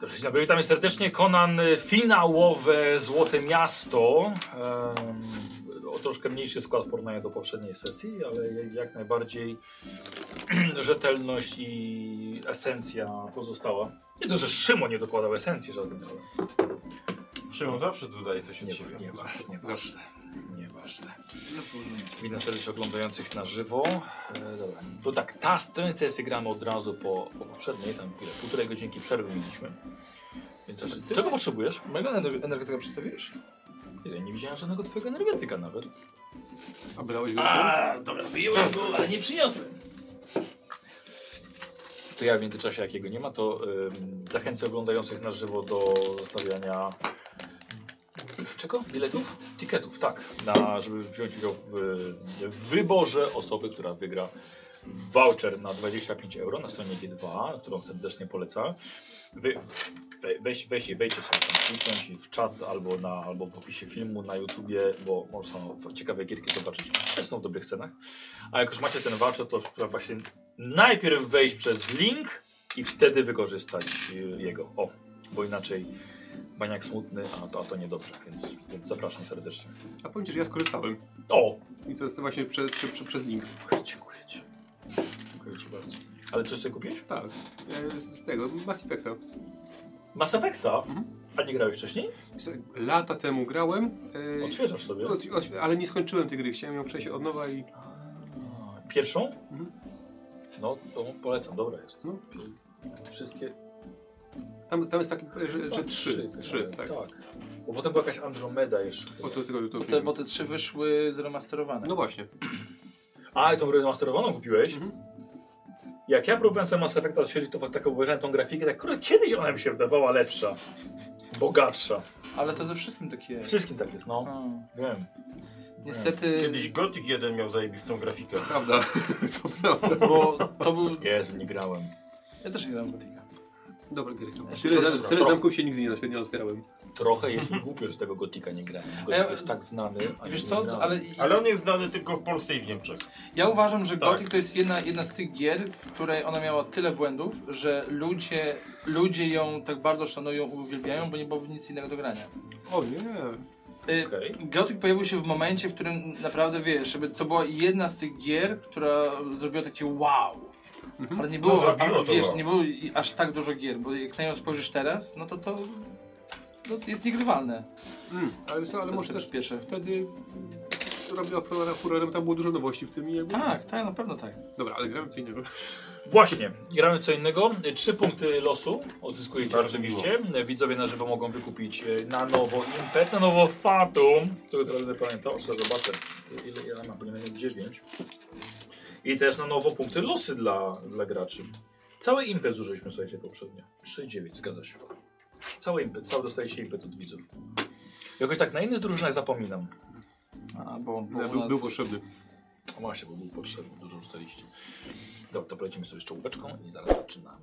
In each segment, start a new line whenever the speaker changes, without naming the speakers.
Dobrze, dzień dobry, witamy serdecznie. Konan, y, finałowe Złote Miasto. Em, o troszkę mniejszy skład w porównaniu do poprzedniej sesji, ale jak najbardziej rzetelność i esencja pozostała. Nie to, że Szymon nie dokładał esencji żadnej, ale
Szymon zawsze dodaje coś
No.
od
nie,
siebie.
nie, nieważne. Nieważne. Witam serdecznie oglądających na żywo. E, dobra. To tak, ta tę sesję gramy od razu po, po poprzedniej, tam ile, półtorej godzinki przerwy mieliśmy. Więc aż, czego potrzebujesz?
Mojego ener- energetyka przedstawiłeś?
Ja nie widziałem żadnego twojego energetyka nawet.
A brałeś go
A, dobra, wyjąłem go, ale nie przyniosłem.
To ja w międzyczasie, jakiego nie ma, to ym, zachęcę oglądających na żywo do zostawiania czego? Biletów? Tiketów, tak. Na, żeby wziąć udział w, y, w wyborze osoby, która wygra voucher na 25 euro na stronie G2, którą serdecznie polecam. Wy, we, weź, weź, wejdźcie sobie tam kliknąć i w czat albo, na, albo w opisie filmu na YouTubie, bo można no, ciekawe gierki zobaczyć. Też są w dobrych cenach. A jak już macie ten voucher, to trzeba właśnie najpierw wejść przez link i wtedy wykorzystać y, jego. O, bo inaczej baniak smutny, a to, a to niedobrze, więc, więc zapraszam serdecznie.
A powiem ci, że ja skorzystałem.
O!
I to jest właśnie prze, prze, prze, przez link.
Dziękuję ci. Dziękuję ci bardzo. Ale czy sobie kupiłeś?
Tak. E, Z, z tego, Mass Effecta.
Mass Effecta? A nie grałeś wcześniej?
Co, Lata temu grałem. e,
Odświeżasz sobie.
od- od- ale nie skończyłem tej gry, chciałem ją przejść od nowa i...
A, Pierwszą? No, to polecam, dobra jest.
No.
Wszystkie
Tam, tam jest taki, e, że, że
A,
Znaczy trzy. Trzy, tak.
tak. Bo potem była jakaś Andromeda jeszcze.
O, to, tego, to
Bo
już
te,
nie
bo
ma.
te trzy wyszły zremasterowane.
No właśnie.
A, i tą remasterowaną kupiłeś?
Mhm.
Jak ja próbowałem sobie Mass Effecta odświeżyć, to fakt- tak obejrzałem tą grafikę, tak kurde, kiedyś ona mi się wydawała lepsza, bogatsza.
Ale to ze wszystkim takie jest.
Wszystkim tak jest, no.
A,
Wiem.
Niestety,
Kiedyś Gothic 1 miał zajebistą grafikę.
Prawda. to prawda.
bo to był...
Jezu, nie grałem.
Ja też nie grałem w Gotika.
Dobra, gry.
to
Tyle,
jest
zam, tyle
to.
zamków się nigdy nie, nie otwierałem.
Trochę jest mi głupio, że tego Gotika nie grałem. Gotik
Ja-
jest tak znany, a
E, Wiesz
nie
co,
grałem.
ale,
Ale on jest znany tylko w Polsce i w Niemczech.
ja uważam, że
Tak.
Gothic to jest jedna, jedna z tych gier, w której ona miała tyle błędów, że ludzie, ludzie ją tak bardzo szanują, uwielbiają, bo nie było w nic innego do grania.
O nie.
Y,
Okej.
Gothic pojawił się w momencie, w którym naprawdę wiesz, żeby to była jedna z tych gier, która zrobiła takie wow. Ale nie było,
No, zrobiło
ale,
to
wiesz,
wow.
nie było i- aż tak dużo gier, bo jak na nią spojrzysz teraz, no to to, to jest niegrywalne.
Mm, ale co, ale
To
może
te
też
pierwsze.
wtedy robiła furorem, furorem, tam było dużo nowości w tym i jakby...
Tak, tak, na pewno tak.
Dobra, ale gramy co innego.
Właśnie, gramy co innego. Trzy punkty losu odzyskujecie
Bardzo
oczywiście. Widzowie na żywo mogą wykupić e, na nowo impet, na nowo fatum, który teraz będę pamiętał, jeszcze zobaczę ile ja mam, powinienem mieć 9. I też na nowo punkty losy dla, dla graczy. Cały impet zużyliśmy, słuchajcie, poprzednio. 3-9, zgadza się. Cały impet, cały dostajecie impet od widzów. Jakoś tak na innych drużynach zapominam.
A, bo, bo
Ja,
u
był,
nas...
był potrzebny.
A właśnie, bo był potrzebny, dużo rzucaliście. Dobra, to polecimy sobie z czołóweczką i zaraz zaczynamy.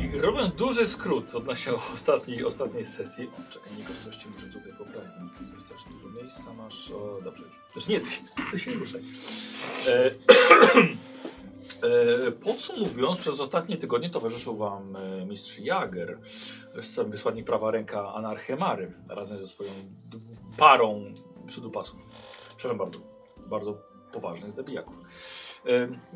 I robiąc duży skrót odnośnie ostatniej, ostatniej sesji. O, czekaj, Nikos, coś ci muszę tutaj poprawić. Coś też dużo miejsca masz. O, dobrze już. Też nie, ty, ty się ruszaj. E, E, Podsumowując, przez ostatnie tygodnie towarzyszył Wam e, mistrz Jager, s- wysłannik prawa ręka Anarchemary, razem ze swoją dwu- parą przydupasów. Przepraszam bardzo, bardzo poważnych zabijaków.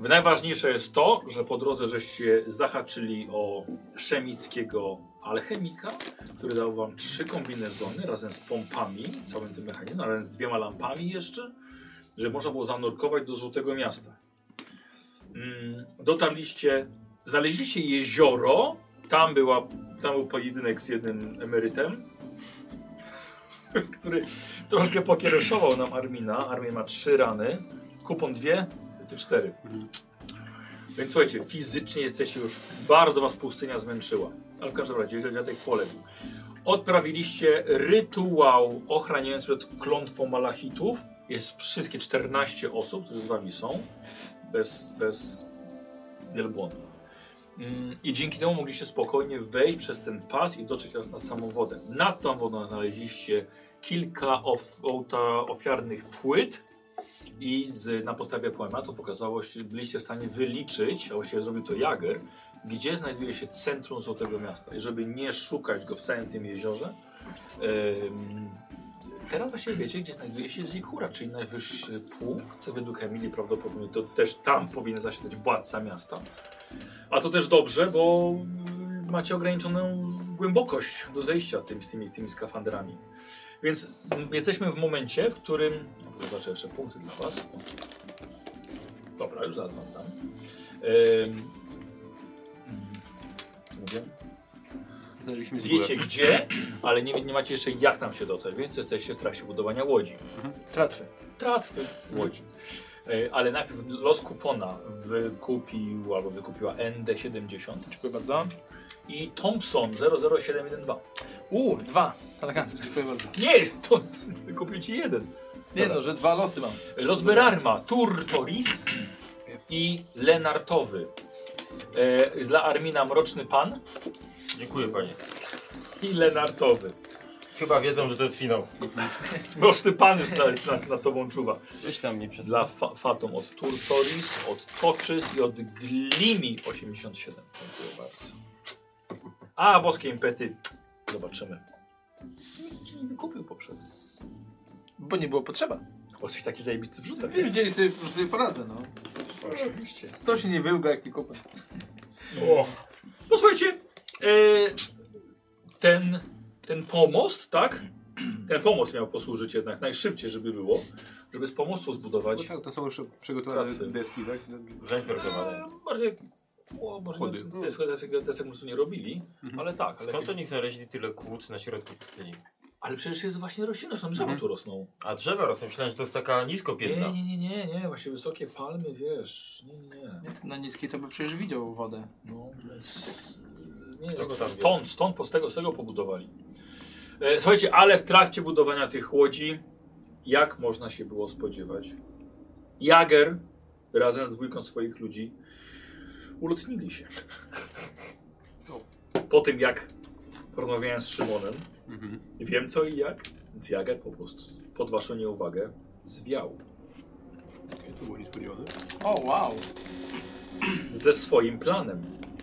E, Najważniejsze jest to, że po drodze żeście zahaczyli o szemickiego alchemika, który dał Wam trzy kombinezony razem z pompami, całym tym mechanizmem, razem z dwiema lampami jeszcze, że można było zanurkować do Złotego Miasta. Mm, dotarliście, znaleźliście jezioro, tam, była, tam był pojedynek z jednym emerytem, który troszkę pokiereszował nam Armina. Armin ma trzy rany, kupon dwie, ty cztery.
Mhm.
Więc słuchajcie, fizycznie jesteście już, bardzo was pustynia zmęczyła, ale w każdym razie Zodiatek poległ. Odprawiliście rytuał ochraniający przed klątwą malachitów. Jest wszystkie 14 osób, które z wami są bez, bez wielbłądów. Mm, I dzięki temu mogliście spokojnie wejść przez ten pas i dotrzeć teraz na samą wodę. Nad tą wodą znaleźliście kilka of, ołta- ofiarnych płyt i z, na podstawie poematów okazało się, byliście w stanie wyliczyć, a właściwie zrobił to Jager, gdzie znajduje się centrum Złotego Miasta. I żeby nie szukać go w całym tym jeziorze, em, Teraz właśnie wiecie, gdzie znajduje się Zikura, czyli najwyższy punkt. Według Emilii prawdopodobnie to też tam powinien zasiadać władca miasta. A to też dobrze, bo mm, macie ograniczoną głębokość do zejścia tym, z tymi, tymi skafandrami. Więc mm, jesteśmy w momencie, w którym... Zobaczę jeszcze punkty dla was. Dobra, już zaraz wam dam. Ym... Mówię?
Znaleźliśmy z
Wiecie gdzie, ale nie, nie macie jeszcze jak tam się dotrzeć, więc jesteście w trakcie budowania łodzi.
Tratwy.
Tratwy łodzi. E, Ale najpierw los kupona wykupił albo wykupiła ND70
Dziękuję bardzo.
i Thompson 00712.
U, dwa. Elegancko, dziękuję bardzo.
Nie, to wykupił ci jeden.
Nie no, że dwa losy mam.
Los Berarma, Turtoris i Lenartowy. E, Dla Armina Mroczny Pan
Dziękuję panie.
i Lenartowy.
Chyba wiedzą, że to jest finał.
Mroczny Pan już nad, nad, nad tobą czuwa.
Weź tam nie przez...
Dla fa Fatum od Turtoris, od Toczys i od Glimi 87. Dziękuję bardzo. A, boskie impety. Zobaczymy. Nikt ci nie wykupił poprzednio.
Bo nie było potrzeba.
Bo coś taki zajebisty wrzutek.
Wy Widzieli sobie, po prostu sobie poradzę, no.
Oczywiście.
To się nie wyłga, jak nie kupę.
O,
Posłuchajcie, e, ten, ten pomost, tak? Ten pomost miał posłużyć jednak najszybciej, żeby było. Żeby z pomostu
No
zbudować
tak, to są już przygotowane
Tratwy.
deski, tak?
zaimprowizowane.
e, bardziej... O, może
Chody.
nie, desek, desek, desek musu nie robili, ale tak. Ale
Skąd oni znaleźli tyle kłód na środku pustyni?
Ale przecież jest właśnie roślina, są drzewa
Mhm.
tu rosną.
A drzewa rosną, myślałem, że to jest taka nisko
Nie,
piętna.
nie, nie, nie, nie, właśnie wysokie palmy, wiesz. Nie, nie, nie.
Nie, Na niskiej to by przecież widział wodę.
No, s- nie no
Kto go tam
stąd, stąd, po- z tego, z tego pobudowali. E, słuchajcie, ale w trakcie budowania tych łodzi, jak można się było spodziewać, Jager razem z dwójką swoich ludzi ulotnili się.
No.
Po tym, jak porozmawiałem z Szymonem,
Mhm.
Wiem co i jak. Więc Jager po prostu pod waszą nieuwagę zwiał.
Okej, to było niespodziewane.
O, wow.
Ze swoim planem.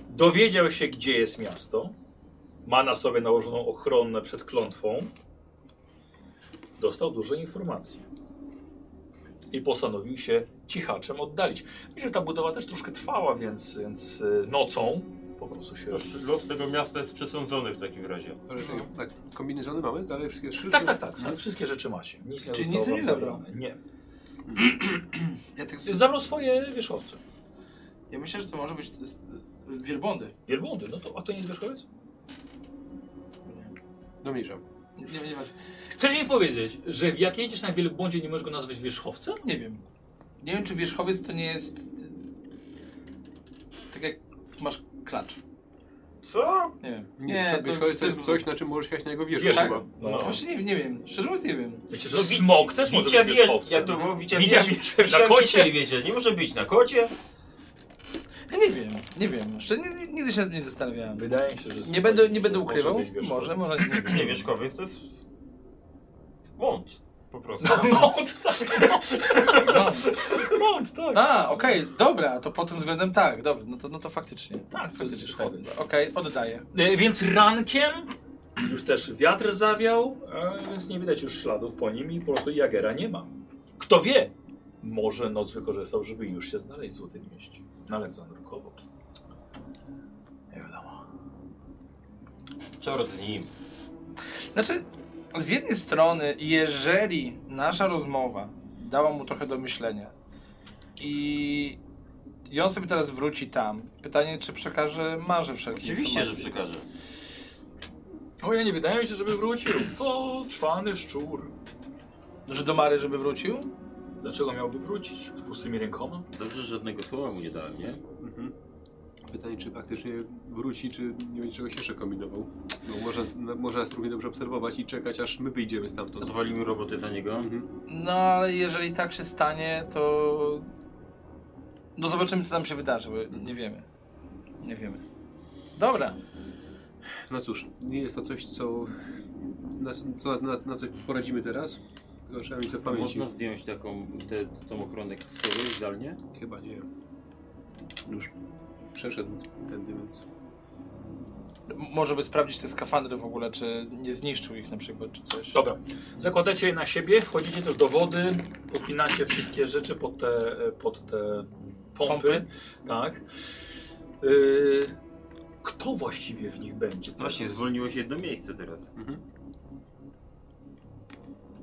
Dowiedział się, gdzie jest miasto. Ma na sobie nałożoną ochronę przed klątwą. Dostał dużo informacji. I postanowił się cichaczem oddalić. Myślę, że ta budowa też troszkę trwała, więc, więc y, nocą po prostu się...
Już Los tego miasta jest przesądzony w takim razie.
Ale czekaj, tak, kombinezony mamy? Dalej wszystkie trzy?
Tak, tak, tak. Wszystkie rzeczy macie. Nic nie
Czyli
zostało
nic nie
wam
zabrał?
zabrane. Nie.
Ja, tak, sobie-
Zabrał swoje wierzchowce.
ja myślę, że to może być z- wielbłądy.
Wielbłądy. No to, a to nie jest wierzchowiec?
No mniejszam.
Nie, nie, nie,
Chcesz mi powiedzieć, że jak jedziesz na wielbłądzie, nie możesz go nazwać wierzchowcem?
nie wiem. Nie wiem, czy wierzchowiec to nie jest... Tak jak masz klacz.
Co?
Nie wiem.
Nie, nie to, wierzchowiec to jest coś, na czym możesz jechać na jego wieżę tak?
tak.
Wieżę.
chyba.
No.
Właśnie nie, nie wiem. Szczerze mówiąc nie wiem.
Myślę,
No
że smok też może
Widzia
być
wie,
wierzchowcem.
jak to było? Widzia
Widzia
wie-
wie- na
widzia
kocie.
wiecie, wiecie, nie może być na kocie.
Ja nie wiem. Nie wiem, jeszcze nie- nie- nigdy się nad tym nie zastanawiałem.
Wydaje mi się, że...
Nie będę, nie będę ukrywał,
być wierzchołek.
może, może nie.
Nie, wierzchowiec to jest... Mąd. Po prostu.
Mąd, tak,
No.
mąd, tak.
A, okej, dobra, to pod tym względem tak, dobra, no to, no to faktycznie.
Tak, to jest wierzchowiec.
Okej, oddaję.
E, Więc rankiem już też wiatr zawiał, e, więc nie widać już śladów po nim i po prostu Jagera nie ma. Kto wie, może noc wykorzystał, żeby już się znaleźć w Złotym Mieście. No, Nawet zanurkowo. Nie wiadomo.
Czort z nim.
Znaczy, z jednej strony, jeżeli nasza rozmowa dała mu trochę do myślenia i, i on sobie teraz wróci tam, pytanie, czy przekaże Marze wszelkie
Oczywiście, że
informacje.
przekaże.
O, ja nie wydaje mi się, żeby wrócił. To czwany szczur.
Że do Mary, żeby wrócił?
Dlaczego miałby wrócić z pustymi rękoma?
Dobrze, że żadnego słowa mu nie dałem, nie?
Pytanie, czy faktycznie wróci, czy nie będzie czegoś jeszcze kombinował. Bo może, może nas równie dobrze obserwować i czekać, aż my wyjdziemy stamtąd.
Odwalimy roboty za niego.
No, ale jeżeli tak się stanie, to... No zobaczymy, co tam się wydarzy, bo
Mhm.
nie wiemy. Nie wiemy. Dobra.
No cóż, nie jest to coś, co, na, co, na, na coś poradzimy teraz, tylko trzeba mieć to w pamięci.
Można zdjąć taką, tę tą ochronę kaskową zdalnie?
Chyba nie. Już przeszedł tędy, więc...
M- Może by sprawdzić te skafandry w ogóle, czy nie zniszczył ich na przykład, czy coś.
Dobra, zakładacie je na siebie, wchodzicie też do wody, upinacie wszystkie rzeczy pod te, pod te pompy,
Pompy.
tak. Yy, kto właściwie w nich
No,
będzie?
Właśnie,
teraz?
zwolniło się jedno miejsce teraz.
Mhm.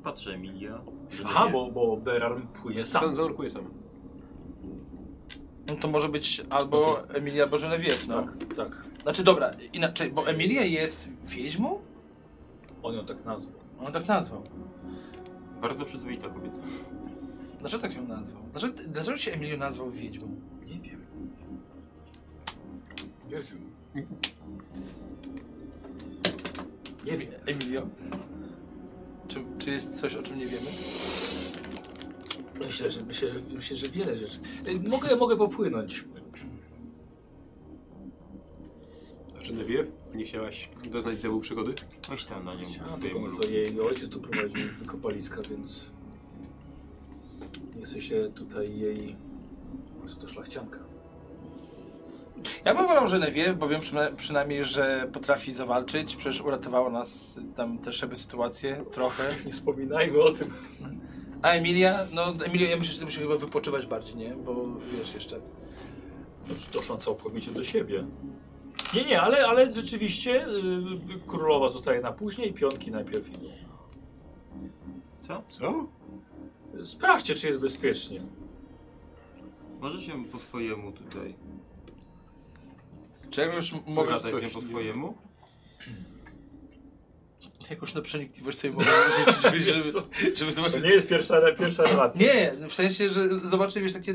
Patrzę, Emilia.
Aha, bo, bo Berarm płynie sam.
Sam zanurkuję sam.
No to może być
No
albo Emilia, albo Genevieve, no.
Tak, tak.
Znaczy dobra, inaczej, bo Emilia jest wiedźmą?
On ją tak nazwał.
On tak nazwał.
Bardzo przyzwoita kobieta.
Dlaczego tak ją nazwał? Dlaczego, dlaczego się Emilio nazwał wiedźmą?
Nie wiem. Nie wiem. Nie wiem.
Emilio? Czy, czy jest coś, o czym nie wiemy?
Myślę, że, myślę, myślę, że wiele rzeczy. Yy, Mogę, mogę popłynąć.
A Genevieve, nie chciałaś doznać zjawu przygody?
Weź tam na nią
Chciałem
z
tylko,
tym
no to jej ojciec tu prowadził wykopaliska, więc jesteście tutaj jej po prostu to szlachcianka.
Ja bym wolał Genevieve, bo wiem przyna- przynajmniej, że potrafi zawalczyć. Przecież uratowała nas tam też jakby sytuację trochę.
Nie wspominajmy o tym.
A Emilia? No Emilio, ja myślę, że ty musisz chyba wypoczywać bardziej, nie? Bo wiesz jeszcze.
No, już doszła całkowicie do siebie. Nie, nie, ale, ale rzeczywiście yy, królowa zostaje na później, pionki najpierw idą.
Co?
Co?
Sprawdźcie, czy jest bezpiecznie.
Może się po swojemu tutaj.
Czy jakoś m- mogę
Pogadać
coś
się po
nie-
swojemu?
Jakąś na przenikliwość sobie mogę życzyć, żeby, żeby,
To
żeby zobaczyć.
nie jest pierwsza, pierwsza relacja.
Nie, w sensie, że zobaczę, wiesz, takie...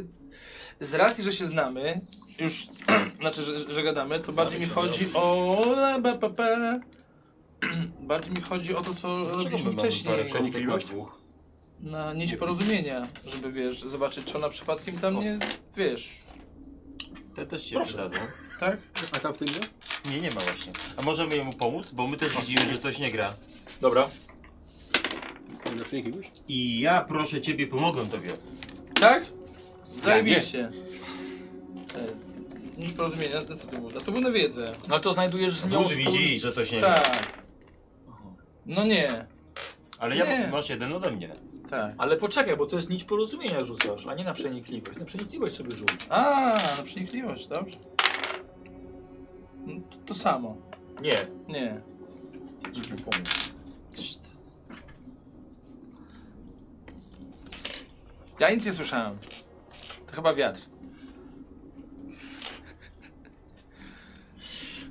Z racji, że się znamy, już, znaczy, że, że gadamy, to bardziej mi
się,
chodzi o... BPP. Bardziej mi chodzi o to, co robiliśmy wcześniej.
parę kostek na
Przenikliwość?
dwóch?
Na nić porozumienia, żeby, wiesz, zobaczyć, czy ona przypadkiem tam nie, wiesz,
Te też się
Proszę.
przydadzą.
tak?
A tam w tym nie?
Nie, nie ma właśnie. A możemy jemu pomóc, bo my też widzimy, że coś nie gra.
Dobra.
Nie na przenikliwość?
I ja proszę ciebie, pomogę tobie.
Tak? Zajebiście. E, Nić porozumienia, to co to było? To było na wiedzę.
No to znajdujesz z nią
Wód widzi, że coś nie gra.
Tak. No nie,
Ale
Nie.
ja masz jeden ode mnie.
tak.
Ale poczekaj, bo to jest nić porozumienia rzucasz, a nie na przenikliwość. Na przenikliwość sobie rzuć.
A, na przenikliwość, dobrze. No, to, to samo.
Nie,
Nie.
żeby mi pomóc.
Ja nic nie słyszałem. To chyba wiatr.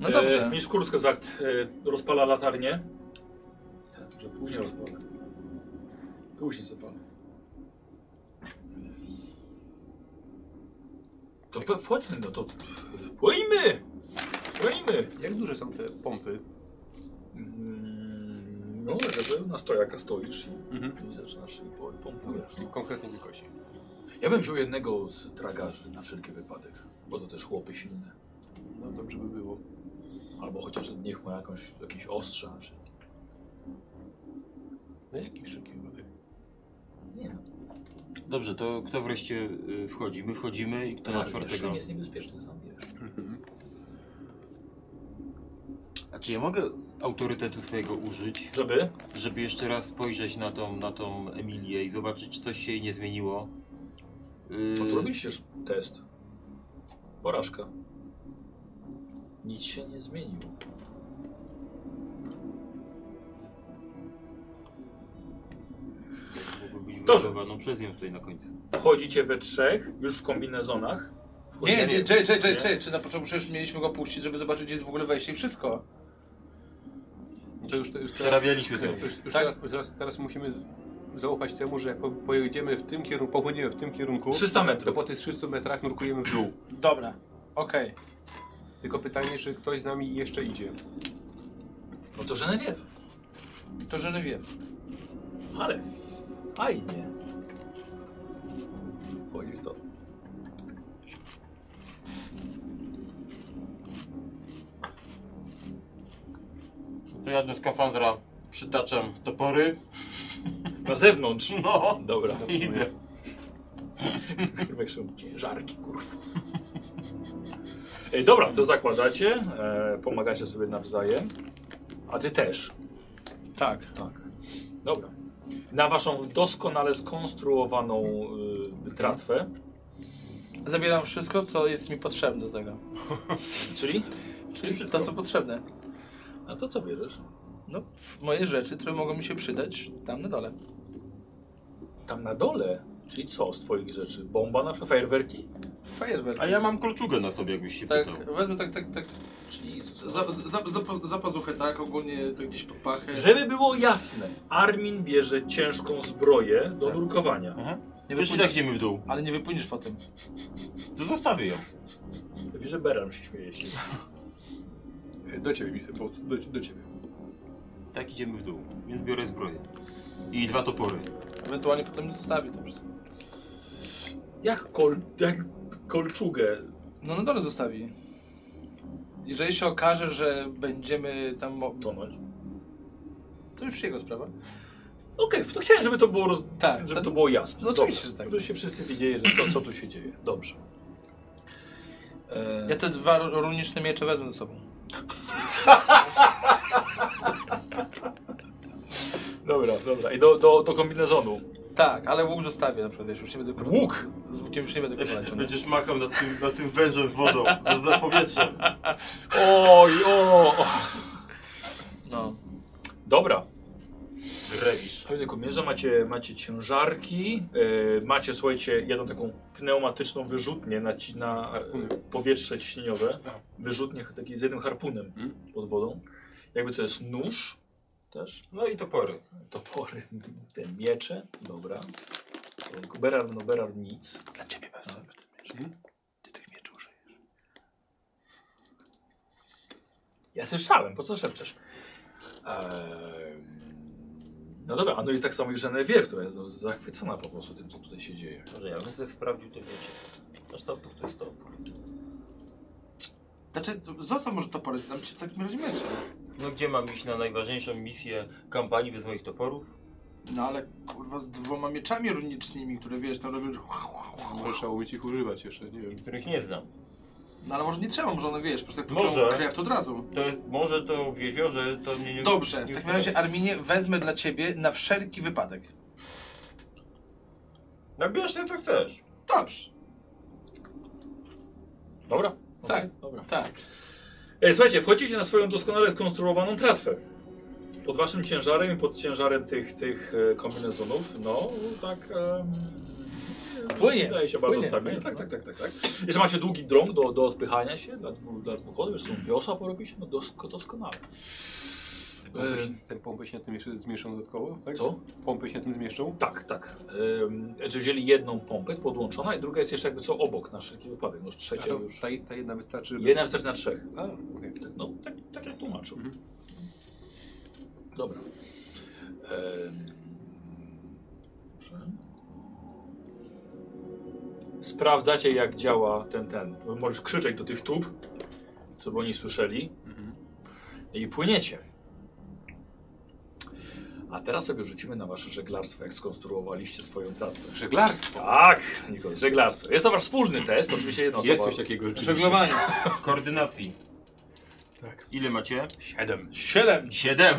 No
E,
dobrze.
Mistrz Kurzgesagt e, rozpala latarnię. Tak, może później rozpalę. Później zapalę. To we, wchodźmy, no to płyjmy! Płyjmy!
Jak duże są te pompy?
Mm, No, żeby na stojaka stoisz
Mhm.
i zaczynasz i po- pompujesz. No.
Konkretnie wielkości.
Ja bym wziął jednego z tragarzy na wszelki wypadek, bo to też chłopy silne.
No dobrze by było.
Albo chociaż niech ma jakąś, jakieś ostrze na przykład.
Na jaki wszelki wypadek?
Nie,
Dobrze, to kto wreszcie y, wchodzi? My wchodzimy i kto na
jeszcze
czwartego?
nie jest niebezpieczny, sam wiesz.
A czy ja mogę autorytetu swojego użyć,
Żeby?
żeby jeszcze raz spojrzeć na tą, na tą Emilię i zobaczyć, czy coś się jej nie zmieniło? Y,
No to robiliście już test. Porażka. Nic się nie zmieniło.
Mogłoby być
Dobrze.
wywoływaną przez nią tutaj na końcu.
Wchodzicie we trzech, już w kombinezonach.
Nie, nie,
Wchodzicie-
nie, czekaj, czekaj,
nie?
czekaj, czy na początku przecież mieliśmy go puścić, żeby zobaczyć, gdzie jest w ogóle wejście i wszystko.
To już, to już teraz,
Przerabialiśmy to.
już, już, już
Tak.
teraz, teraz, teraz musimy z, zaufać temu, że jak po- pojedziemy w tym kierunku, popłyniemy w tym kierunku,
300
to
metrów.
No
po tych 300 metrach nurkujemy w dół.
Dobra, okej.
Tylko pytanie, czy ktoś z nami jeszcze idzie.
No to Genevieve.
To żony wie.
Ale fajnie. Wchodzisz to.
To ja do skafandra przytaczam topory.
Na zewnątrz.
No,
Dobra.
i idę.
Kurwa, jeszcze ciężarki, kurwa. Ej, dobra, to zakładacie, e, pomagacie sobie nawzajem. A ty też.
Tak.
Tak. Dobra. Na waszą doskonale skonstruowaną y, tratwę,
Zabieram wszystko, co jest mi potrzebne do tego.
czyli?
Czyli wszystko. to, co potrzebne.
A to co bierzesz?
No, moje rzeczy, które mogą mi się przydać tam na dole.
Tam na dole, czyli co z twoich rzeczy? Bomba na przykład, fajerwerki?
Fajerwerki.
A ja mam kolczugę na sobie, jakbyś się
Tak,
pytał.
wezmę tak, tak, tak.
Czyli
Za, za, za, za pazuchę, tak? Ogólnie to gdzieś pod pachę.
Żeby było jasne, Armin bierze ciężką zbroję do
Tak.
nurkowania.
Nie
Wiesz, i tak idziemy w dół.
Ale nie wypłyniesz po tym.
To zostawię ją.
Wiesz, że Beram się śmieje. się.
E, Do ciebie, Mister, bo do, do ciebie.
Tak idziemy w dół, więc biorę zbroję. I dwa topory.
Ewentualnie potem zostawię to wszystko.
Jak, kol, jak kolczugę
No na dole zostawi. Jeżeli się okaże, że będziemy tam... mo-
tonąć?
To już jego sprawa.
Okej, to chciałem, żeby to było, roz...
Tak,
żeby
to-
to było jasne.
no oczywiście, że tak.
To się wszyscy wiedzieli, że co, co tu się dzieje. Dobrze. E...
Ja te dwa runiczne miecze wezmę ze sobą.
Dobra, dobra. I do, do, do kombinezonu.
Tak, ale łuk zostawię na przykład, wiesz, już nie będę...
Łuk?
Z łukiem już nie będę kochać.
Będziesz machał nad tym, nad tym wężem z wodą, za, za powietrzem.
Oj, o!
No.
Dobra.
Rewisz.
Pełne kombinezon, macie, macie ciężarki, e, macie, słuchajcie, jedną taką pneumatyczną wyrzutnię na, ci- na e, powietrze ciśnieniowe. Wyrzutnię taki z jednym harpunem
Hmm?
pod wodą. Jakby to jest nóż też.
No i topory.
Topory, te miecze. Dobra. E, Berard, no Berard nic.
Dla ciebie wezmę ten miecz.
Hmm?
Ty tych mieczy użyjesz.
Ja słyszałem, po co szepczesz? Ehm, no dobra, a no i tak samo i Genevieve, która jest no, zachwycona po prostu tym, co tutaj się dzieje.
Może ja bym sobie sprawdził to wiecie. Aż tam to jest topór.
Znaczy, zostaw może topory, dam ci w takim razie miecze.
No gdzie mam iść na najważniejszą misję kampanii bez moich toporów?
No ale kurwa z dwoma mieczami runicznymi, które wiesz, tam robią...
Może trzeba umieć ich używać jeszcze, nie wiem.
Których nie znam.
No ale może nie trzeba, może one wiesz, po prostu jak
Może.
poczują krew to od razu.
To może to w jeziorze, to mnie nie...
Dobrze, w
nie-
takim razie Arminie wezmę dla ciebie na wszelki wypadek.
No bierz ty co chcesz.
Dobrze,
Dobra?
Tak.
Okej, Dobra.
tak.
E, słuchajcie, wchodzicie na swoją doskonale skonstruowaną tratwę. Pod waszym ciężarem i pod ciężarem tych, tych e, kombinezonów, no tak... em,
Płynie,
Wydaje się bardzo
płynie,
stabilnie.
płynie, no.
Tak, tak, tak, tak, tak. Jeszcze macie długi drąg do, do odpychania się dla, dwu, dla dwóch osób. Jeszcze są wiosła porobicie, no dosko, doskonale. E,
Ten pompę się na tym jeszcze zmieszczą dodatkowo, tak?
co?
Pompy się na tym zmieszczą?
Tak, tak. Ym, Że wzięli jedną pompę podłączona i druga jest jeszcze jakby co obok na wszelki wypadek. No już
A
trzecia
to tak-
już.
ta, ta jedna wystarczy... żeby-
Jedna wstecz na trzech.
A, okej.
Tak, No, tak, tak jak tłumaczył.
Mhm.
Dobra. Ym, Dobrze. Sprawdzacie jak działa ten, ten. Możesz krzyczeć do tych tub. co by oni słyszeli
Mhm.
i płyniecie. A teraz sobie rzucimy na wasze żeglarstwo, jak skonstruowaliście swoją tratwę.
Żeglarstwo!
Tak, Nikol, żeglarstwo. Jest to wasz wspólny test, oczywiście jedna
Jest
osoba.
coś takiego rzeczywiście.
Żeglowanie.
Koordynacji.
Tak.
Ile macie?
Siedem.
Siedem.
Siedem.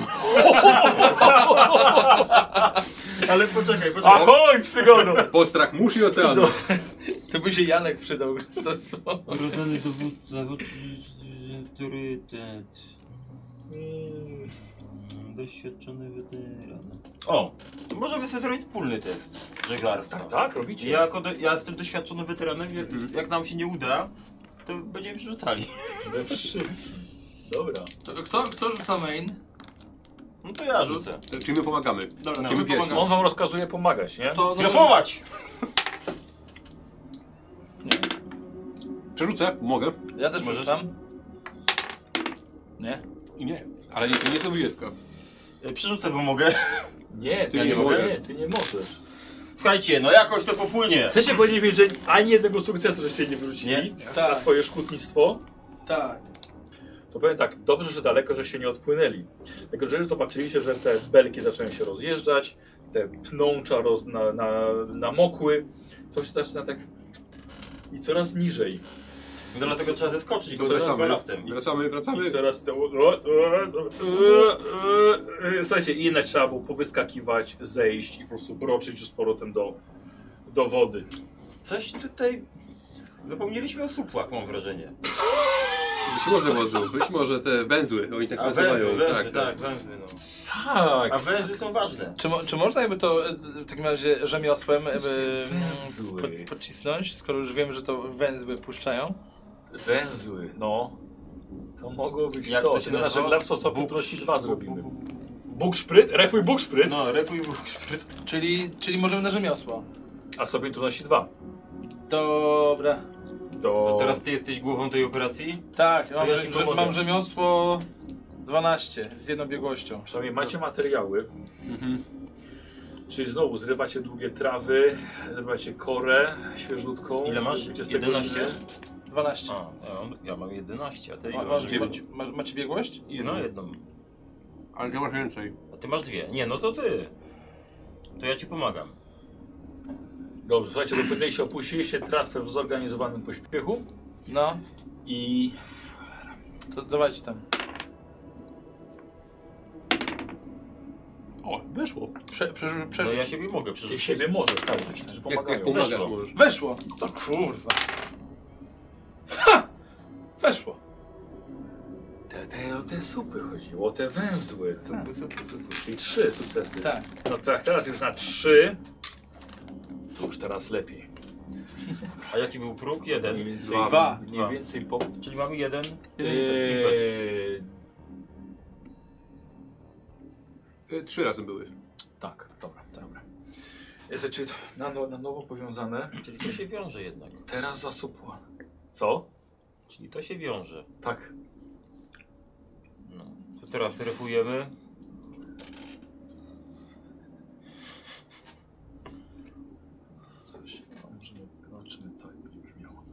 Ale poczekaj, poczekaj.
Ahoj, przygodą!
Postrach mórz i oceanu.
To by się Janek przydał Chrystusowi.
Urodzony dowódca, autorytet,
Mm,
doświadczony weteran. O, to może wy sobie zrobić wspólny test żeglarstwa.
Tak, tak, robicie.
Ja, jako do, ja jestem doświadczonym weteranem, jak, jak nam się nie uda, to będziemy przerzucali.
We wszystkim. Dobra.
To Kto, kto rzuca main?
No to ja rzucę.
Czyli my pomagamy.
Dobra,
Czyli my
no,
pierwsi.
No on wam rozkazuje pomagać, nie?
no,
To,
Grafować!
Przerzucę, mogę.
Ja też
Możesz?
rzucam. Nie?
I nie. Ale nie, to nie jest 20.
E, Przerzucę, bo mogę.
Nie, ty
Ja
nie,
nie
możesz.
mogę?
Nie, ty nie możesz.
Słuchajcie, no jakoś to popłynie.
Chcecie powiedzieć mi, że ani jednego sukcesu żeście nie wrócili
Nie.
na swoje szkutnictwo?
Tak.
To powiem tak, dobrze, że daleko, że się nie odpłynęli. Tylko, że już zobaczyliście, że te belki zaczęły się rozjeżdżać, te pnącza roz, na, na, namokły, coś zaczyna tak i coraz niżej.
No dlatego trzeba zeskoczyć, bo zaraz
Wracamy.
ballastem.
Wracamy, wracamy.
No I coraz te... E, Słuchajcie, i jednak trzeba było powyskakiwać, zejść i po prostu broczyć już z powrotem do, do wody.
Coś tutaj... Zapomnieliśmy o supłach, mam wrażenie.
Być może wodzu, być może te węzły. Oni tak
A
nazywają.
węzły, węzły, tak, węzły, no.
Tak.
A węzły są ważne.
Czy, mo- czy można jakby to e, w takim razie rzemiosłem e, by,
Węzły.
pod, podcisnąć, skoro już wiemy, że to węzły puszczają?
Węzły, no. To mogło być
Jak
to. no,
to się
Ty na
nazywa?
żeglarstwo stopniu
Bóg-
trudności dwa
Bóg-
zrobimy. Bóg szpryt? Refuj Bóg szpryt?
No, refuj Bóg szpryt.
Czyli, czyli możemy na rzemiosło.
A stopień trudności dwa.
Dobra.
To
To No teraz ty jesteś głową tej operacji?
Tak, mam,
ja
rze-
ci
rze-
pomogę.
mam rzemiosło 12 z jednobiegłością.
Przynajmniej macie materiały.
Mhm.
Czyli znowu zrywacie długie trawy, zrywacie korę świeżutką.
Ile masz?
Robicie z tego
11?
linię.
12.
A, ja mam, ja mam 11, a ty
Ma,
ile
masz,
masz?
dziewięć.
ma, macie biegłość?
No, jedną.
Ale ty masz więcej.
A ty masz dwie. Nie, no to ty. To ja ci pomagam.
Dobrze, słuchajcie, dopłynęliście, opuściliście trawę w zorganizowanym pośpiechu
No,
i
to dawajcie tam.
O, weszło.
Prze, przerzu- przerzu-
No ja siebie mogę
ty
przerzucić.
siebie możesz, tak, że
Jak, jak
pomagają. No
pomagasz
Weszło.
możesz.
Weszło! To kurwa. Ha! Weszło.
Te, te, o te supy chodziło, o te węzły.
Super, super, super.
Czyli trzy sukcesy.
Tak.
No tak, teraz już na trzy. To już teraz lepiej.
A jaki był próg?
Mniej
Jeden.
więcej,
Dwa.
Mniej więcej po...
Czyli mamy jeden.
Eee,
Y, Trzy razy były.
tak, dobra, dobra. Jest, czy to na, no- na nowo powiązane?
Czyli to się wiąże jednak.
Teraz zasupła. Co?
Czyli to się wiąże.
Tak.
No. To teraz refujemy.
Coś. No, Może zobaczymy, to jak będzie brzmiało.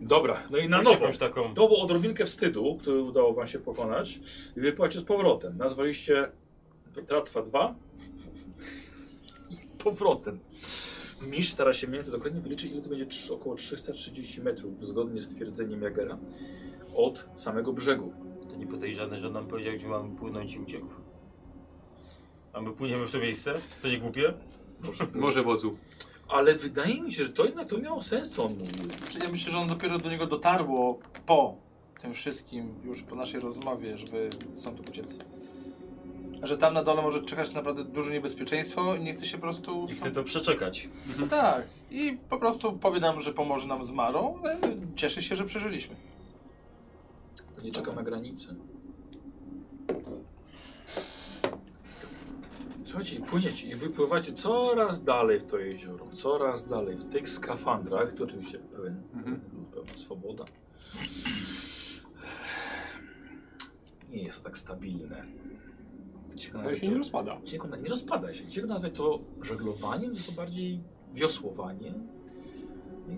Dobra, no i na
Masz
nowo.
jakąś taką.
To było odrobinkę wstydu, który udało wam się pokonać. I wypłacie z powrotem. Nazwaliście Tratwa 2. I z powrotem. Misz stara się mniej więcej dokładnie wyliczyć, ile to będzie trzy- około 330 metrów, zgodnie z twierdzeniem Jagera, od samego brzegu.
To nie podejrzane, że nam powiedział, gdzie mamy płynąć i uciekł. A my płyniemy w to miejsce? To nie głupie?
Może wodzu.
Ale wydaje mi się, że to jednak to miało sens, co on mówił.
Czy Ja myślę, że on dopiero do niego dotarło po tym wszystkim, już po naszej rozmowie, żeby stąd uciec. Że tam na dole może czekać naprawdę duże niebezpieczeństwo i nie chce się po prostu...
I chcę to przeczekać.
Tak. I po prostu powie nam, że pomoże nam z Marą, ale cieszy się, że przeżyliśmy.
Nie czekam na granicę. Słuchajcie, i płyniecie i wypływacie coraz dalej w to jezioro, coraz dalej w tych skafandrach, to oczywiście pełen,
Mhm.
pełna swoboda. Nie jest to tak stabilne. Ciekawe,
Ale się nie rozpada.
Ciekawe, nie rozpada się. Ciekawe nawet to żeglowanie, no to bardziej wiosłowanie.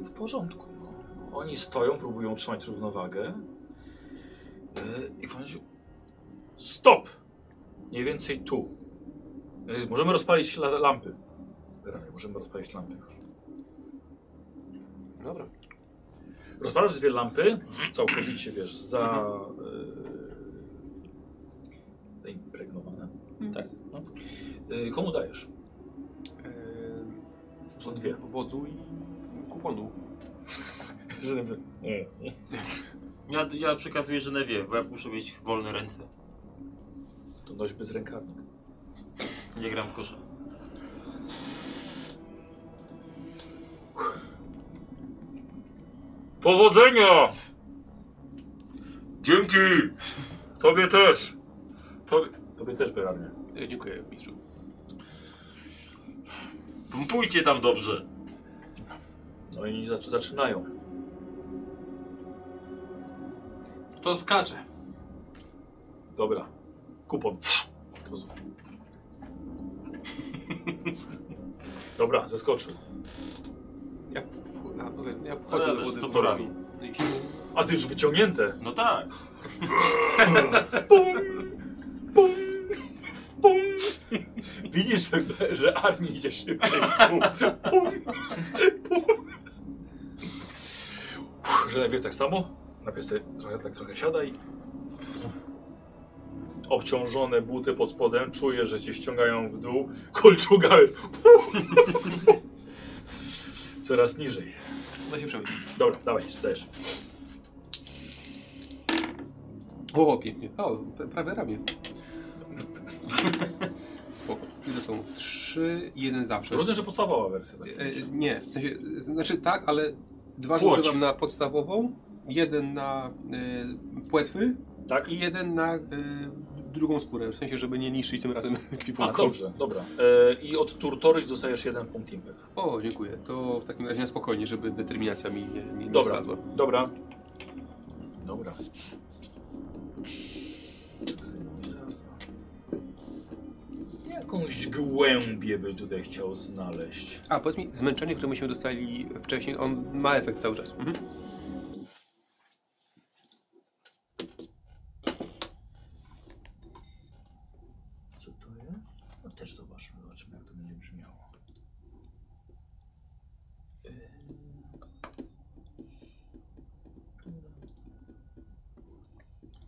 I w porządku. No. Oni stoją, próbują trzymać równowagę. Yy, I w końcu... Stop! Mniej więcej tu. Yy, Możemy rozpalić la- lampy. Generalnie możemy rozpalić lampy już.
Dobra.
Rozpalasz dwie lampy, całkowicie wiesz, za... e, Yy, zaimpregnowane.
Tak.
Yy, komu dajesz? Są dwie.
Wodzu i kuponu.
Nie.
Ja, ja przekazuję Genewie, bo ja muszę mieć wolne ręce.
To noś bez rękawnik.
Nie gram w kosza.
Powodzenia!
Dzięki!
Tobie też! Tobie, Tobie też, Beranie.
E, dziękuję, mistrzu.
Pumpujcie tam dobrze!
No i zac- zaczynają.
To skacze.
Dobra. Kupon. Rozum. Dobra, zeskoczył.
Ja, w- na- poza- no tak, ja wchodzę
Ale
do wody
z
po
toporami.
prostu. No i się-
A ty już wyciągnięte.
No tak!
Pum! Pum! Pum! Widzisz, że, że Arni idzie szybciej. Pum! Pum! Pum! Uff, Że najpierw tak samo. Najpierw sobie trochę, tak trochę siadaj. Obciążone buty pod spodem. Czuję, że cię ściągają w dół. Kolczuga. Coraz niżej.
No się przemyśl.
Dobra, dawaj, dajesz.
O, pięknie. O, p- prawie ramię. Spoko. Ile są? Trzy, jeden zawsze.
Rozumiem, że podstawowa wersja. Tak?
E, nie, w sensie, e, znaczy tak, ale dwa
Płoć.
zużywam na podstawową, jeden na e, płetwy
tak?
i jeden na e, drugą skórę, w sensie, żeby nie niszczyć tym razem
A,
ekwipunku.
dobrze, dobra. E, I od Turtoryś dostajesz jeden punkt impet.
O, dziękuję. To w takim razie na spokojnie, żeby determinacja mi nie, nie, nie
Dobra,
zlazła.
dobra. Dobra. Jakąś głębię by tutaj chciał znaleźć.
A, powiedz mi, zmęczenie, które myśmy dostali wcześniej, on ma efekt cały czas. Mhm.
Co to jest? No też zobaczmy, zobaczymy jak to będzie brzmiało. E,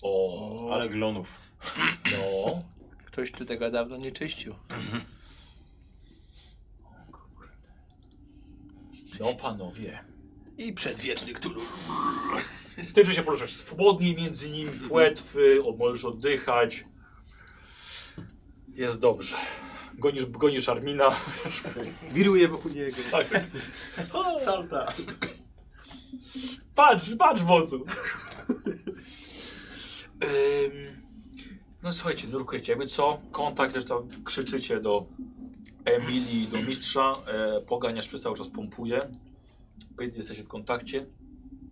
O, ale
Ale glonów.
no.
Ktoś tu tego dawno nie czyścił.
No panowie.
I przedwieczny Cthulhu.
Ty że się poruszasz swobodniej między nimi, płetwy, od, możesz oddychać. Jest dobrze. Gonisz, gonisz Armina.
Wiruje wokół niego.
Tak. O,
Salta!
patrz, patrz wodzu. Ym, no słuchajcie, nurkujecie. Jakby co? Kontakt, zresztą krzyczycie do Emilii, do mistrza. E, poganiasz przez cały czas pompuje. Py- Jesteście w kontakcie.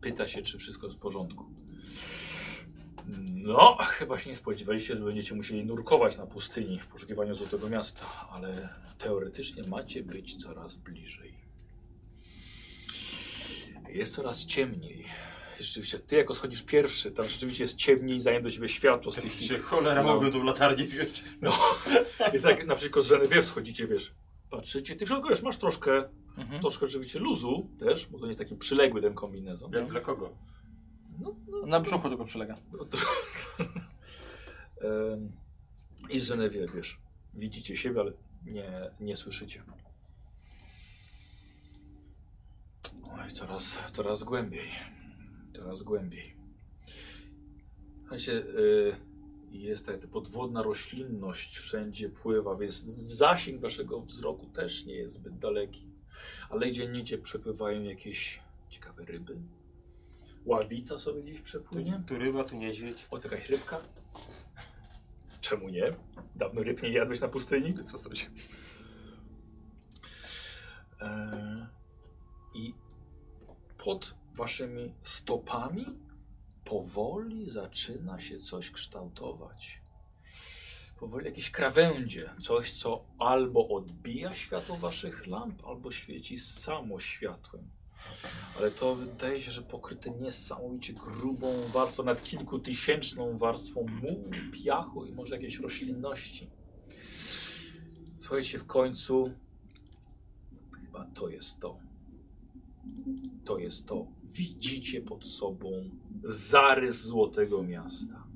Pyta się, czy wszystko jest w porządku. No, chyba się nie spodziewaliście, że będziecie musieli nurkować na pustyni w poszukiwaniu złotego miasta, ale teoretycznie macie być coraz bliżej. Jest coraz ciemniej. Rzeczywiście, ty jako schodzisz pierwszy, tam rzeczywiście jest ciemniej, zanim do ciebie światło z tych
Się cholera
No.
mogłem tą latarnię wziąć.
no. I tak na przykład z Genevieve schodzicie, wiesz, patrzycie, ty w środku wiesz, masz troszkę,
Mhm.
troszkę rzeczywiście luzu też, bo to nie jest taki przyległy ten kombinezon.
Jak dla kogo?
Na brzuchu tylko przylega.
No to, Em, I z Genevieve, wiesz, widzicie siebie, ale nie, nie słyszycie. Oj, coraz, coraz głębiej, coraz głębiej. Słuchajcie, y, jest ta ta podwodna roślinność, wszędzie pływa, więc zasięg waszego wzroku też nie jest zbyt daleki. Ale gdzie nicie przepływają jakieś ciekawe ryby. Ławica sobie gdzieś
Tu,
przepłynie.
tu ryba, tu niedźwiedź.
O, jakaś rybka? Czemu nie? Dawno ryb nie jadłeś na pustyni?
W zasadzie.
Eee, I pod waszymi stopami powoli zaczyna się coś kształtować. Powoli jakieś krawędzie, coś co albo odbija światło waszych lamp, albo świeci samo światłem. Ale to wydaje się, że pokryte niesamowicie grubą warstwą, nawet kilkutysięczną warstwą mułu, piachu i może jakiejś roślinności. Słuchajcie, w końcu chyba to jest to. To jest to. Widzicie pod sobą zarys złotego miasta.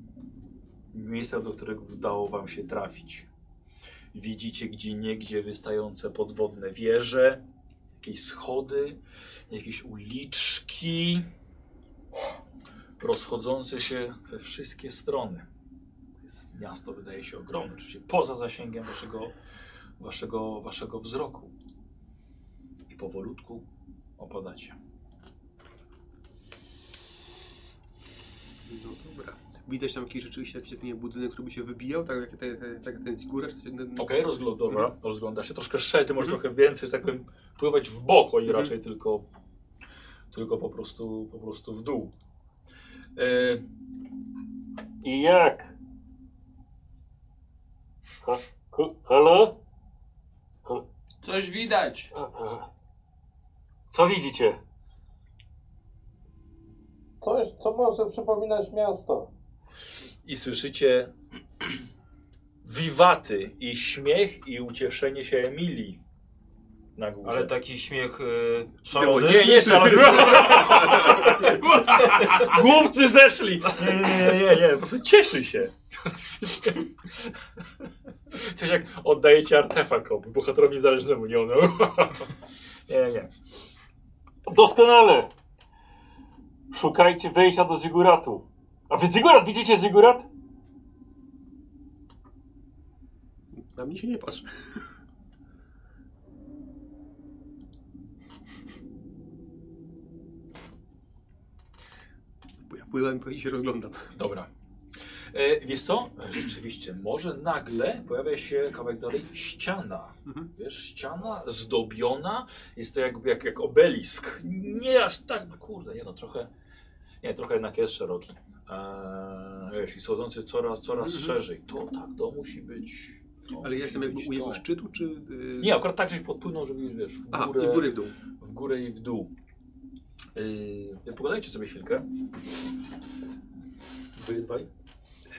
Miejsca, do którego udało wam się trafić. Widzicie gdzie niegdzie wystające podwodne wieże, jakieś schody, jakieś uliczki rozchodzące się we wszystkie strony. Jest- Miasto wydaje się ogromne, oczywiście poza zasięgiem waszego, waszego, waszego wzroku. I powolutku opadacie.
No dobra. Widać tam jakiś rzeczywiście jakiś taki nie, wiem, budynek, który by się wybijał, tak jak, tak, jak- tak jak ten Sigura, czy ten, ten,
Okej, rozgląd, dobra, rozgląda się. Troszkę szety, może trochę więcej, że tak powiem, pływać w bok, oni raczej tylko, tylko po, prostu, po prostu w dół. E,
I jak? Ha, ku, halo?
Coś widać.
A, a. Co widzicie?
Coś, co może przypominać miasto.
i słyszycie wiwaty i śmiech i ucieszenie się Emilii na górze.
Ale taki śmiech y,
Było-
szalony.
Nie, nie, szalony. Głupcy zeszli. Nie, nie, nie, nie, po prostu cieszy się. Coś jak oddajecie artefakt komu, bohaterowi niezależnemu, nie ono. Nie, nie.
Doskonale! Szukajcie wejścia do Ziguratu. A wy Zigurat, widzicie Zigurat?
Na mnie się nie patrz. Bo Ja pływam i się rozglądam.
Dobra. E, wiesz co? Rzeczywiście, może nagle pojawia się kawałek dalej ściana.
Mhm.
Wiesz, ściana zdobiona, jest to jakby jak, jak obelisk. Nie aż tak, no kurde, nie no trochę, nie, trochę jednak jest szeroki. Eee, wiesz, i schodzący coraz, coraz
Mhm.
szerzej. To tak, to musi być. To
Ale ja
musi
jestem jakby
być
u jego
to.
szczytu, czy... Yy...
Nie, akurat tak, żeś podpłynął, że wiesz, w
Aha,
górę,
i w górę i w dół.
w górę i w dół. Yy, pogadajcie sobie chwilkę. Wy dwaj.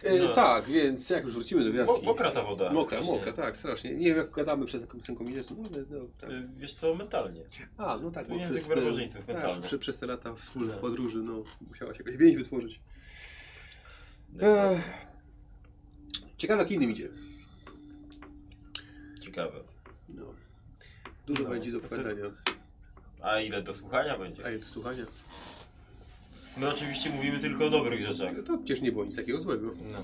E,
No.
Tak, więc jak już wrócimy do
Mo-
wioski.
Mokra ta woda.
Mokra,
tak, strasznie.
mokra, tak, strasznie. Nie wiem, jak gadamy przez ten kombinezon, no, ale no, tak.
Y, Wiesz co, mentalnie.
A, no tak,
To
bo
język
przez,
barbarzyńców
te, tak,
mentalny.
przez, przez te lata wspólnych
Tak.
podróży, no, musiała się jakaś więź wytworzyć. Ech. E, Ciekawe, jak innym idzie.
Ciekawe.
No. Dużo
No,
będzie do
to sobie-
opowiadania.
A ile do słuchania będzie?
A jak do słuchania?
My oczywiście mówimy tylko o dobrych rzeczach.
No to przecież nie było nic takiego złego.
No.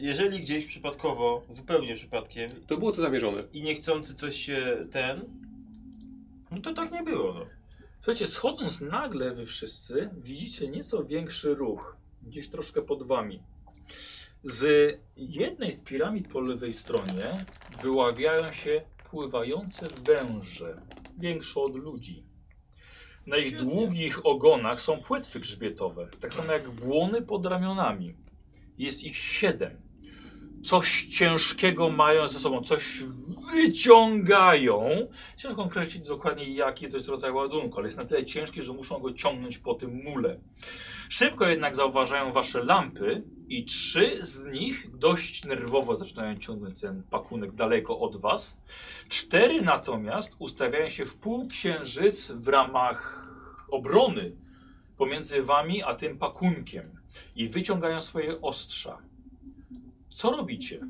Jeżeli gdzieś przypadkowo, zupełnie przypadkiem
To było to zamierzone.
i niechcący coś się ten, no to tak nie było, no.
Słuchajcie, schodząc nagle wy wszyscy widzicie nieco większy ruch, gdzieś troszkę pod wami. Z jednej z piramid po lewej stronie wyławiają się pływające węże, większe od ludzi. Na ich
Świetnie.
długich ogonach są płetwy grzbietowe, tak samo jak błony pod ramionami. Jest ich siedem. Coś ciężkiego mają ze sobą, coś wyciągają. Ciężko określić dokładnie jaki to jest rodzaj ładunku, ale jest na tyle ciężki, że muszą go ciągnąć po tym mule. Szybko jednak zauważają wasze lampy i trzy z nich dość nerwowo zaczynają ciągnąć ten pakunek daleko od was. Cztery natomiast ustawiają się w półksiężyc w ramach obrony pomiędzy wami a tym pakunkiem i wyciągają swoje ostrza. Co robicie?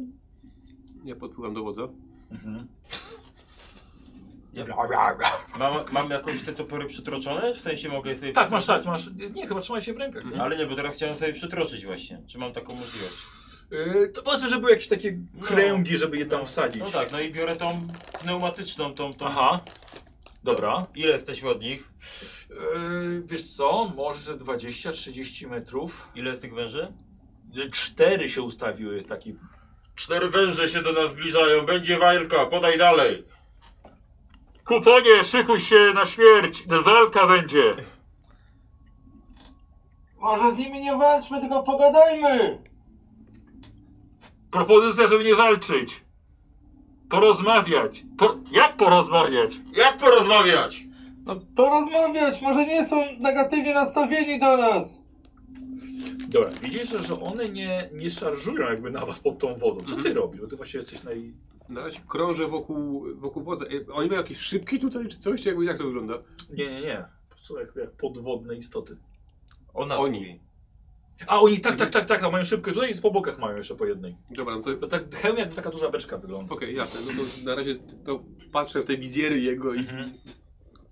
Ja podpływam do wodza.
Mam, mam jakoś te topory przytroczone? W sensie mogę sobie
Tak, masz, tak, Mhm.
przytroczyć?
masz. Nie, chyba trzymaj się w rękach. nie?
Ale nie, bo teraz chciałem sobie przytroczyć właśnie. Czy mam taką możliwość?
Yy, to powiedzmy, że były jakieś takie
No.
kręgi, żeby je tam wsadzić.
No tak, no i biorę tą pneumatyczną, tą, tą...
Aha. Dobra.
Ile jesteśmy od nich?
Yy, wiesz co, może ze 20-30 metrów.
Ile jest tych węży?
Yy, Cztery się ustawiły taki.
Cztery węże się do nas zbliżają, będzie walka, podaj dalej.
Kupanie, szykuj się na śmierć, walka będzie.
Może z nimi nie walczmy, tylko pogadajmy!
Propozycja, żeby nie walczyć. Porozmawiać. Po, jak porozmawiać?
Jak porozmawiać?
No, Porozmawiać, może nie są negatywnie nastawieni do nas.
Dobra, widzisz, że- że one nie, nie szarżują jakby na was pod tą wodą. Co ty robisz? Bo ty właśnie jesteś naj...
Na razie krążę wokół, wokół wodza. E, Oni mają jakieś szybki tutaj czy coś? Jakby, jak to wygląda?
Nie, nie, nie. Po prostu jak, jak podwodne istoty.
Ona
Oni.
A oni tak, tak, tak, tak, no, mają szybkę tutaj i po bokach mają jeszcze po jednej.
Dobra, no to... Okej,
Bo tak hełm jakby taka duża beczka wygląda.
jasne. No to na razie to patrzę w te wizjery jego i
Mhm.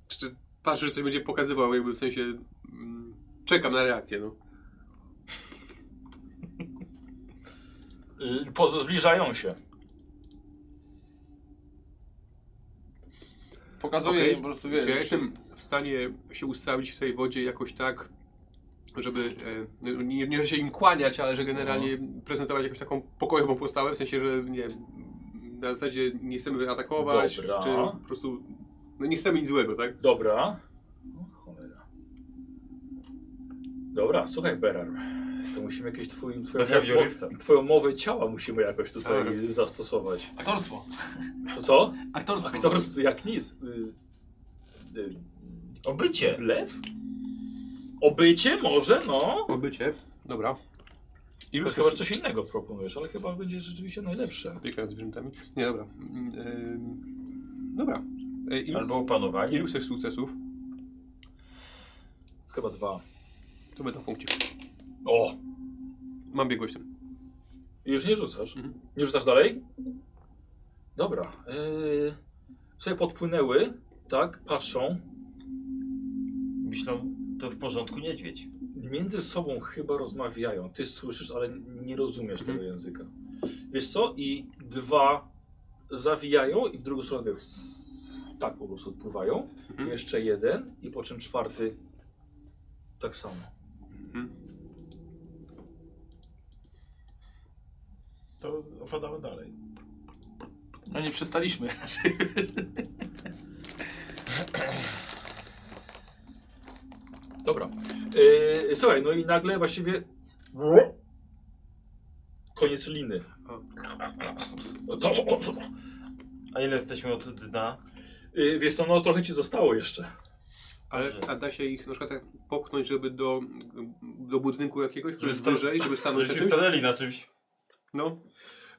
czy, patrzę, że coś będzie pokazywał, jakby w sensie... Mm, czekam na reakcję, no.
Y, Po, zbliżają się.
Pokazuje
Okej.
im No po prostu, wiesz.
Czy ja jestem w stanie się ustawić w tej wodzie jakoś tak, żeby e, no, nie, nie że się im kłaniać, ale że generalnie prezentować jakąś taką pokojową postawę, w sensie, że nie na zasadzie nie chcemy atakować,
Dobra.
czy po prostu no nie chcemy nic złego, tak?
Dobra. O, cholera. Dobra, słuchaj, Berar. To musimy jakieś twój, twoją,
Behawiorysta.
mo- twoją mowę ciała musimy jakoś tutaj zastosować.
Aktorstwo.
Co?
Aktorstwo.
Aktorstwo jak nic. Y, y,
Obycie.
Blef? Obycie może, no.
Obycie. Dobra. I
To
już
chyba że coś innego proponujesz, ale chyba będzie rzeczywiście najlepsze.
opieka nad zwierzętami. Nie, dobra. Mm, em, dobra. E, ilu,
Albo opanowanie.
ilu chcesz sukcesów?
Chyba dwa.
To będą punkcie.
O!
Mam biegłość tam.
I Już nie rzucasz?
Mhm.
Nie rzucasz dalej? Dobra. Yy, sobie podpłynęły, tak, patrzą.
Myślą, to w porządku niedźwiedź.
Między sobą chyba rozmawiają. Ty słyszysz, ale nie rozumiesz
Mhm.
tego języka. Wiesz co? I dwa zawijają i w drugą stronę tak po prostu odpływają.
Mhm.
Jeszcze jeden i po czym czwarty tak samo.
To opadamy dalej.
No nie przestaliśmy raczej.
Dobra. Yy, słuchaj, no i nagle właściwie koniec liny.
A ile jesteśmy od dna?
Yy, wiesz co, no trochę ci zostało jeszcze.
Ale
Dobrze.
a da się ich na przykład tak popchnąć, żeby do, do budynku jakiegoś, który
Żeby
jest
sta-
wyżej, żeby stanąć na
Żeśmy
czymś?
stanęli na czymś.
No,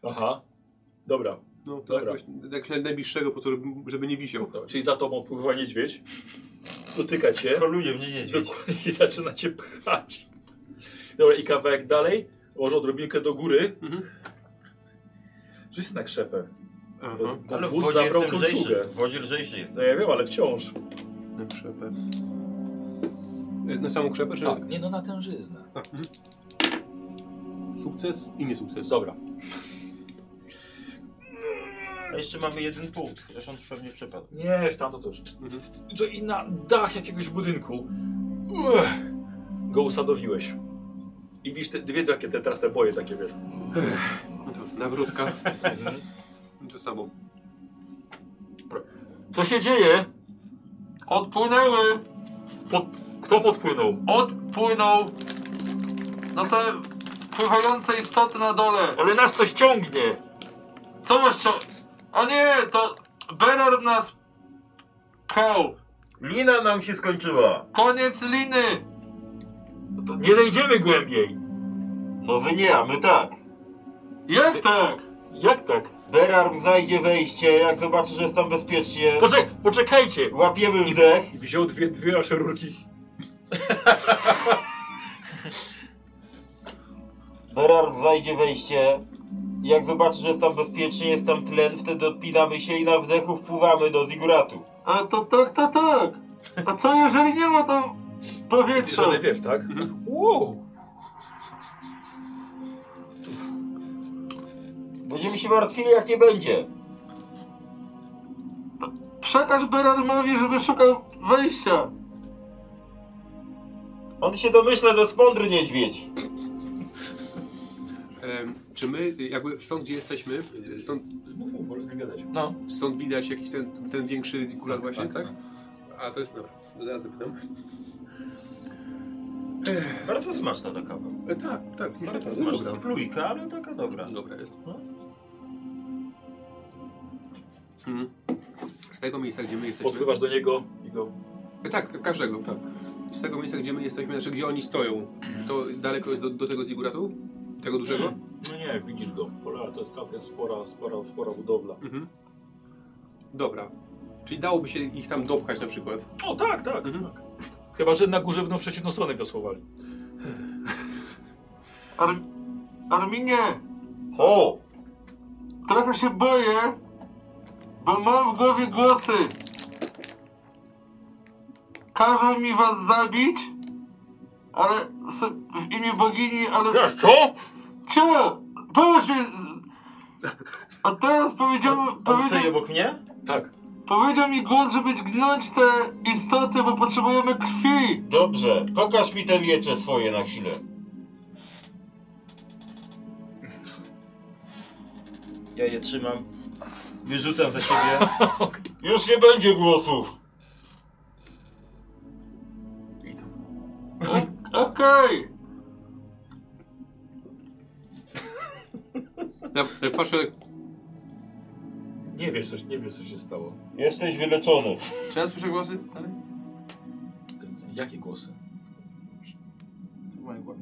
Aha. Dobra.
no to
Dobra.
jakoś, jakoś naj- najbliższego, po to, żeby, żeby nie wisiał.
Dobra, Czyli za tobą pływa niedźwiedź. Dotyka cię.
Koluje mnie niedźwiedź.
Dokładnie, I zaczyna cię pchać. Dobra, i kawałek dalej. Może odrobinkę do góry.
Mhm.
Rzuć sobie na krzepę. Bo,
Aha,
bo
Mhm. Ale w
wódz
wodzie
zabrał
jestem lżejszy.
kluczugę.
W wodzie lżejszy jestem.
No ja wiem, ale wciąż.
na krzepę. E, Na samą krzepę, czy?
nie no na tężyznę.
A, mhm. Sukces i niesukces.
Dobra.
A jeszcze mamy jeden punkt. Zresztą pewnie przepadł.
Nie, już tamto to już. To i na dach jakiegoś budynku. Uch, go usadowiłeś. I widzisz te dwie takie te, teraz te boje takie wiesz.
No to Nawrotka. to samo.
Co się dzieje?
Odpłynęły.
Pod... Kto podpłynął?
Odpłynął. No te pływające istoty na dole.
Ale nas coś ciągnie.
Co masz co? O nie, to Berar nas pchał.
Lina nam się skończyła.
Koniec liny.
To Nie zejdziemy głębiej.
No wy nie, a my tak.
Jak tak?
Jak tak?
Berarm znajdzie wejście, jak zobaczy, że jest tam bezpiecznie.
Poczek poczekajcie.
Łapiemy wdech.
I wziął dwie, dwie aż rurki.
Berarm znajdzie wejście. Jak zobaczy, że jest tam bezpiecznie, jest tam tlen, wtedy odpinamy się i na wdechu wpływamy do ziguratu.
A to tak, to tak. A co jeżeli nie ma tam powietrza?
Żony wiesz, tak?
Mhm.
Wow.
Będziemy się martwili, jak nie będzie.
Przekaż Berarmowi, żeby szukał wejścia.
On się domyśla, to jest mądry niedźwiedź.
Em, czy my, y, jakby stąd, gdzie jesteśmy, y, stąd,
Mów, mów, możesz nie gadać.
No.
stąd widać jakiś ten, ten większy zikulat właśnie, tak? A to jest dobra. Zaraz zapytam.
Bardzo smaczna ta kawa.
E, tak, tak. mi się
Bardzo
to
smaczna.
podoba.
Plujka, ale taka dobra.
Dobra jest. Mhm. Z tego miejsca, gdzie my jesteśmy,
Podpływasz do niego i go
Tak, każdego.
Tak.
Z tego miejsca, gdzie my jesteśmy, znaczy gdzie oni stoją, to daleko jest do, do tego ziguratu? Tego dużego?
No nie, widzisz go. Cholera, to jest całkiem spora, spora, spora budowla.
Mhm. Dobra. Czyli dałoby się ich tam dopchać na przykład.
O tak, tak,
Mhm.
tak. Chyba, że na górze będą w przeciwną stronę wiosłowali.
Ar... Arminie,
Ho!
trochę się boję, bo mam w głowie głosy. Każą mi was zabić, ale se- w imię bogini, ale...
Wiesz co?
Czemu? Pomóż mi! A teraz powiedział,
Pan stoi
powiedział,
obok mnie?
Tak.
powiedział mi głos, żeby gnąć te istoty, bo potrzebujemy krwi.
Dobrze, pokaż mi te miecze swoje na chwilę.
Ja je trzymam. Wyrzucam za siebie.
Już nie będzie głosów.
Okej.
Ja, ja patrzę,
Nie wiesz, co, nie wiesz, co się stało.
Jesteś wyleczony.
Czy ja słyszę głosy? Dalej?
Jakie głosy?
W mojej głowie.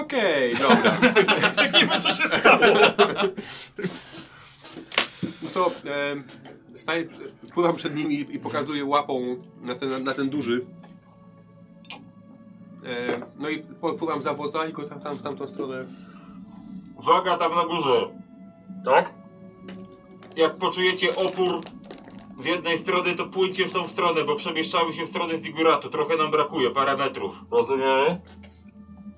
okej, dobra.
Tak nie wiem, co się stało.
No to e, staję, pływam przed nimi i pokazuję łapą na ten, na ten duży. E, no i po- pływam za wodza i go tam, tam w tamtą stronę.
Uwaga tam na górze. Tak? Jak poczujecie opór z jednej strony, to płyńcie w tą stronę, bo przemieszczamy się w stronę ziguratu. Trochę nam brakuje, parę metrów.
Rozumiemy?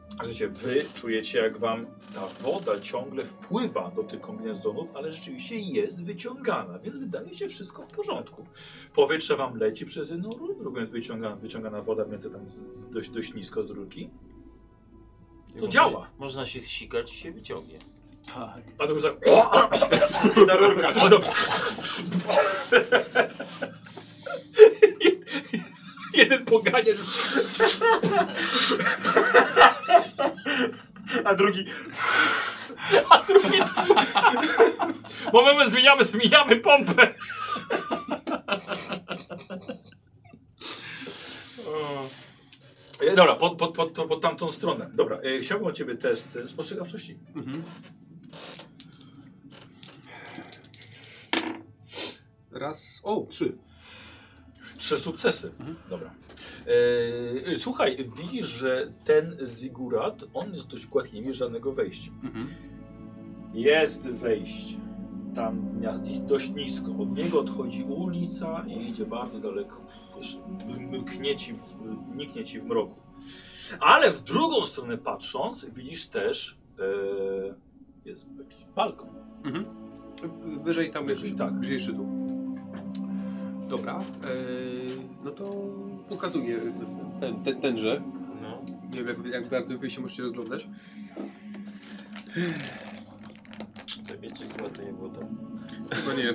Słuchajcie, wy czujecie, jak wam ta woda ciągle wpływa do tych kombinezonów, ale rzeczywiście jest wyciągana, więc wydaje się wszystko w porządku. Powietrze wam leci przez jedną rurę, drugą jest wyciągana, wyciągana woda, więc tam z- z- dość, dość nisko z rurki. To działa.
Można się zsikać, się wyciągnie.
A to już tak...
Na rurkach.
Woda... Jeden poganie,
A drugi.
a drugi... Moment, zmieniamy, zmieniamy pompę. E, Dobra, pod, pod, pod, pod, pod tamtą stronę. Dobra, e, chciałbym od ciebie test e, spostrzegawczości.
Raz. O, trzy.
Trzy sukcesy. Dobra. E, słuchaj, widzisz, że ten zigurat, on jest dość gładki, nie wiesz żadnego wejścia. Jest wejście. Tam na- dość nisko. Od niego odchodzi ulica i idzie bardzo daleko. Wiesz, mknie ci w, niknie ci w mroku. Ale w drugą stronę patrząc, widzisz też e, jest jakiś balkon.
Wyżej tam
Mhm. Wyżej,
jest.
tak.
Wyżej szydu. Dobra. E, no to pokazuję ten, ten, tenże.
No.
Nie wiem, jak, jak bardzo wy się możecie rozglądać.
To wiecie, chyba to nie było to.
Chyba nie.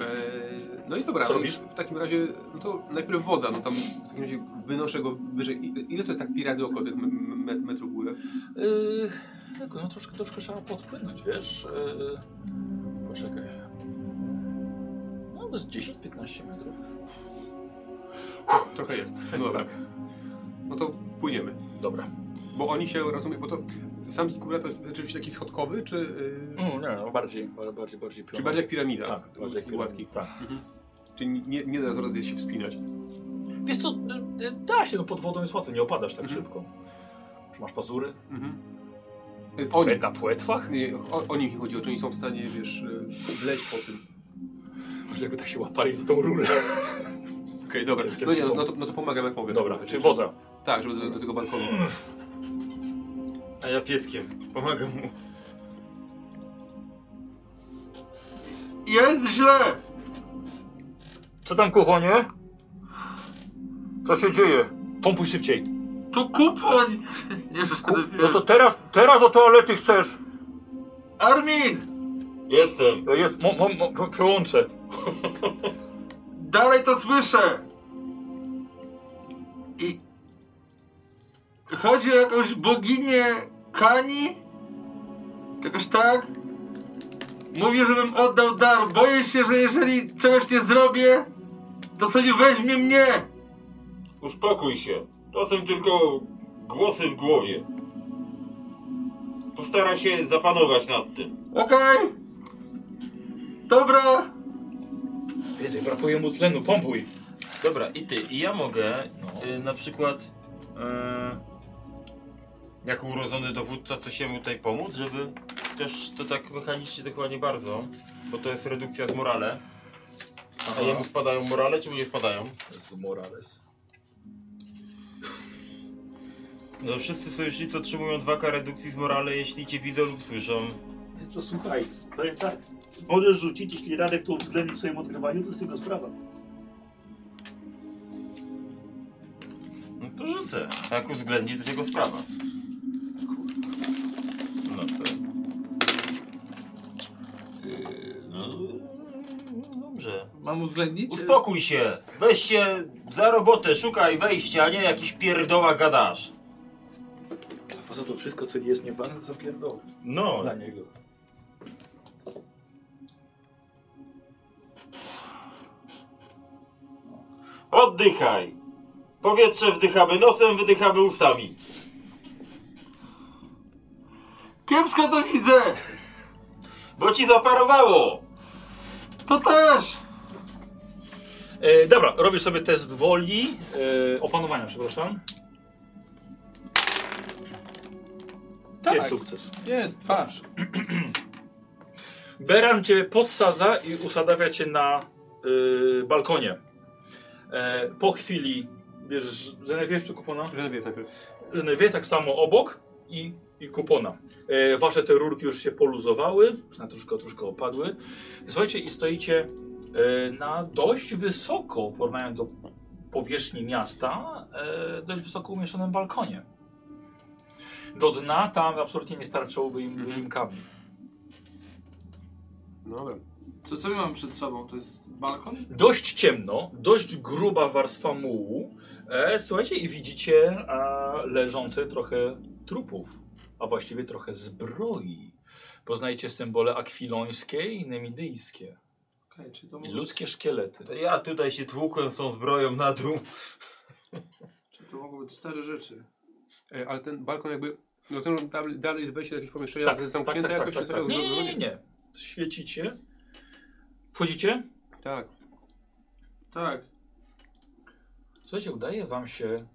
Eee, No i dobra,
Co
no i
robisz?
w takim razie, no to najpierw wodza, no tam w takim razie wynoszę go wyżej. I- Ile to jest tak pirazy oko tych me- me- metrów w górę?
Yy, tylko, no troszkę, troszkę trzeba podpłynąć, wiesz. Yy, poczekaj. No, z 10-15 metrów.
Trochę jest. No dobra.
Tak.
No to płyniemy,
Dobra.
bo oni się rozumieją, bo to sam Zikura to jest rzeczywiście taki schodkowy, czy, yy,
Mm, nie, no, bardziej, ba- bardziej, bardziej
czy
pionowo.
bardziej jak piramida?
tak, bardziej jak
taki gładki.
piramida, Tak.
Czyli nie, nie da rady się wspinać.
Wiesz co, y, y, da się, no pod wodą jest łatwo, nie opadasz tak
Mhm.
szybko. Czy masz pazury?
Mhm.
Y, Oni,
Na płetwach?
nie, o, o nich mi chodzi, o czy oni są w stanie, wiesz, yy, wleć po tym.
Może jakby tak się łapali za tą rurę.
Okej, dobra.
Jest- jest
No nie, no,
spoko.
no, to, no to pomagam jak mogę.
Dobra, czy wodza.
Tak, żeby do, do tego balkonu.
A ja pieskiem. Pomagam mu.
Jest źle!
Co tam, kochanie? Co się dzieje?
Pompuj szybciej.
Tu kupon! Nie
Ku-
wiem.
No to teraz, teraz do toalety chcesz.
Armin!
Jestem.
No jest, mo, mo, mo, przełączę.
Dalej to słyszę! I... Chodzi o jakąś boginię Kani? Czegoś tak? Mówię, żebym oddał dar. Boję się, że jeżeli czegoś nie zrobię, to sobie weźmie mnie.
Uspokój się. To są tylko głosy w głowie. Postara się zapanować nad tym.
Okej? Dobra.
Więcej, brakuje mu tlenu, pompuj.
Dobra, i ty, i ja mogę y, na przykład y, jako urodzony dowódca coś jemu tutaj pomóc, żeby też to tak mechanicznie dokładnie bardzo, bo to jest redukcja z morale. A jemu spadają morale, czy mu nie spadają?
Z Morales.
No, wszyscy sojusznicy otrzymują 2K redukcji z morale, jeśli cię widzą lub słyszą.
To słuchaj, powiem tak. Możesz rzucić, jeśli Radek to uwzględni w swoim odgrywaniu, to jest jego sprawa.
No to rzucę. A jak uwzględni, to jest jego sprawa. No to... Yy, no... Dobrze.
Mam uwzględnić?
Uspokój się! Weź się za robotę, szukaj wejścia, a nie jakiś pierdoła gadasz.
A poza to wszystko, co nie jest nieważne, to są pierdoły.
No,
Dla niego.
Oddychaj! Powietrze wdychamy nosem, wydychamy ustami.
Kiepsko to widzę.
Bo ci zaparowało!
To też.
E, dobra, robię sobie test woli, e, opanowania, przepraszam.
Tak.
Jest sukces.
Jest, twarz.
Beran cię podsadza i usadawia cię na y, balkonie. E, po chwili bierzesz Genevieve czy kupona?
Renewie najpierw.
Genevieve tak samo obok i, i kupona. E, wasze te rurki już się poluzowały, już na troszkę, troszkę opadły. Słuchajcie i stoicie e, na dość wysoko, w porównaniu do powierzchni miasta, e, dość wysoko umieszczonym balkonie. Do dna tam absolutnie nie starczyłoby im, im kabli.
No dobra.
Co, co my mamy przed sobą? To jest balkon?
dość ciemno, dość gruba warstwa mułu. E, słuchajcie, i widzicie e, leżące trochę trupów, a właściwie trochę zbroi. Poznajcie symbole akwilońskie i nemidyjskie.
Okej, czy to
I
mogło,
ludzkie szkielety.
to ja tutaj się tłukłem z tą zbroją na dół.
czy to mogą być stare rzeczy?
E, ale ten balkon jakby... No to dalej, dalej jest wejście do jakiegoś pomieszczenia
Tak,
tak, zamknięte jakoś? czy
Nie,
co?
nie, nie, nie, nie. Świecicie. Wchodzicie?
Tak.
Tak.
Słuchajcie, udaje wam się,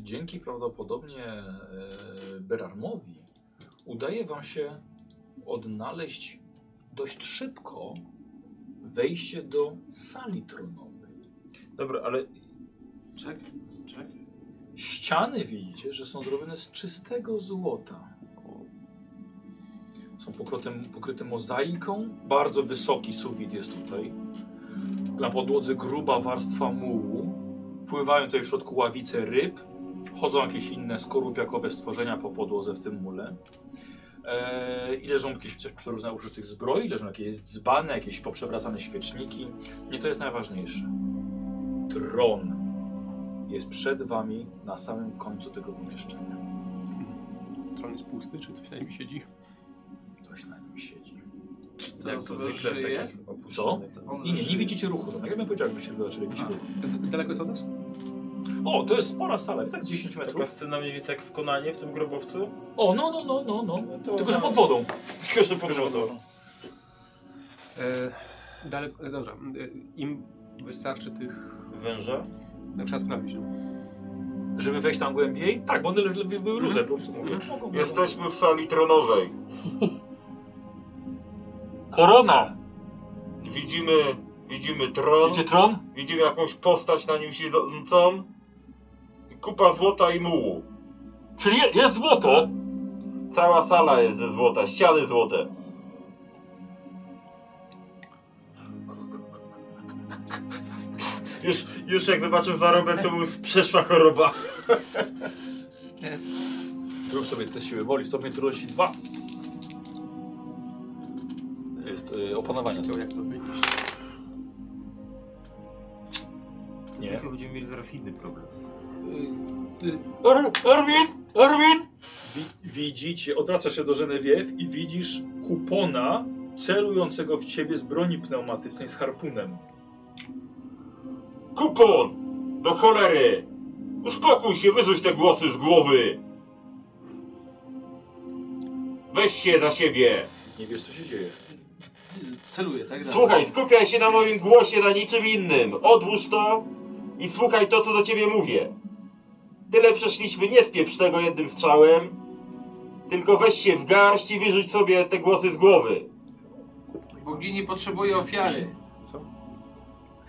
dzięki prawdopodobnie e, Berarmowi, udaje wam się odnaleźć dość szybko wejście do sali tronowej.
Dobra, ale
Czek, czek.
Ściany widzicie, że są zrobione z czystego złota. Są pokryte, pokryte mozaiką. Bardzo wysoki sufit jest tutaj. Na podłodze gruba warstwa mułu. Pływają tutaj w środku ławice ryb. Chodzą jakieś inne skorupiakowe stworzenia po podłodze w tym mule. Eee, I leżą jakieś też przeróżne użytych zbroi, leżą jakieś dzbany, jakieś poprzewracane świeczniki. Nie to jest najważniejsze. Tron jest przed wami na samym końcu tego pomieszczenia.
Tron jest pusty, czy coś na nim siedzi?
Ktoś na nim siedzi.
Ta
jak to
osoba
zwykle w
żyje?
takich opuszczonych...
On
I nie, nie
żyje.
widzicie ruchu, to tak jakbym powiedział, jakbyście zobaczyli jakiś
A.
ruch.
Daleko jest od nas?
O, to jest spora sala, tak z 10
Taka
metrów.
scena mniej więcej jak w Konanie, w tym grobowcu.
O, no, no, no, no, no.
to
Tylko, że
tak.
pod wodą.
Tylko, że pod wodą.
E, daleko, e, dobra. E, Im wystarczy tych...
Węża.
No, trzeba sprawdzić. No.
Żeby wejść tam głębiej? Tak, bo one leży- były luzem, po prostu. Mogą-
Jesteśmy w sali tronowej.
Korona!
Widzimy, widzimy tron,
Widzicie tron?
widzimy jakąś postać na nim siedzącą. Kupa złota i mułu.
Czyli je- jest złoto!
Cała sala jest ze złota, ściany złote.
Już, już jak zobaczył zarobek, to był przeszła choroba.
Zrób sobie test siły woli, stopień trudności 2. To jest y, opanowanie tego.
Jak to wyjdzie?
Nie.
Tylko będziemy mieli zaraz inny problem.
Or, Y, Orwin! Orwin!
Wi- widzicie, odwraca się do Genevieve i widzisz kupona celującego w ciebie z broni pneumatycznej z harpunem.
Kupon! Do cholery! Uspokój się, wyrzuć te głosy z głowy! Weź się za siebie!
Nie wiesz, co się dzieje.
Celuję, tak? dalej.
Słuchaj, skupiaj się na moim głosie, na niczym innym. Odłóż to i słuchaj to, co do ciebie mówię. Tyle przeszliśmy, nie spieprz tego jednym strzałem, tylko weź się w garść i wyrzuć sobie te głosy z głowy.
Bogini potrzebuje ofiary.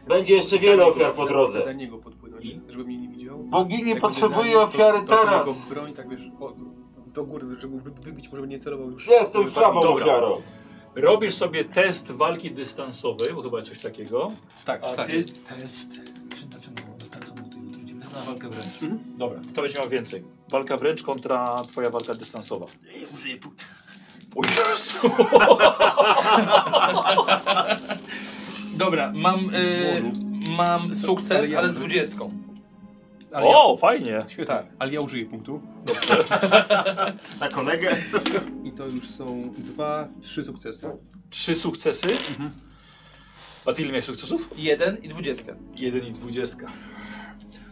Będzie jeszcze wiele ofiar po drodze.
Za niego podpłynąć, żeby mnie nie widział.
Bogini
Tak
potrzebuje
będzie za
ofiary
nim, to- to
teraz.
Jego broń, tak wiesz, o, do góry, żeby wy- wybić, może by nie celował już.
Jestem słabą
Dobra.
ofiarą.
Robisz sobie test walki dystansowej, bo to chyba coś takiego.
Tak,
A
tak
ty-
jest. Test. Czy na czym było? Na co było to jutro? Idziemy Mhm. Na walkę wręcz.
Dobra, kto będzie miał więcej? Walka wręcz kontra twoja walka dystansowa.
Użyję pół.
O Jezu!
Dobra, mam, y, mam sukces, ale z dwudziestką.
Ale ja,
O, fajnie!
świetnie,
Tak.
ale ja użyję punktu.
Na kolegę?
I to już są dwa, trzy sukcesy.
Trzy sukcesy.
Mhm.
A ty ile miałeś sukcesów?
Jeden i dwudziestkę.
1 i 20.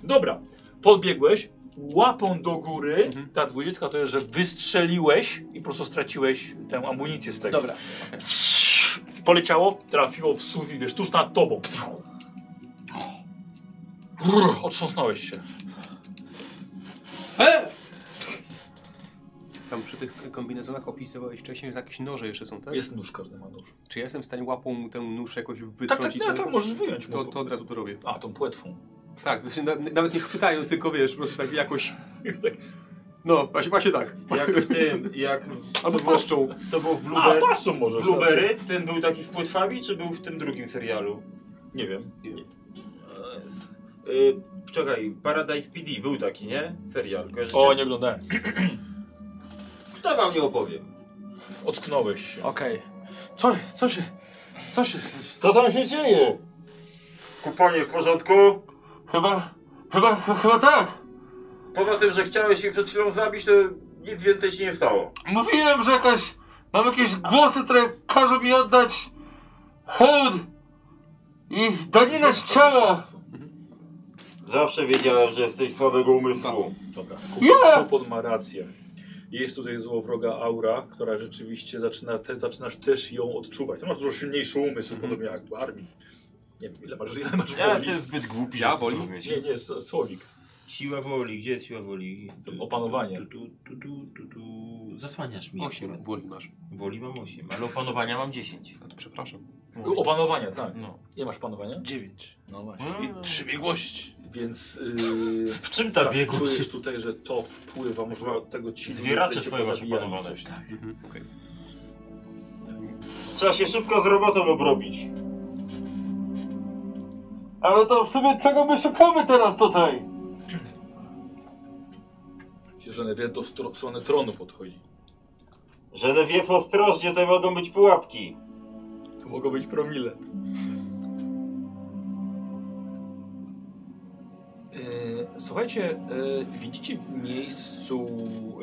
Dobra, podbiegłeś, łapą do góry, ta 20 to jest, że wystrzeliłeś i po prostu straciłeś tę amunicję z tego.
Dobra.
Poleciało, trafiło w suwi, wiesz, tuż nad tobą. Brrr, Otrząsnąłeś się.
Tam przy tych kombinezonach opisywałeś wcześniej, że jakieś noże jeszcze są, tak?
Jest nóż, każdy ma nóż.
Czy ja jestem w stanie łapą tę nóż jakoś
Tak, tak,
wytrącić?
nie, tak, możesz wyjąć
to,
mu.
to od razu to robię.
A, tą płetwą.
Tak, znaczy, na, nawet nie chwytając, tylko wiesz, po prostu tak jakoś...
Tak.
No, właśnie, właśnie tak.
Jak w tym, jak
Albo płaszczą.
to było w
A,
Blueberry.
paszczą możesz.
Blueberry, ten był taki z płetwami, czy był w tym drugim serialu?
Nie wiem.
E, s- y, Czekaj, Paradise PD był taki, nie? Serial, kojarzycie?
O, nie oglądałem.
Kto wam nie opowie?
Ocknąłeś się.
Okej. Co, co się... Co się...
Co tam się dzieje?
Kuponie, w porządku?
Chyba, chyba, chyba tak.
Poza tym, że chciałeś się przed chwilą zabić, to nic więcej się nie stało.
Mówiłem, że jakaś, mam jakieś głosy, które każą mi oddać hołd i daninę z ciała.
Zawsze wiedziałem, że jesteś słabego umysłu.
Dobra.
Ja!
Kupon ma rację. Jest tutaj złowroga aura, która rzeczywiście zaczyna te, zaczynasz też ją odczuwać. To masz dużo silniejszy umysł,
Mhm.
podobnie jak w armii. Nie wiem, ile masz, ile masz
Ja
woli.
jestem zbyt głupi,
Ja
żeby to
woli?
zrozumieć.
Nie, nie, so- słowik.
Siła woli, gdzie jest siła woli?
To opanowanie.
Tu, tu, tu, tu, tu, tu. Zasłaniasz mnie.
Osiem woli masz.
Woli mam 8, ale opanowania mam 10.
A to przepraszam.
Opanowania, tak.
No.
Nie masz panowania?
Dziewięć.
No właśnie.
I trzy biegłości.
Więc yy,
W czym ta
tak,
biegłość
czujesz
jest?
tutaj, że to wpływa może od tego ci
Zwieracze
cię
swoje masz
pozabijają
opanowane.
wcześniej.
Mhm.
Trzeba się szybko z robotą obrobić.
Ale to w sumie czego my szukamy teraz tutaj?
Żenewie do stro- w stronę tronu podchodzi.
Genevieve, ostrożnie, to mogą być pułapki.
To mogą być promile. Słuchajcie, e, widzicie w miejscu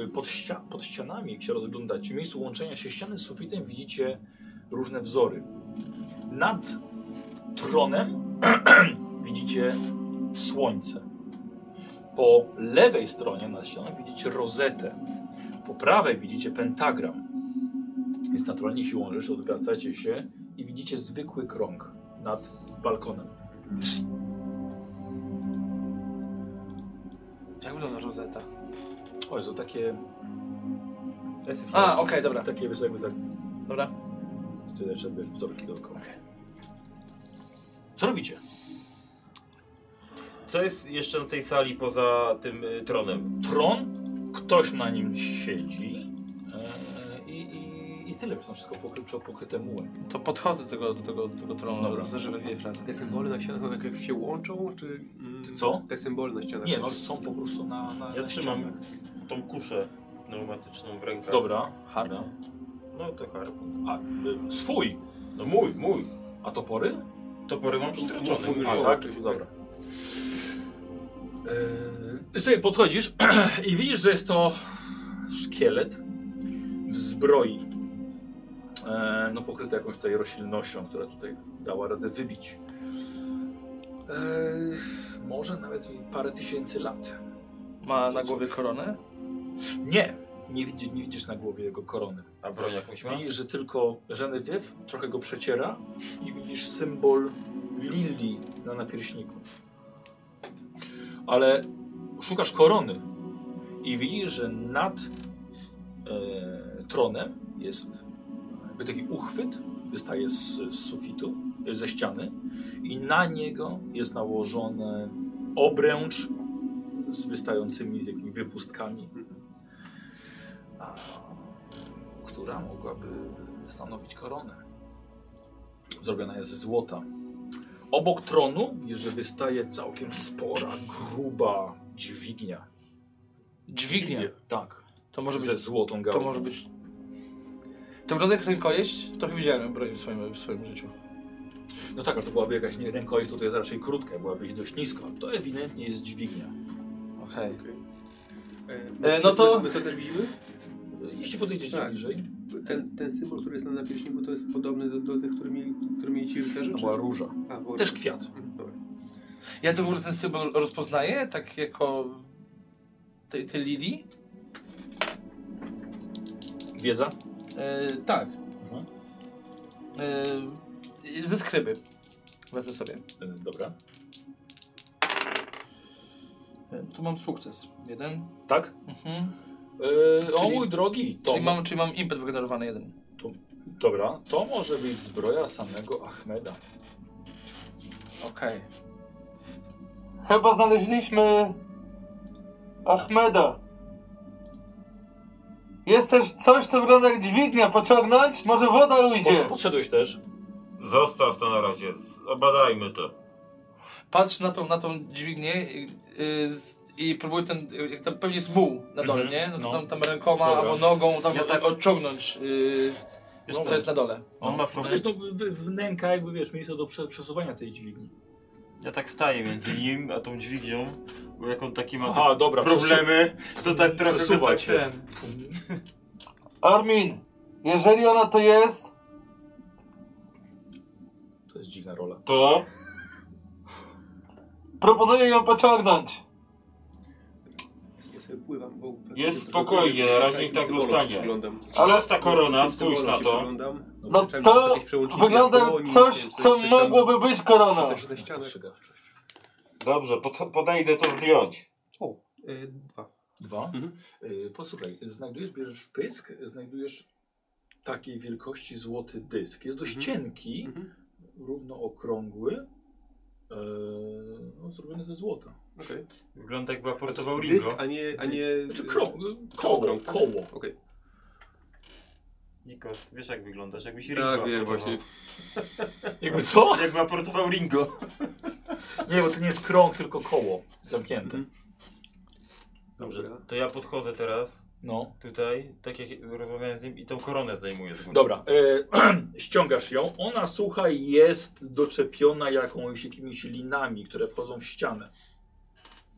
e, pod, ścia pod ścianami, jak się rozglądacie, w miejscu łączenia się ściany z sufitem widzicie różne wzory. Nad tronem widzicie słońce. Po lewej stronie na ścianach widzicie rozetę. Po prawej widzicie pentagram. Więc naturalnie siłą rzeczy odwracacie się i widzicie zwykły krąg nad balkonem.
Jak Tak wygląda rozeta?
O, są takie,
No.
A, okej, dobra.
takie wysokie, tak,
Dobra.
tyle, żeby wzorki dookoła. Co robicie?
Co jest jeszcze na tej sali poza tym y, tronem?
Tron, ktoś na nim siedzi e, i, i, i tyle, są wszystko pokryte, pokryte mułem.
To podchodzę do tego, do tego, do tego tronu,
Dobra.
Dobra. żeby dwie frazy.
Te symbole na ścianach jakoś się łączą, czy... mm,
Ty co?
Te symbole na ścianach.
Nie, no są po prostu na, na
Ja
na
trzymam. Tak.
ścianach.
Tą kuszę pneumatyczną w rękach.
Dobra, Harda.
No to harpun.
A, y, swój!
No mój, mój.
A topory?
Topory mam przytroczone.
Mój, mój,
A,
mój.
tak? Dobra. Yy, Ty sobie podchodzisz i widzisz, że jest to szkielet w zbroi. e, no, pokryte jakąś tutaj roślinnością, która tutaj dała radę wybić. E, może nawet i parę tysięcy lat.
Ma na głowie koronę?
Nie, nie, widzi, nie widzisz na głowie jego korony.
A broń jakąś ma?
Widzisz, że tylko Genevieve trochę go przeciera i widzisz symbol lilii na napierśniku. Ale szukasz korony i widzisz, że nad e, tronem jest jakby taki uchwyt, wystaje z, z sufitu, e, ze ściany i na niego jest nałożony obręcz z wystającymi takimi wypustkami. A, która mogłaby stanowić koronę. Zrobiona jest ze złota. Obok tronu widzisz, że wystaje całkiem spora, gruba dźwignia.
Dźwignia.
Tak,
To może
ze
być.
złotą
To
gałą.
może być. To wygląda jak rękojeść? Trochę widziałem broń w swoim, w swoim życiu.
No tak, ale to byłaby jakaś nie rękojeść, to jest raczej krótka, byłaby dość nisko. To ewidentnie jest dźwignia.
Okej.
E,
E, no to-
My to też widzimy?
Jeśli podejdziecie
Tak.
bliżej,
Ten, ten symbol, który jest na napieśniku, to jest podobny do, do tych, które mieli, które mieli ci rycerze?
to
czy-
była róża.
A, bo...
Znaczy, Też kwiat.
Mhm, dobra.
Ja to w ogóle ten symbol rozpoznaję, tak jako. te, te lili?
Wiedza?
E, tak.
Mhm.
E, ze skryby. Wezmę sobie.
E, Dobra.
E, tu mam sukces. Jeden.
Tak?
Mhm.
E, o
Czyli-
mój drogi, to,
Czyli, mam, czyli mam impet wygenerowany jeden.
dobra, to może być zbroja samego Ahmeda.
Okej.
Chyba znaleźliśmy Ahmeda. Jest też coś, co wygląda jak dźwignia. Pociągnąć? Może woda ujdzie.
Pod, podszedłeś też.
Zostaw to na razie, z- obadajmy to.
Patrz na tą, na tą dźwignię i, y, z, i próbuję ten, y, jak tam pewnie jest muł na dole,
Mhm,
nie? No to
no.
tam, tam rękoma
Dobra.
albo nogą tam
Ja
tak
tak-
odciągnąć y,
Wiesz
co
co?
jest na dole.
On ma
No
problem.
jest no w- w- wnęka jakby wiesz, miejsce do prze, przesuwania tej dźwigni.
Ja tak staję między nim a tą dźwignią, bo jak on taki ma
Aha, dobra,
te problemy, to tak trochę go
przesuwa
tak
cię.
ten.
Armin, jeżeli ona to jest,
To jest dziwna rola.
To?
proponuję ją pociągnąć.
Ja sobie pływam wokół.
Jest spokojnie, na razie niech tak
Symbolom się
zostanie.
przyglądam.
Ale ta korona,
Tym
spójrz
symbolom
na
się
to.
przyglądam.
No
Myślałem, że są
to
jakieś przełączniki
wygląda
na dłoni,
jak
nie
coś,
wiem,
co
tam-
mogłoby być koroną.
Coś ze ścianek.
Ostrzegawczość.
Dobrze, pod, podejdę to zdjąć.
O, e, dwa.
Dwa.
Mhm.
Y, Posłuchaj, znajdujesz, bierzesz w pysk, znajdujesz takiej wielkości złoty dysk. Jest dość
Mhm.
cienki,
Mhm.
równo okrągły, e, no, zrobiony ze złota.
Okej.
Wygląda jakby
To
aportował
jest dysk,
Ringo.
a nie... A nie e,
Znaczy krą, koło,
Koło, tak?
koło.
Okej.
Nikos, wiesz jak wyglądasz? Jakbyś Ringo
Tak, wiem
aportował.
właśnie. tak?
Jakby co?
Jakby aportował Ringo.
Nie, bo to nie jest krąg, tylko koło zamknięte.
Mhm.
Dobrze,
Dobra.
to ja podchodzę teraz
No.
tutaj, tak jak rozmawiałem z nim i tą koronę zajmuję z góry.
Dobra, e, ściągasz ją. Ona, słuchaj, jest doczepiona jakąś, jakimiś linami, które wchodzą w ścianę.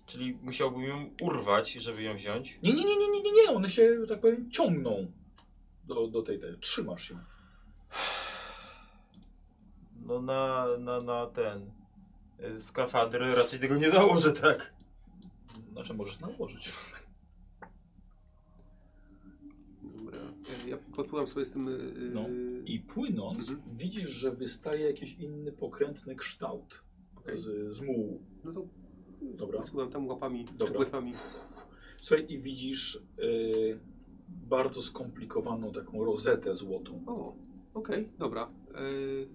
Czyli musiałbym ją urwać, żeby ją wziąć.
Nie, nie, nie, nie, nie, nie, nie. one się, że tak powiem, ciągną do, do tej, tej. Trzymasz ją.
No na, na, na ten... y, Skafandry raczej tego nie założę, tak?
Znaczy możesz nałożyć.
Dobra. E, Ja podpływam sobie z tym... e,
No. I płynąc,
Mhm.
widzisz, że wystaje jakiś inny pokrętny kształt
Okej.
z, z mułu.
No to
Dobra.
Składam tam łapami,
Dobra.
czy płetwami.
Słuchaj, i widzisz y, bardzo skomplikowaną taką rozetę złotą.
O, okej, dobra. Y,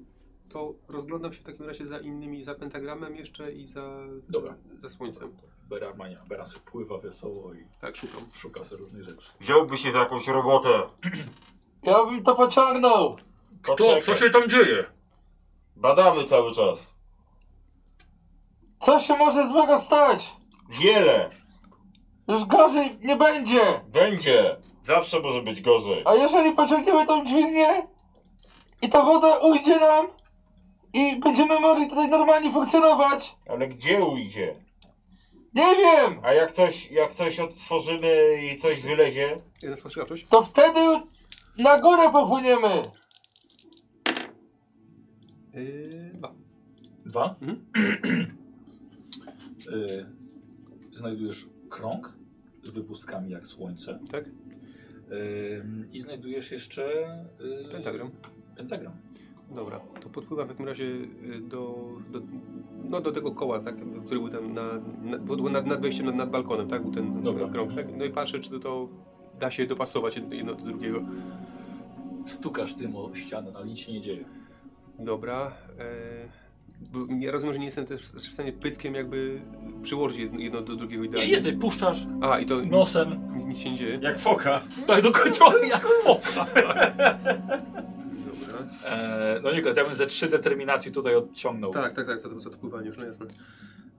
to rozglądam się w takim razie za innymi, za pentagramem jeszcze i za,
Dobra.
za słońcem.
Beramania, Bera sobie pływa wesoło i
Tak, szukam.
szuka sobie różnych rzeczy.
Wziąłby się za jakąś robotę.
Ja bym to pociągnął.
Poczekaj.
tam dzieje?
Badamy cały czas.
Co się może złego stać?
Wiele.
Już gorzej nie będzie.
Będzie. Zawsze może być gorzej.
A jeżeli pociągniemy tą dźwignię i ta woda ujdzie nam i będziemy mogli tutaj normalnie funkcjonować,
Ale gdzie ujdzie?
nie wiem,
A jak coś, jak coś otworzymy i coś wylezie?
Jedna spostrzegawczość?
to wtedy na górę popłyniemy.
Yy, dwa.
Dwa.
Mhm.
Y, znajdujesz krąg z wypustkami jak słońce.
Tak?
Y, I znajdujesz jeszcze y,
Pentagram.
pentagram.
Dobra, to podpływam w takim razie y, do, do, no, do tego koła, tak, który był tam na, na, był nad, nad wejściem, nad, nad balkonem, tak, był ten
Dobra.
krąg, tak? No i patrzę, czy to, to da się dopasować jedno do drugiego.
Stukasz tym o ścianę, no ale nic się nie dzieje.
Dobra. E, bo ja rozumiem, że nie jestem też w stanie pyskiem jakby przyłożyć jedno, jedno do drugiego
Nie,
idealnie.
jesteś, puszczasz
A, i to
nosem,
nic, nic się nie dzieje.
Jak foka.
tak do kontroli jak fosa.
Dobra.
E, no Niko, ja bym ze trzy determinacji tutaj odciągnął.
Tak, tak, tak, za to, za to pływanie już, no jasne.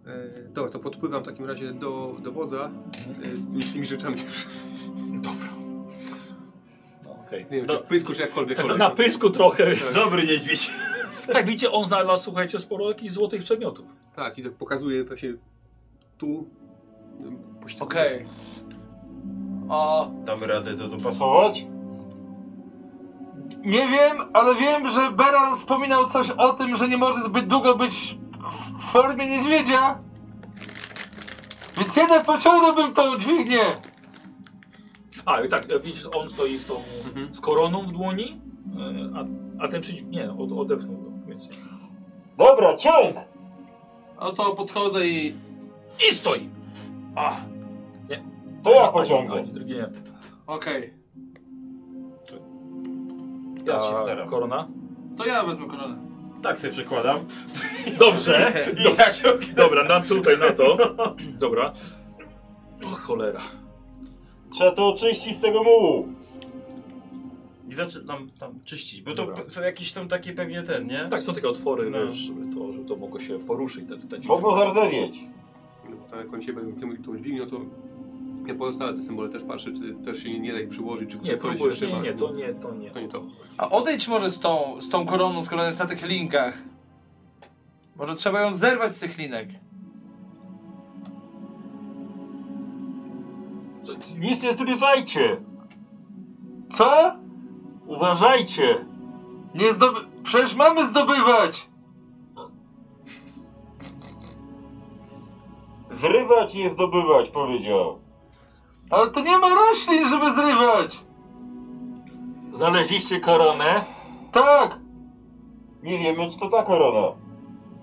E, dobra, to podpływam w takim razie do, do wodza e, z, tymi, z tymi rzeczami.
No, okej.
Nie wiem, czy w pysku, czy jakkolwiek.
Tak, to na
cholera.
pysku trochę.
Dobry niedźwiedź.
Tak, widzicie, on znalazł, słuchajcie, sporo jakichś złotych przedmiotów.
Tak, i tak pokazuję właśnie tu. e, po ścianie.
Okej. O,
Damy radę to dopasować?
Nie wiem, ale wiem, że Beran wspominał coś o tym, że nie może zbyt długo być w formie niedźwiedzia. Więc jednak pociągnąłbym tą dźwignię.
A, i tak, e, widzisz, on stoi z tą z koroną w dłoni, e, a, a ten przeciw... Nie, od, odepchnął go, więc...
Dobra, ciąg!
no to podchodzę i...
I stoi! A!
To ja
Ani-
pociągnę.
ani Drugi nie.
Okej.
Ja się
A
staram.
Korona?
To ja wezmę koronę.
Tak sobie przekładam.
Dobrze!
I ja ciągnę.
Dobra, na tutaj, na to. Dobra. O cholera.
Trzeba to oczyścić z tego mułu.
I zaczynam tam czyścić, bo to
Dobra.
pe- są jakieś tam takie pewnie ten, nie?
Tak, są takie otwory,
No.
wiesz, żeby to, żeby to mogło się poruszyć. Te, te
Mogło zardzewieć.
No bo tam jak oni się będą tym, tą dźwignią, no to ja pozostałe te symbole też patrzę, czy też się nie, nie da ich przyłożyć, czy
Nie,
któryś
próbujesz,
się
nie,
trzyma.
nie, to nie, to nie.
To nie to.
A odejdź może z tą, z tą koroną, skoro jest na tych linkach. Może trzeba ją zerwać z tych linek.
Nic nie zdobywajcie. Co? Uważajcie. Nie zdoby... Przecież mamy zdobywać.
Zrywać i zdobywać, powiedział.
Ale to nie ma roślin, żeby zrywać.
Znaleźliście koronę?
Tak.
Nie wiemy, czy to ta korona.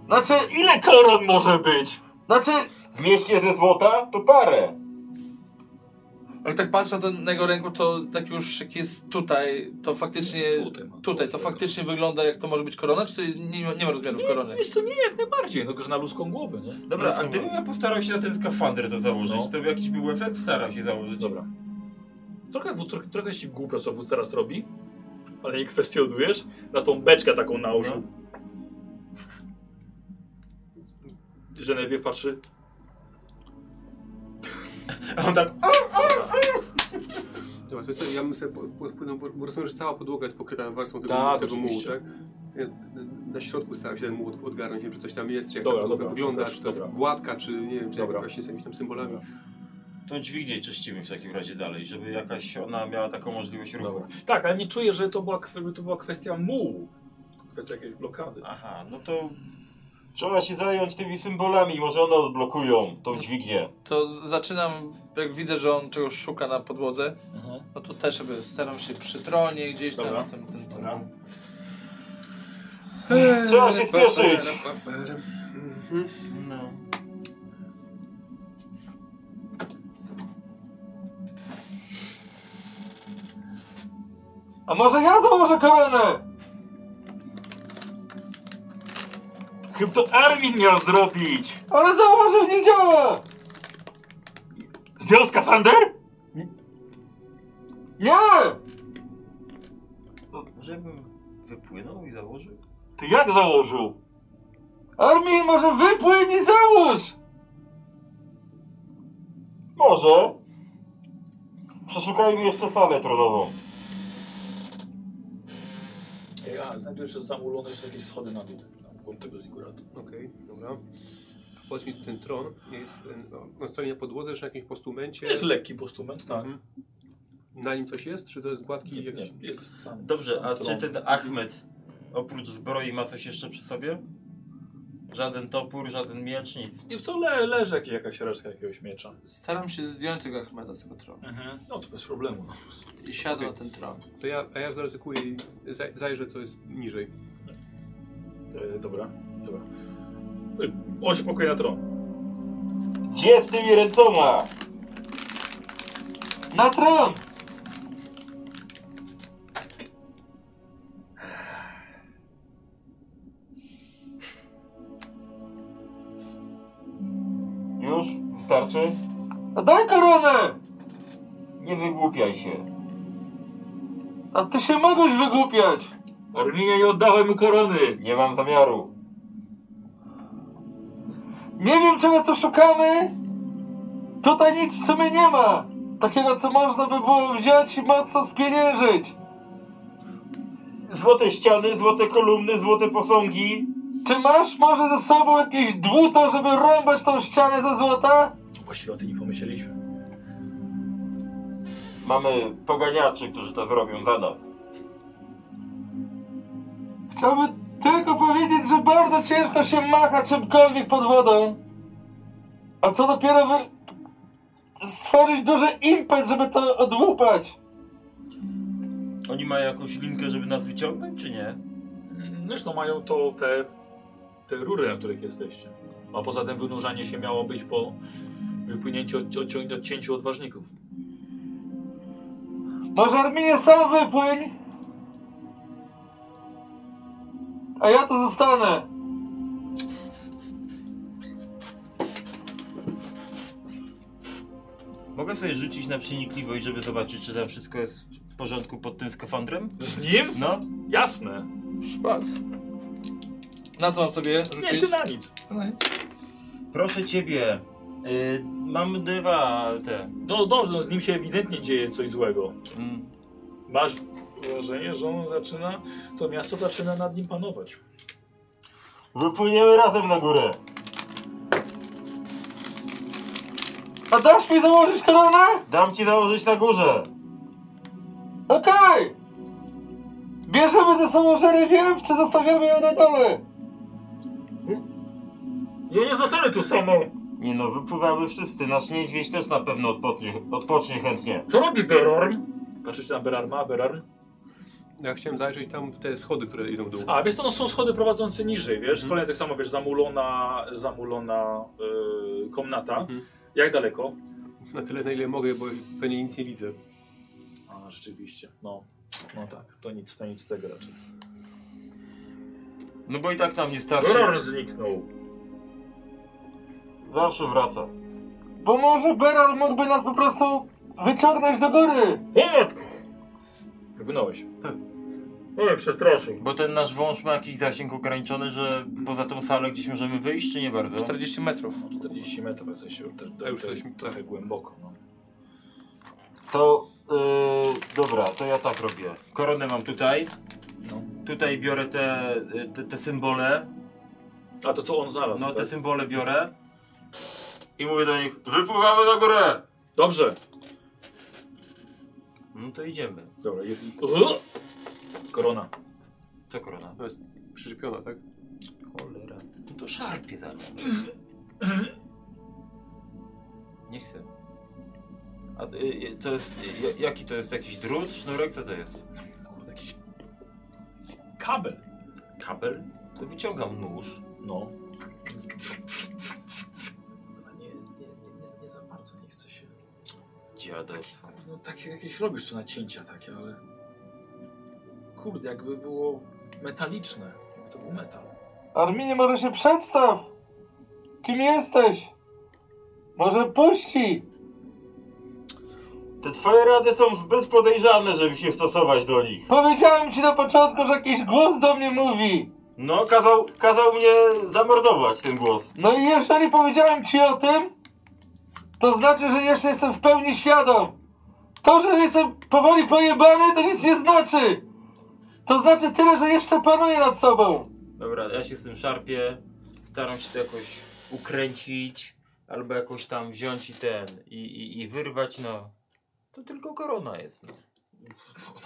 Znaczy...
Ile koron może być?
Znaczy...
W mieście ze złota? To parę.
Jak tak patrzę na tego ręku, to tak już jak jest tutaj, to faktycznie...
Tutaj ma.
Tutaj, to faktycznie wygląda jak to może być korona, czy to nie, ma- nie ma rozmiarów korony?
Wiesz co, nie, jak najbardziej, no, że na ludzką głowę, nie?
Dobra, a gdybym ja postarał się na ten skafander to założyć,
No.
to by jakiś był efekt? Staram się założyć.
Dobra. Trochę, w- trochę, trochę ci głupio, co wóz teraz robi, ale nie kwestionujesz. Na tą beczkę taką nałożył. Genevieve patrzy.
A on tak,
Dobra, to co, ja bym sobie po- po- płynął, bo, bo rozumiem, że cała podłoga jest pokryta warstwą tego,
Tak,
tego mułu,
oczywiście.
tak? Ja na środku staram się ten muł od, odgarnąć, nie wiem, czy coś tam jest, czy jak
Dobra,
ta podłoga
dobra,
wygląda,
szukasz,
czy to jest
dobra.
gładka, czy nie wiem, czy
Dobra.
jak właśnie z jakimiś tam symbolami.
tą dźwignię czyścimy w takim razie dalej, żeby jakaś ona miała taką możliwość ruchu.
Dobra. Tak, ale nie czuję, że to była, kwe- to była kwestia mułu. Kwestia jakiejś blokady.
Aha, no to
Trzeba się zająć tymi symbolami, może one odblokują tą dźwignię.
To z- zaczynam, jak widzę, że on czegoś szuka na podłodze,
Mhm.
no to też jakby staram się przy tronie gdzieś tam,
Dobra.
tam, tam, tam,
Dobra.
Trzeba się spieszyć.
No.
A może ja założę koronę?
Chyba to Armin miał zrobić.
Ale założę, nie działa.
Zdjął skafander?
Nie.
Żebym wypłynął i założył?
Ty jak założył?
Armin, może wypłyń i załóż!
Może. Przeszukajmy jeszcze salę tronową.
Ej, a, znajdujesz, że zamulone są jakieś schody na dół. Na górę tego ziguratu.
Okej, dobra. A Powiedz mi, ten tron jest, e, no, on stoi na podłodze, czy na jakimś postumencie?
To jest lekki postument, tak.
Mhm. Na nim coś jest, czy to jest gładki?
Nie,
jakiś...
nie, jest sam.
Dobrze,
sam
a
tron.
czy ten Ahmed Oprócz zbroi ma coś jeszcze przy sobie? Żaden topór, żaden miecz, nic.
I w co le, leży jak- jakaś resztka jakiegoś miecza.
Staram się zdjąć tego Achmeda z tego tronu
No to bez problemu.
i siadam
Okej.
na ten tron.
To ja, a ja zaryzykuję i zaj- zajrzę, co jest niżej.
E, dobra, dobra. E, on się pokoi na tron.
Gdzie z tymi ręcoma?
Na tron!
Już? Wystarczy?
A No daj koronę!
Nie wygłupiaj się.
A ty się mogłeś wygłupiać!
Arminie, nie oddawaj mu korony! Nie mam zamiaru.
Nie wiem czego tu szukamy. Tutaj nic w sumie nie ma. Takiego co można by było wziąć i mocno spieniężyć.
Złote ściany, złote kolumny, złote posągi.
Czy masz może ze sobą jakieś dłuto, żeby rąbać tą ścianę ze złota?
Właściwie o tym nie pomyśleliśmy.
Mamy poganiaczy, którzy to zrobią za nas.
Chciałbym tylko powiedzieć, że bardzo ciężko się macha czymkolwiek pod wodą. A co dopiero wy... stworzyć duży impet, żeby to odłupać.
Oni mają jakąś linkę, żeby nas wyciągnąć, czy nie?
Mm, Zresztą mają to te, te rury, na których jesteście. A poza tym wynurzanie się miało być po wypłynięciu, odci- odci- odcięciu odważników.
Może Arminie sam wypłyń? A ja tu zostanę.
Mogę sobie rzucić na przenikliwość, żeby zobaczyć, czy tam wszystko jest w porządku pod tym skafandrem?
Z nim?
No,
Jasne.
Szpac. Na co mam sobie rzucić?
Nie, ty na nic.
No nic.
proszę ciebie. Y, mam dwa te.
No dobrze, no z nim się ewidentnie dzieje coś złego.
Mm.
Masz wrażenie, że on zaczyna, to miasto zaczyna nad nim panować.
Wypłyniemy razem na górę.
A dasz mi założyć koronę?
Dam ci założyć na górze.
Okej! Bierzemy ze sobą żerewiew, czy zostawiamy ją na dole?
Ja nie zostanę tu samo. Nie no, wypływamy wszyscy. Nasz niedźwiedź też na pewno odpocznie, odpocznie chętnie.
Co robi Berorm? Patrzycie na Berarma, Berarm?
No, Ja chciałem zajrzeć tam w te schody, które idą w dół.
A, wiesz to no są schody prowadzące niżej, wiesz? Kolejne tak samo, wiesz, zamulona, zamulona y, komnata.
Mhm.
Jak daleko?
Na tyle, na ile mogę, bo pewnie nic nie widzę.
A, rzeczywiście, no. No tak, to nic, to nic z tego raczej.
No bo i tak tam nie starczy.
Berorm zniknął.
Zawsze wraca.
Bo może Beral mógłby nas po prostu wyciągnąć do góry.
Pomoc!
Tak, Wygnąłeś. tak,
Oj, przestraszył.
Bo ten nasz wąż ma jakiś zasięg ograniczony, że poza tą salę gdzieś możemy wyjść, czy nie bardzo?
40 metrów.
40 No, metrów, w sensie już też,
już
też
jesteśmy-
trochę głęboko, no.
To,
y,
yy, dobra, to ja tak robię.
Koronę mam tutaj. Tutaj biorę te, y, te, te symbole.
A to co on znalazł?
No,
tak?
te symbole biorę.
I mówię do nich, wypływamy na górę!
Dobrze.
No to idziemy.
Dobra, je... Uuu! Korona.
Co korona?
Ona jest przyczepiona, tak?
Cholera. No To szarpie tam. Nie chcę. A y, y, to jest. y, Jaki to jest? Jakiś drut, sznurek? Co to jest?
Kurde, jakiś kabel.
Kabel? To wyciągam nóż.
No. Nie, nie, nie, nie za bardzo nie chce się.
Dziados.
No takie jakieś robisz tu nacięcia takie, ale... Kurde, jakby było metaliczne. To był metal.
Arminie, może się przedstaw. Kim jesteś? Może puści.
Te twoje rady są zbyt podejrzane, żeby się stosować do nich.
Powiedziałem ci na początku, że jakiś głos do mnie mówi.
No, kazał, kazał mnie zamordować ten głos.
No i jeżeli powiedziałem ci o tym, to znaczy, że jeszcze jestem w pełni świadom. To, że jestem powoli pojebany, to nic nie znaczy. To znaczy tyle, że jeszcze panuję nad sobą.
Dobra, ja się z tym szarpię. Staram się to jakoś ukręcić. Albo jakoś tam wziąć i ten. I, i, i wyrwać, no. To tylko korona jest, no.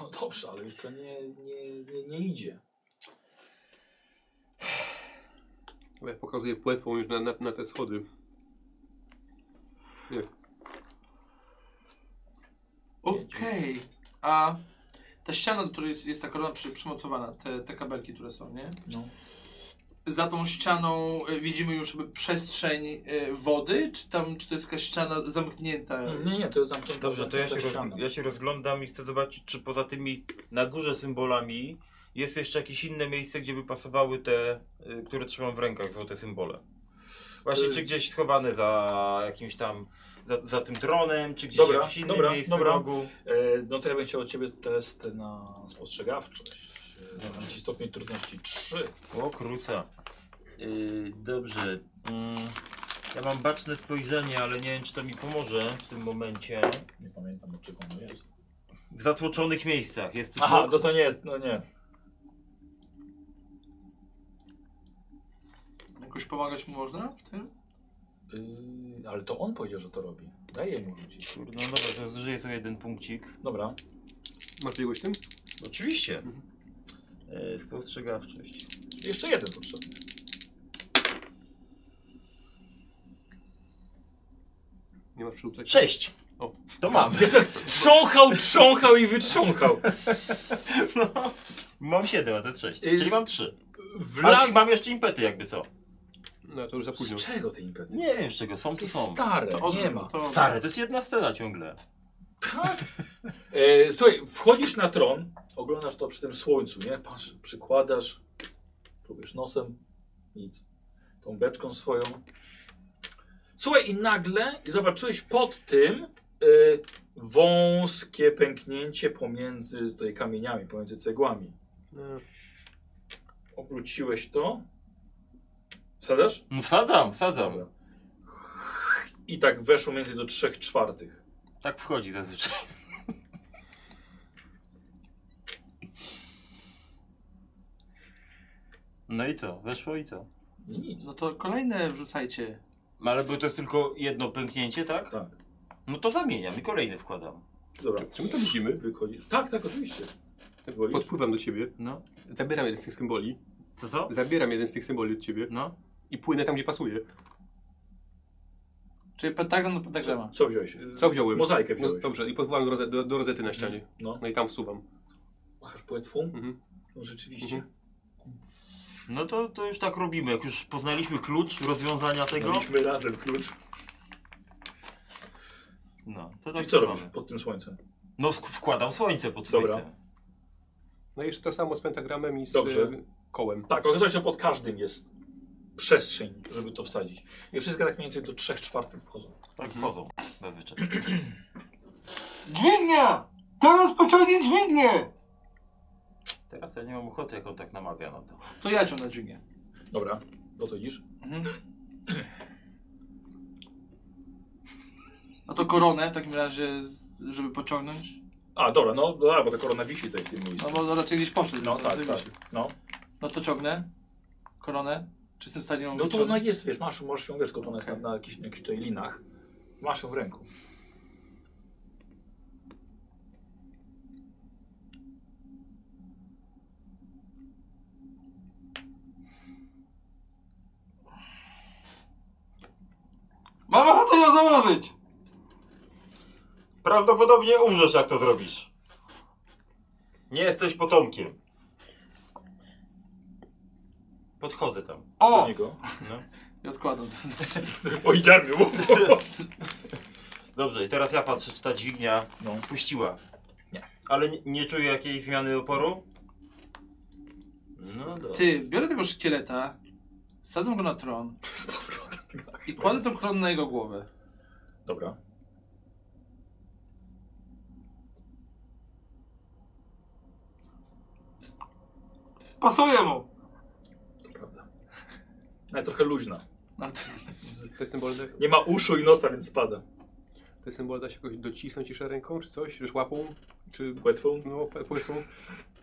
No dobrze, ale wiesz co, nie, nie, nie, nie idzie.
Ja pokazuję płetwą już na, na, na te schody. Nie.
Okej. A ta ściana, do której jest, jest ta korona przy, przymocowana, te, te kabelki, które są, nie?
No.
Za tą ścianą y, widzimy już jakby przestrzeń y, wody, czy tam, czy to jest jakaś ściana zamknięta?
Nie, nie, to jest zamknięte.
Dobrze, to ja się,
zamknięte
roz,
ścianą.
ja się rozglądam i chcę zobaczyć, czy poza tymi na górze symbolami jest jeszcze jakieś inne miejsce, gdzie by pasowały te, y, które trzymam w rękach, złote symbole. Właśnie,
Y-
czy gdzieś schowane za jakimś tam, za, za tym tronem, czy gdzieś
Dobra,
jakimś innym
dobra,
miejscu
dobra.
w rogu.
E, No to ja bym chciał od ciebie test na spostrzegawczość. E, Mam ci stopień trudności 3.
O, kruca. Y, dobrze. Mm, ja mam baczne spojrzenie, ale nie wiem, czy to mi pomoże w tym momencie.
Nie pamiętam od czego ono jest.
W zatłoczonych miejscach. Jest tu
Aha,
tłok.
to to nie jest, no nie.
Jakoś pomagać mu można w tym?
Y, ale to on powiedział, że to robi. Daję mu rzucić.
No dobra, to zużyję sobie jeden punkcik.
Dobra.
Masz jakiegoś tym?
Oczywiście. E, Spostrzegawczość.
Jeszcze jeden potrzebny.
Nie masz tak? przyłóż.
Sześć.
O.
To mam.
Ja tak trząchał, trząchał i wytrząchał.
Mam siedem, a to jest sześć.
Y,
Czyli mam trzy. Ale
Wla...
i mam jeszcze impety jakby co.
No to już za
Z
późno.
czego te impety?
Nie wiem z czego, są
To
tu
jest
są.
stare,
To od- no
nie ma.
To...
Stare, to jest jedna scena ciągle.
E, słuchaj, wchodzisz na tron, oglądasz to przy tym słońcu, nie? Patrz, przykładasz, próbujesz nosem, nic. Tą beczką swoją. Słuchaj, i nagle zobaczyłeś pod tym e, wąskie pęknięcie pomiędzy tutaj kamieniami, pomiędzy cegłami.
No.
Obróciłeś to. Wsadasz?
No wsadzam, wsadzam.
Dobra. I tak weszło między do trzech czwartych.
Tak wchodzi zazwyczaj. No i co? Weszło i co?
I nic.
No to kolejne wrzucajcie.
No Ale było to jest tylko jedno pęknięcie, tak?
Tak.
No to zamieniam i kolejne wkładam.
Dobra.
Czemu to widzimy?
Wychodzisz. Tak, tak, oczywiście. Wolisz?
Podpływam do ciebie.
No.
Zabieram jeden z tych symboli.
Co co?
Zabieram jeden z tych symboli od ciebie
No.
i płynę tam, gdzie pasuje.
Czyli pentagram do pentagrama.
Co wziąłeś? Y,
Co wziąłem?
Mozaikę
No,
wziąłeś.
dobrze, i podpływam do, roze- do, do rozety na ścianie.
No,
No i tam wsuwam.
machasz płetwą?
Mhm.
No rzeczywiście.
Mhm.
No to, to już tak robimy. Jak już poznaliśmy klucz rozwiązania tego,
Mieliśmy razem klucz.
no to tak
Czyli co
mamy.
robisz pod tym słońcem?
No sk- wkładam słońce pod
Dobra.
słońce.
No i jeszcze to samo z pentagramem i z
Dobrze.
e, kołem.
Tak, okazało się, że pod każdym jest przestrzeń, żeby to wsadzić. I wszystkie tak mniej więcej do 3 czwartych wchodzą.
Tak wchodzą zazwyczaj.
Dźwignia! Teraz pociągnij dźwignię!
Teraz ja nie mam ochoty, jak on tak namawia na to.
To ja ciągnę dźwignię. Mhm.
Dobra, podchodzisz.
No to koronę w takim razie, z- żeby pociągnąć.
A, dobra, no dobra, bo ta korona wisi tutaj w tym miejscu.
No bo raczej gdzieś poszedł.
No
więc
tak,
raczej
tak.
wisi.
No,
No to ciągnę. Koronę. Czy jestem w stanie ją
no to
wyciągnąć?
ona jest, wiesz, masz, możesz ją, wiesz, tylko ona jest na, na jakichś, na jakichś tutaj linach. Masz ją w ręku.
Mam ochotę ją założyć!
Prawdopodobnie umrzesz, jak to zrobisz. Nie jesteś potomkiem. Podchodzę tam.
Do
O!
niego.
I odkładam.
Oj, dziarmiu!
Dobrze, i teraz ja patrzę, czy ta dźwignia
No.
puściła.
Nie.
Ale nie, nie czuję jakiejś zmiany oporu? No dobra.
Ty, biorę tego szkieleta, sadzę go na tron i kładę tą koronę na jego głowę.
Dobra.
Pasuje mu!
To prawda. Ale trochę luźna.
Na tron.
Te symbole, te
Nie ma uszu i nosa, więc spada.
symbole da się jakoś docisnąć jeszcze ręką, czy coś? Wiesz, łapą? Czy
Płetwą?
no, pe- płytką?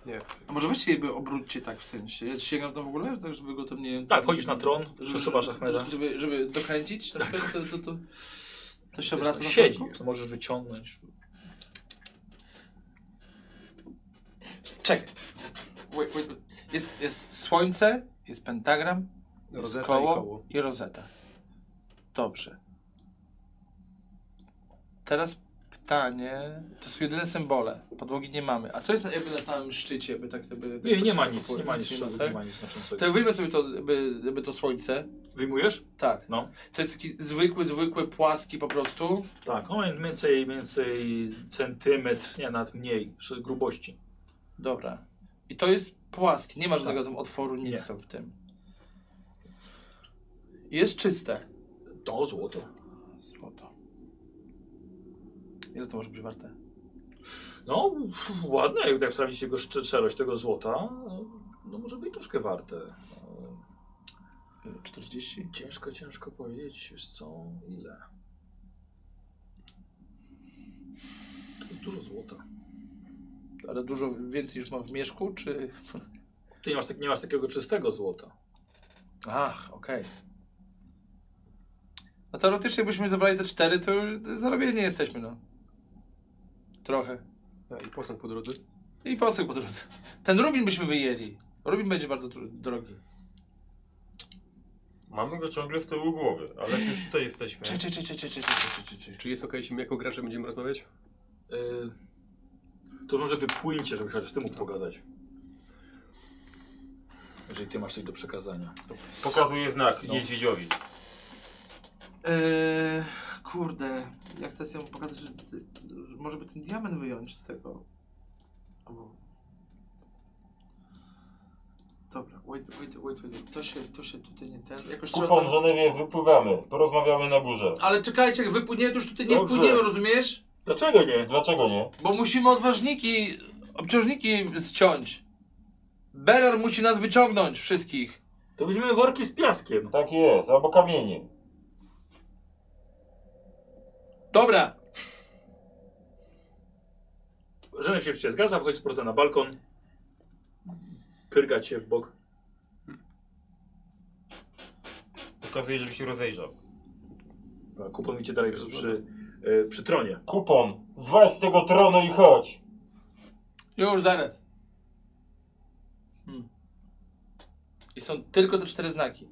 Nie.
A może weźcie je obróćcie tak w sensie. Ja sięgam tam w ogóle, tak żeby go tam nie...
Tak, wchodzisz na tron,
żeby-
przesuwasz Ahmeda.
Żeby, żeby dokręcić, tak, to, to, to, to się
Wiesz,
obraca
no,
na
siedzi,
środku?
to możesz wyciągnąć.
Czekaj. Wait, wait, wait. Jest, jest słońce, jest pentagram,
Rozeta
koło,
i koło.
i rozeta. Dobrze. Teraz pytanie. To są jedyne symbole. Podłogi nie mamy. A co jest jakby na samym szczycie? By tak, jakby,
Nie, nie ma nic, nie ma nic, nie
tak?
ma nic znaczącego.
To wyjmę sobie to, jakby, jakby to słońce.
Wyjmujesz?
Tak.
No.
To jest taki zwykły, zwykły, płaski po prostu.
Tak, no mniej więcej, mniej więcej centymetr, nie, nawet mniej, przy grubości.
Dobra. I to jest płaski. Nie ma żadnego tam otworu, nic
Tak. Nie.
tam w tym. Jest czyste.
To złoto.
Złoto. Ile to może być warte?
No, pff, ładne, jak tak sprawdzicie go szcz- szczerość tego złota, no, no może być troszkę warte. No,
40?
Ciężko, ciężko powiedzieć, wiesz co, ile. To jest dużo złota.
Ale dużo więcej już ma w mieszku, czy...
Ty nie masz, tak, nie masz takiego czystego złota.
Ach, okej. No teoretycznie byśmy zabrali te cztery, to już zarobieni jesteśmy, no. Trochę.
A, I posąg po drodze.
I posłuch po drodze. Ten Rubin byśmy wyjęli. Rubin będzie bardzo dro- drogi.
Mamy go ciągle z tyłu głowy, ale jak już tutaj jesteśmy.
Czy, czy, czy, czy, czy, czy, czy, czy, czy, czy, czy.
Czy jest okej, jeśli my jako gracze będziemy rozmawiać?
Yy, to może wypłyńcie, żebyś chociaż ty mógł pogadać. Jeżeli ty masz coś do przekazania.
Pokazuje znak
No.
niedźwiedziowi.
Eee, kurde, jak teraz ja mu pokazać, że ty, może by ten diament wyjąć z tego. Albo... Dobra, wait, wait, wait, wait, to się, to się tutaj nie ten, jakoś trzeba
Kupon
to...
Genewie wypływamy, porozmawiamy na górze.
Ale czekajcie, jak wypłynie, to już tutaj nie
Dobrze.
wpłyniemy, rozumiesz?
Dlaczego nie? Dlaczego nie?
Bo musimy odważniki, obciążniki zciąć. Berar musi nas wyciągnąć wszystkich.
To weźmiemy worki z piaskiem.
Tak jest, albo kamienie.
Dobra,
Żenek się wreszcie zgadza, wchodzi z powrotem na balkon. Pyrga cię w bok.
Pokazuje, żeby się rozejrzał.
Kupon widzicie dalej przy, przy, e, przy tronie.
Kupon, zwaź z tego tronu i chodź.
już zaraz. Hmm. I są tylko te cztery znaki.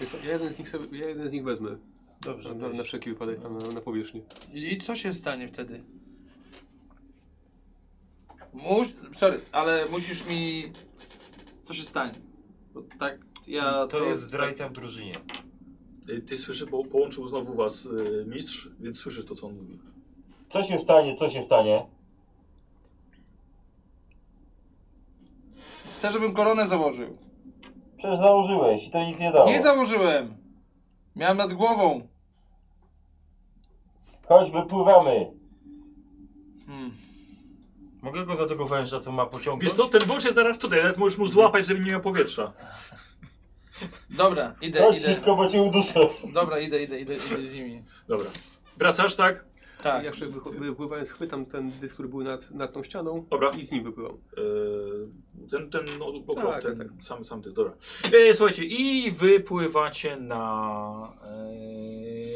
Jest, ja, jeden z nich sobie, ja jeden z nich wezmę.
Dobrze, no.
Na, na wszelki wypadek tam na, na powierzchni.
I co się stanie wtedy? Mus... Sorry, ale musisz mi... Co się stanie? Bo tak ja... tak-
To jest zdrajca w drużynie.
Yy, Ty, ty słyszysz, bo połączył znowu was e, mistrz, więc słyszysz to, co on mówi.
Co się stanie, co się stanie?
Chcę, żebym koronę założył.
Przecież założyłeś i to nic nie dało.
Nie założyłem! Miałem nad głową.
Chodź, wypływamy.
Hmm.
Mogę go za tego węża, co ma pociągnąć?
Wiesz co, ten wąż jest zaraz tutaj, nawet możesz mu złapać, żeby nie miał powietrza.
Dobra, idę,
Chodź
idę.
szybko, bo cię uduszę.
Dobra, idę, idę, idę, idę z nimi.
Dobra. Wracasz, tak?
Ja
Tak.
jeszcze wycho- wypływając chwytam ten dysk, który był nad, nad tą ścianą
Dobra.
i z nim wypływam.
E, ten, ten, no, po
Tak,
prostu ten
tak.
sam, sam ty, dobra. E, słuchajcie, i wypływacie na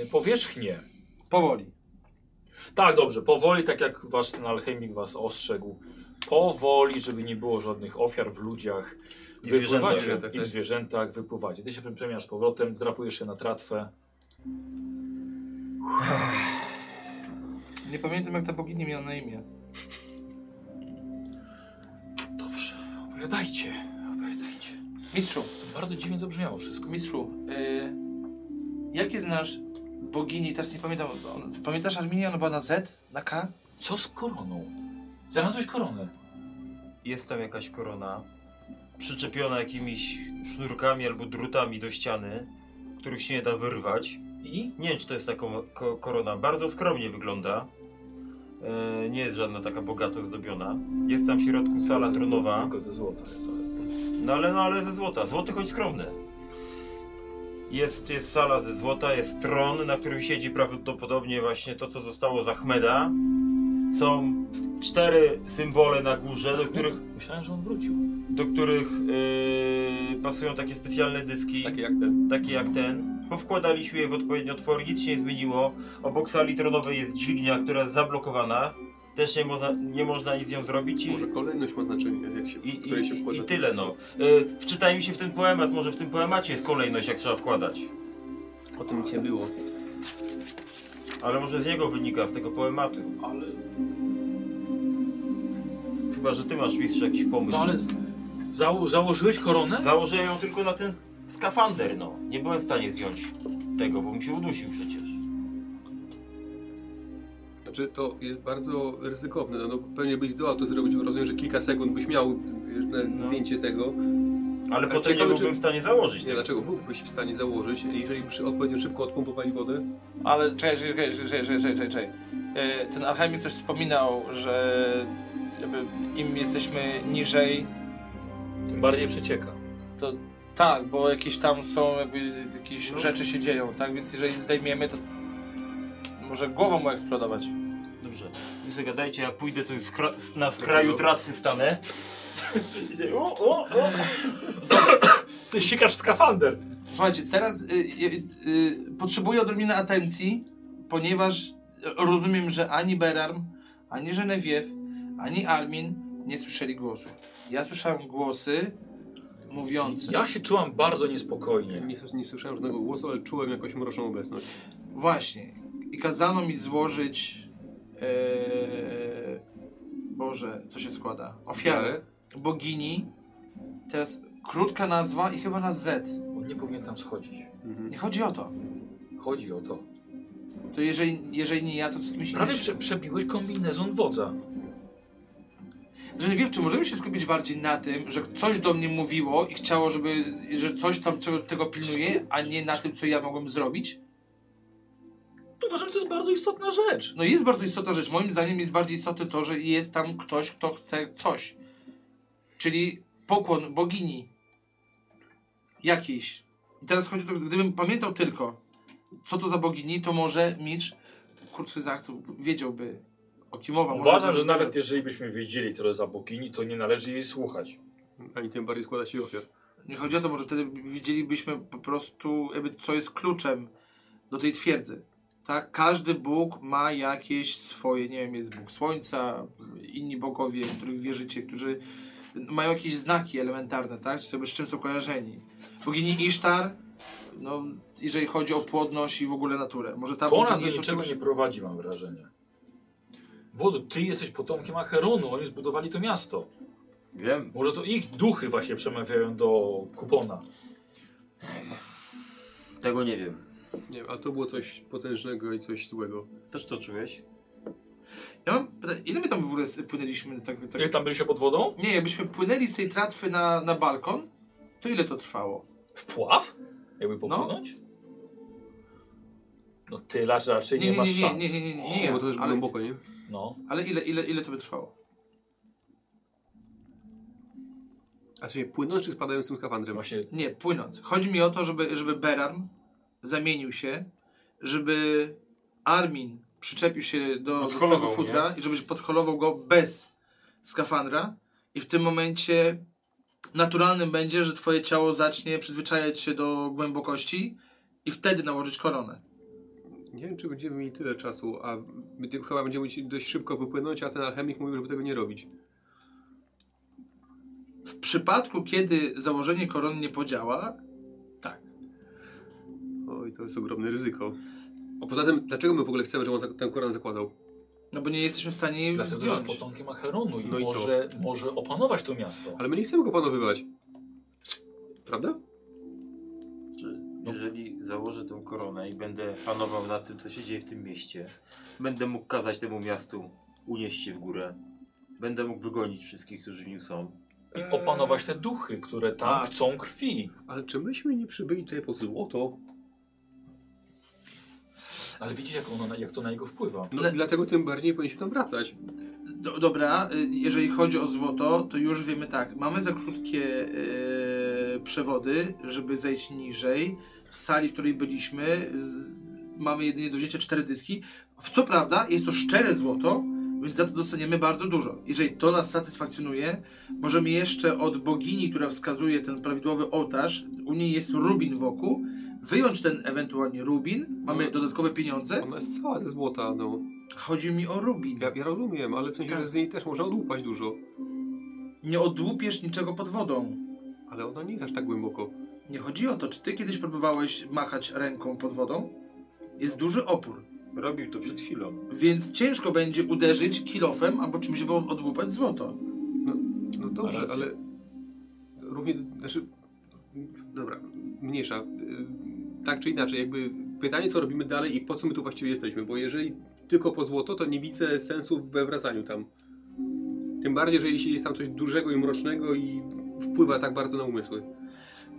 e, powierzchnię.
Powoli.
Tak, dobrze, powoli, tak jak wasz ten alchemik was ostrzegł. Powoli, żeby nie było żadnych ofiar w ludziach.
I
wypływacie
zwierzętach,
i w zwierzętach wypływacie. Ty się przemieniasz powrotem, drapujesz się na tratwę.
Nie pamiętam jak ta bogini miała na imię.
Dobrze, opowiadajcie, opowiadajcie.
Mistrzu,
To bardzo dziwnie to brzmiało wszystko.
mistrzu, y, jakie znasz bogini, teraz nie pamiętam, on, pamiętasz Arminia, ona była na Z, na K?
Co z koroną? Znalazłeś koronę.
Jest tam jakaś korona, przyczepiona jakimiś sznurkami albo drutami do ściany, których się nie da wyrwać.
I?
Nie wiem, czy to jest taka ko korona. Bardzo skromnie wygląda. E, nie jest żadna taka bogato zdobiona. Jest tam w środku sala tronowa.
Tylko ze złota jest, ale...
No ale, no ale ze złota. Złoty choć skromny. Jest, jest sala ze złota, jest tron, na którym siedzi prawdopodobnie właśnie to, co zostało z Ahmeda. Są cztery symbole na górze, do których,
Myślałem, że on wrócił. No
do których yy, pasują takie specjalne dyski,
Takie jak ten.
takie jak ten. Powkładaliśmy je w odpowiednie otwory, nic się nie zmieniło. Obok sali tronowej jest dźwignia, która jest zablokowana. Też nie można, nie można nic z nią zrobić i,
Może kolejność ma znaczenie, jak się,
i,
w
i,
której się
i,
wkłada.
i tyle no. Y, wczytajmy się w ten poemat, może w tym poemacie jest kolejność jak trzeba wkładać.
O tym nic nie było.
Ale może z niego wynika, z tego poematu.
Ale...
Chyba, że ty masz mistrzu jakiś pomysł.
No ale z- zało założyłeś koronę?
Założyłem ją tylko na ten skafander, no. Nie byłem w stanie zdjąć tego, bo mi się udusił przecież.
Znaczy, to jest bardzo ryzykowne. No, no pewnie byś zdołał to zrobić, bo rozumiem, że kilka sekund byś miał wiesz, na
No.
zdjęcie tego.
Ale, potem nie
ciekawe,
byłbym
czy-
w stanie założyć
Nie,
tego.
dlaczego byłbyś w stanie założyć, jeżeli przy odpowiednio szybko odpompowali wodę?
Ale czekaj, czekaj, czekaj, czekaj, czekaj, czekaj, czekaj. E, Ten alchemik coś wspominał, że jakby im jesteśmy niżej,
Tym bardziej przecieka.
to tak, bo jakieś tam są, jakby jakieś rzeczy się dzieją, tak? Więc jeżeli zdejmiemy, to może głową mu eksplodować.
Dobrze. Wy sobie gadajcie, ja pójdę tu skra... na skraju tratwy stanę. I się- o, o, o.
Ty sikasz w skafander.
Słuchajcie, teraz y, y, y, potrzebuję odrobiny atencji, ponieważ rozumiem, że ani Berarm, ani Genevieve, ani Armin nie słyszeli głosu. Ja słyszałem głosy mówiące.
Ja się czułam bardzo niespokojnie.
Nie, słys- nie słyszałem żadnego głosu, ale czułem jakąś mroczną obecność.
Właśnie. I kazano mi złożyć. e, Boże, co się składa? Ofiarę bogini. Teraz krótka nazwa i chyba na Z.
On nie powinien tam schodzić.
Mhm.
Nie chodzi o to.
Chodzi o to.
To jeżeli, jeżeli nie ja, to z kimś
Prawie
innym.
prze przebiłeś kombinezon wodza.
Jeżeli wiem, czy możemy się skupić bardziej na tym, że coś do mnie mówiło i chciało, żeby, że coś tam czego, tego pilnuje, a nie na tym, co ja mogłem zrobić?
Uważam, że to jest bardzo istotna rzecz.
No jest bardzo istotna rzecz. Moim zdaniem jest bardziej istotne to, że jest tam ktoś, kto chce coś. Czyli pokłon bogini. Jakiejś. I teraz chodzi o to, gdybym pamiętał tylko, co to za bogini, to może mistrz kurczę zaktu wiedziałby, o kim mowa. Może
Uważam,
by-
że nawet jeżeli byśmy wiedzieli tyle za bogini, to nie należy jej słuchać.
Ani tym bardziej składa się ofiar.
Nie chodzi o to, może wtedy widzielibyśmy po prostu, jakby co jest kluczem do tej twierdzy. Tak? Każdy Bóg ma jakieś swoje, nie wiem, jest Bóg Słońca, inni bogowie, w których wierzycie, którzy mają jakieś znaki elementarne, tak? Z jakby z czym są kojarzeni. Bogini Isztar, no, jeżeli chodzi o płodność i w ogóle naturę. Może ta
To nas
bogini
do
jest
niczego
od
nie
czegoś-
prowadzi, mam wrażenie. Wodzu, ty jesteś potomkiem Acheronu, oni zbudowali to miasto.
Wiem.
Może to ich duchy właśnie przemawiają do kupona.
Tego nie wiem.
Nie wiem, ale to było coś potężnego i coś złego.
Też to czułeś?
Ja mam pytanie, ile my tam w ogóle płynęliśmy? Tak, tak...
Jak tam byliście pod wodą?
Nie, jakbyśmy płynęli z tej tratwy na, na balkon, to ile to trwało?
W pław? Jakby popłynąć? No ty raczej nie, masz szans.
Nie, nie, nie, nie,
Nie,
nie,
bo to też
ale,
głęboko, nie?
No.
ale ile, ile, ile to by trwało?
A się płynąc czy spadając z tym skafandrem?
Właśnie
Nie, płynąc. Chodzi mi o to, żeby, żeby Beran zamienił się, żeby Armin przyczepił się do, do
Podholował,
swojego futra i żebyś podholował go bez skafandra i w tym momencie naturalnym będzie, że twoje ciało zacznie przyzwyczajać się do głębokości i wtedy nałożyć koronę.
Nie wiem, czy będziemy mieli tyle czasu, a my tylko chyba będziemy musieli dość szybko wypłynąć, a ten alchemik mówił, żeby tego nie robić.
W przypadku, kiedy założenie korony nie podziała,
Oj, to jest ogromne ryzyko. A poza tym, dlaczego my w ogóle chcemy, żeby on zak- ten koran zakładał?
no bo nie jesteśmy w stanie jej
dlatego, że jest
zdjąć.
potomkiem Acheronu i,
No i co?
może, może opanować to miasto.
Ale my nie chcemy go panowywać. Prawda?
Czy jeżeli założę tę koronę i będę panował nad tym, co się dzieje w tym mieście, będę mógł kazać temu miastu unieść się w górę, będę mógł wygonić wszystkich, którzy w nim są.
I opanować te duchy, które tam
Eee. Tak.
chcą krwi.
Ale czy myśmy nie przybyli tutaj po złoto?
Ale widzicie, jak, ono, na- jak to na niego wpływa.
No
Le-
dlatego tym bardziej powinniśmy tam wracać.
Do, dobra, y, jeżeli chodzi o złoto, to już wiemy tak. Mamy za krótkie y, przewody, żeby zejść niżej. W sali, w której byliśmy, z, mamy jedynie do wzięcia cztery dyski. W co prawda jest to szczere złoto, więc za to dostaniemy bardzo dużo. Jeżeli to nas satysfakcjonuje, możemy jeszcze od bogini, która wskazuje ten prawidłowy ołtarz, u niej jest rubin wokół, wyjąć ten ewentualnie rubin, mamy dodatkowe pieniądze.
Ona jest cała ze złota, no.
Chodzi mi o rubin.
Ja, ja rozumiem, ale w sensie, że z niej też można odłupać dużo.
Nie odłupiesz niczego pod wodą.
Ale ona nie jest aż tak głęboko.
Nie chodzi o to, czy ty kiedyś próbowałeś machać ręką pod wodą? Jest duży opór,
Robił to przed chwilą.
więc ciężko będzie uderzyć kilofem albo czymś, żeby odłupać złoto.
No dobrze,
rację.
ale równie, znaczy, dobra, mniejsza. Y, Tak czy inaczej, jakby pytanie, co robimy dalej i po co my tu właściwie jesteśmy, bo jeżeli tylko po złoto, to nie widzę sensu we wracaniu tam. Tym bardziej, że jeśli jest tam coś dużego i mrocznego i wpływa tak bardzo na umysły.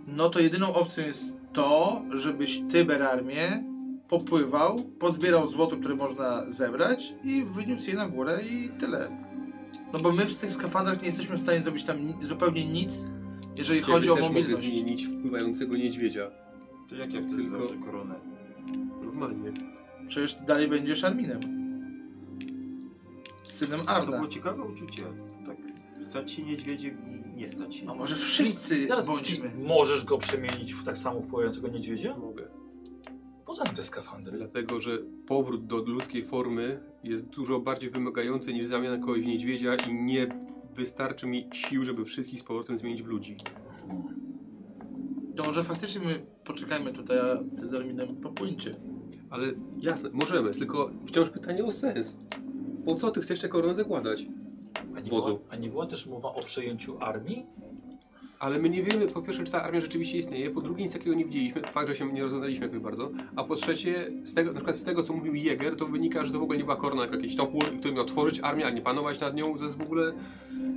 No to jedyną opcją jest to, żebyś ty, Berarmie, popływał, pozbierał złoto, które można zebrać i wyniósł je na górę i tyle. No bo my w tych skafandrach nie jesteśmy w stanie zrobić tam ni- zupełnie nic, jeżeli
Ciebie
chodzi o
też mogę
mobilność.
zmienić wpływającego niedźwiedzia.
To jak ja wtedy
Tylko-
założę koronę?
Normalnie.
Przecież dalej będziesz Arminem. Synem
To
Arda.
było ciekawe uczucie. Tak, stać się niedźwiedziem i nie stać się.
A No może wszyscy
Zaraz,
Eee, bądźmy.
i Możesz go przemienić w tak samo wpływającego niedźwiedzia?
Mogę.
Poza tym te skafandry.
Dlatego, że powrót do ludzkiej formy jest dużo bardziej wymagający niż zamiana kogoś w niedźwiedzia i nie wystarczy mi sił, żeby wszystkich z powrotem zmienić w ludzi.
To może faktycznie my poczekajmy tutaj, a ty z Arminem popłyńcie.
Ale jasne, możemy, tylko wciąż pytanie o sens. Po co ty chcesz tę koronę zakładać?
A nie, była,
Wodzu.
a nie była też mowa o przejęciu armii?
Ale my nie wiemy, po pierwsze, czy ta armia rzeczywiście istnieje, po drugie, nic takiego nie widzieliśmy, fakt, że się nie rozglądaliśmy jakby bardzo, a po trzecie, z tego, na przykład z tego, co mówił Jäger, to wynika, że to w ogóle nie była korona, jak jakiś topór, który miał tworzyć armię, a nie panować nad nią, to jest w ogóle...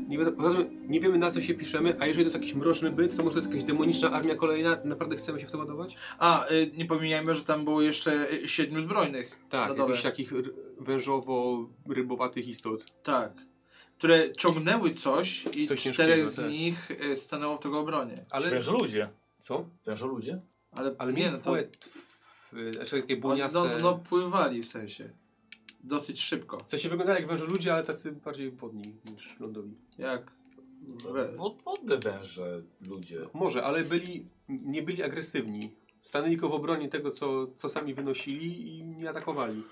Nie, wiadomo- poza tym nie wiemy, na co się piszemy, a jeżeli to jest jakiś mroczny byt, to może to jest jakaś demoniczna armia kolejna, naprawdę chcemy się w to ładować?
A, y, nie pomijajmy, że tam było jeszcze y, siedmiu zbrojnych.
Tak,
na dole.
jakichś takich r- wężowo-rybowatych istot.
Tak. Które ciągnęły coś i
Coś
czterech
ciężkiego,
z
tak.
nich y, stanęło w tego obronie.
Ale...
Wężo ludzie.
Co?
Wężo ludzie?
Ale,
Ale
nie,
nie,
no to...
płetw, y, znaczy takie
No,
błoniaste...
no, no pływali w sensie. Dosyć szybko.
W sensie wyglądają jak wężo ludzie, ale tacy bardziej wodni niż lądowi.
Jak? No We-
Wod, wodne węże ludzie.
Może, ale byli, nie byli agresywni. Stanęli tylko w obronie tego, co, co sami wynosili i nie atakowali.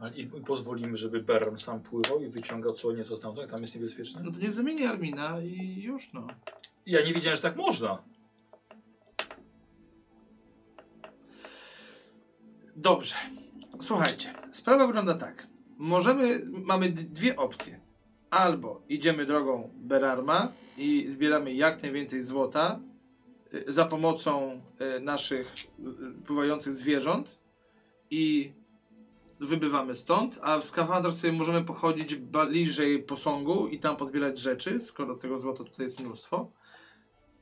A I i pozwolimy, żeby Berram sam pływał i wyciągał co nieco stamtąd, jak tam jest niebezpieczne?
No to nie zamieni Armina i już no.
Ja nie wiedziałem, że tak można.
Dobrze. Słuchajcie, sprawa wygląda tak. Możemy, mamy d- dwie opcje. Albo idziemy drogą Berarma i zbieramy jak najwięcej złota y, za pomocą y, naszych y, pływających zwierząt i wybywamy stąd, a w skafandrach sobie możemy pochodzić bliżej posągu i tam pozbierać rzeczy, skoro tego złota tutaj jest mnóstwo.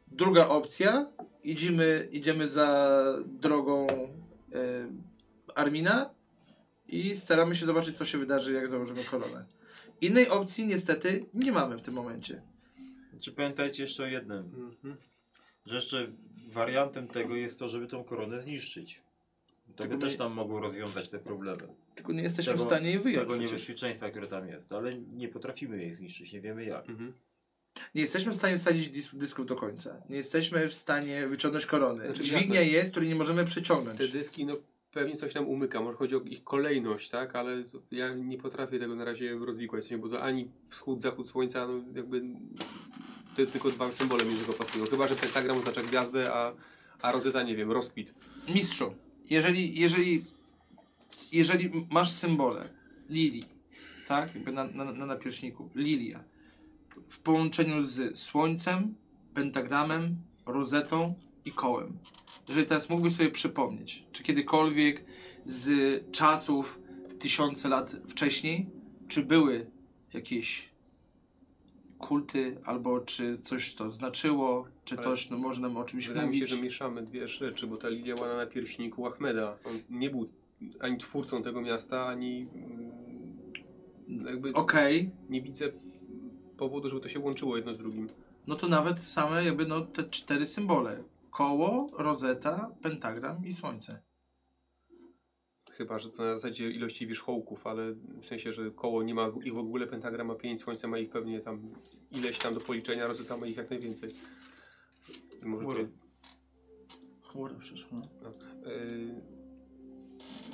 Druga opcja, idziemy, idziemy za drogą y, Armina i staramy się zobaczyć, co się wydarzy, jak założymy koronę. Innej opcji niestety nie mamy w tym momencie.
Czy pamiętajcie jeszcze o jednym, że jeszcze wariantem tego jest to, żeby tą koronę zniszczyć. To
Tego
by też
nie-
tam mogło rozwiązać te problemy.
Tylko nie jesteśmy
Tego-
w stanie jej wyjąć.
Tego
przecież.
niebezpieczeństwa, które tam jest, ale nie potrafimy jej zniszczyć, nie wiemy jak.
Nie jesteśmy w stanie wsadzić disk, dysków do końca. Nie jesteśmy w stanie wyciągnąć korony.
Znaczy,
Dźwignia
jasne.
jest, której nie możemy przyciągnąć.
Te dyski, no pewnie coś nam umyka. Może chodzi o ich kolejność, tak? Ale to, ja nie potrafię tego na razie rozwikłać, w sensie, bo to ani wschód, zachód słońca, no jakby te, tylko dwa symbole mi do tego pasują. Chyba, że pentagram oznacza gwiazdę, a, a rozeta, nie wiem, rozkwit.
Mistrzu, jeżeli, jeżeli, jeżeli masz symbole lilii, tak, jakby na, na, na napierśniku, lilia, w połączeniu z słońcem, pentagramem, rozetą i kołem. Jeżeli teraz mógłbyś sobie przypomnieć, czy kiedykolwiek z czasów tysiące lat wcześniej, czy były jakieś kulty, albo czy coś to znaczyło, czy
Ale-
coś, no można o czymś
Wydaje mi
mówić.
się, że mieszamy dwie rzeczy, bo ta Lilia była na napierśniku Ahmeda. On nie był ani twórcą tego miasta, ani mm, jakby
Okej,
nie widzę powodu, żeby to się łączyło jedno z drugim.
no to nawet same jakby no te cztery symbole. Koło, rozeta, pentagram i słońce.
Chyba, że to na zasadzie ilości wierzchołków, ale w sensie, że koło nie ma ich w ogóle, pentagram ma pięć, słońce ma ich pewnie tam ileś tam do policzenia, rozeta ma ich jak najwięcej. Może to...
Chmury. Chmura przyszła.
Yy,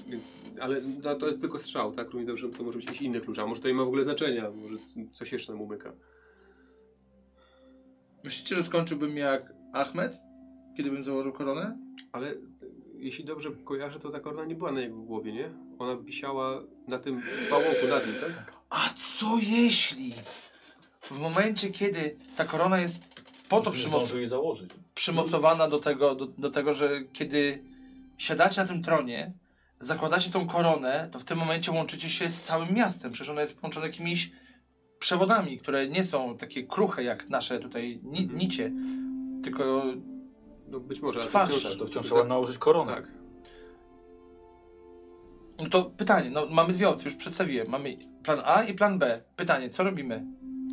Więc, ale no, to jest tylko strzał, tak? Równie dobrze to może być jakiś inny klucz, a może to nie ma w ogóle znaczenia, może c- coś jeszcze nam umyka.
Myślicie, że skończyłbym jak Ahmed? Kiedy bym założył koronę?
Ale y, jeśli dobrze kojarzę, to ta korona nie była na jego głowie, nie? Ona wisiała na tym bałoku nad nim, tak?
A co jeśli w momencie, kiedy ta korona jest po No to
Żeby
przymoc
zdążył jej założyć.
przymocowana do tego, do, do tego, że kiedy siadacie na tym tronie, zakładacie tą koronę, to w tym momencie łączycie się z całym miastem. Przecież ona jest połączona jakimiś przewodami, które nie są takie kruche jak nasze tutaj ni nicie, tylko
No być może, ale
Twarz.
Tak, to wciąż trzeba nałożyć koronę.
Tak.
No to pytanie, no mamy dwie opcje, już przedstawiłem. Mamy plan A i plan B. Pytanie, co robimy?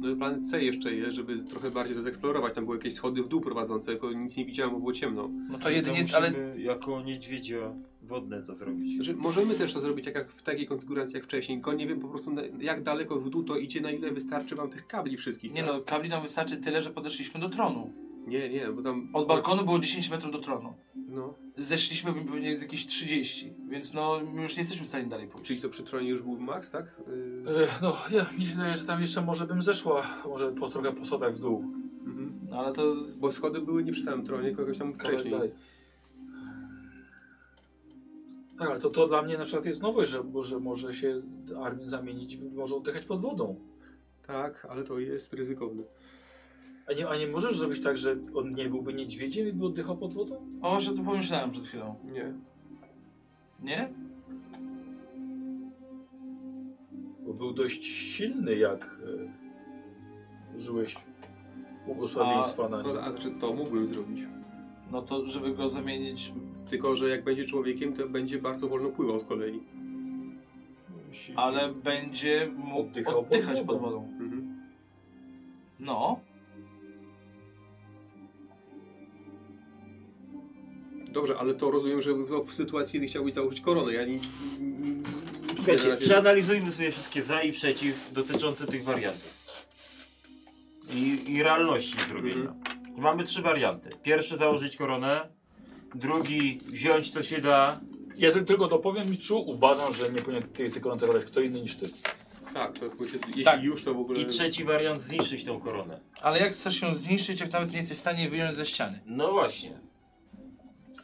No i plan C jeszcze jest, żeby trochę bardziej to zeksplorować. Tam były jakieś schody w dół prowadzące, tylko nic nie widziałem, bo było ciemno.
No to jedynie,
musimy
ale
jako niedźwiedzia wodne to zrobić.
Znaczy, możemy też to zrobić jak, jak w takiej konfiguracji jak wcześniej, tylko nie wiem po prostu na, jak daleko w dół to idzie, na ile wystarczy wam tych kabli wszystkich.
nie
tak?
no, kabli nam wystarczy tyle, że podeszliśmy do tronu.
Nie, nie, bo tam...
Od balkonu było 10 metrów do tronu.
No,
Zeszliśmy bym pewnie z jakieś 30, więc no my już nie jesteśmy w stanie dalej pójść.
czyli co, przy tronie już był max, tak? Yy,
E, No, ja mi się wydaje, że tam jeszcze może bym zeszła, może po trochę po schodach w dół.
mhm.
No ale to... z-
Bo schody były nie przy samym tronie, tylko jakoś tam
Kawałek
wcześniej.
dalej. Tak, ale to, to dla mnie na przykład jest nowość, że może, może się armię zamienić, w- może oddychać pod wodą.
Tak, ale to jest ryzykowne.
A nie, a nie możesz zrobić tak, że on nie byłby niedźwiedziem i by oddychał pod wodą?
O, właśnie o tym pomyślałem przed chwilą.
Nie.
Nie?
Bo był dość silny, jak e, użyłeś błogosławieństwa na
No,
nim.
a znaczy, to mógłbym zrobić.
No to żeby go zamienić...
Tylko, że jak będzie człowiekiem, to będzie bardzo wolno pływał z kolei.
Ale będzie mógł
Oddychał pod
oddychać
wodą.
pod wodą.
Mhm.
No.
Dobrze, ale to rozumiem, że w- w sytuacji, kiedy chciałbyś założyć koronę, ja nie...
Słuchajcie, przeanalizujmy sobie wszystkie za i przeciw dotyczące tych wariantów. I, i realności ich zrobienia. Mamy trzy warianty. Pierwszy założyć koronę, drugi wziąć co się da.
Ja ty, tylko dopowiem, Miczu, uważam, że nie powinien tej, tej korony zabrać kto inny niż ty.
Tak, to chyba się, jeśli
Tak.
już to w ogóle...
I trzeci wariant zniszczyć tą koronę.
Ale jak chcesz ją zniszczyć, jak nawet nie jesteś w stanie wyjąć ze ściany?
No właśnie.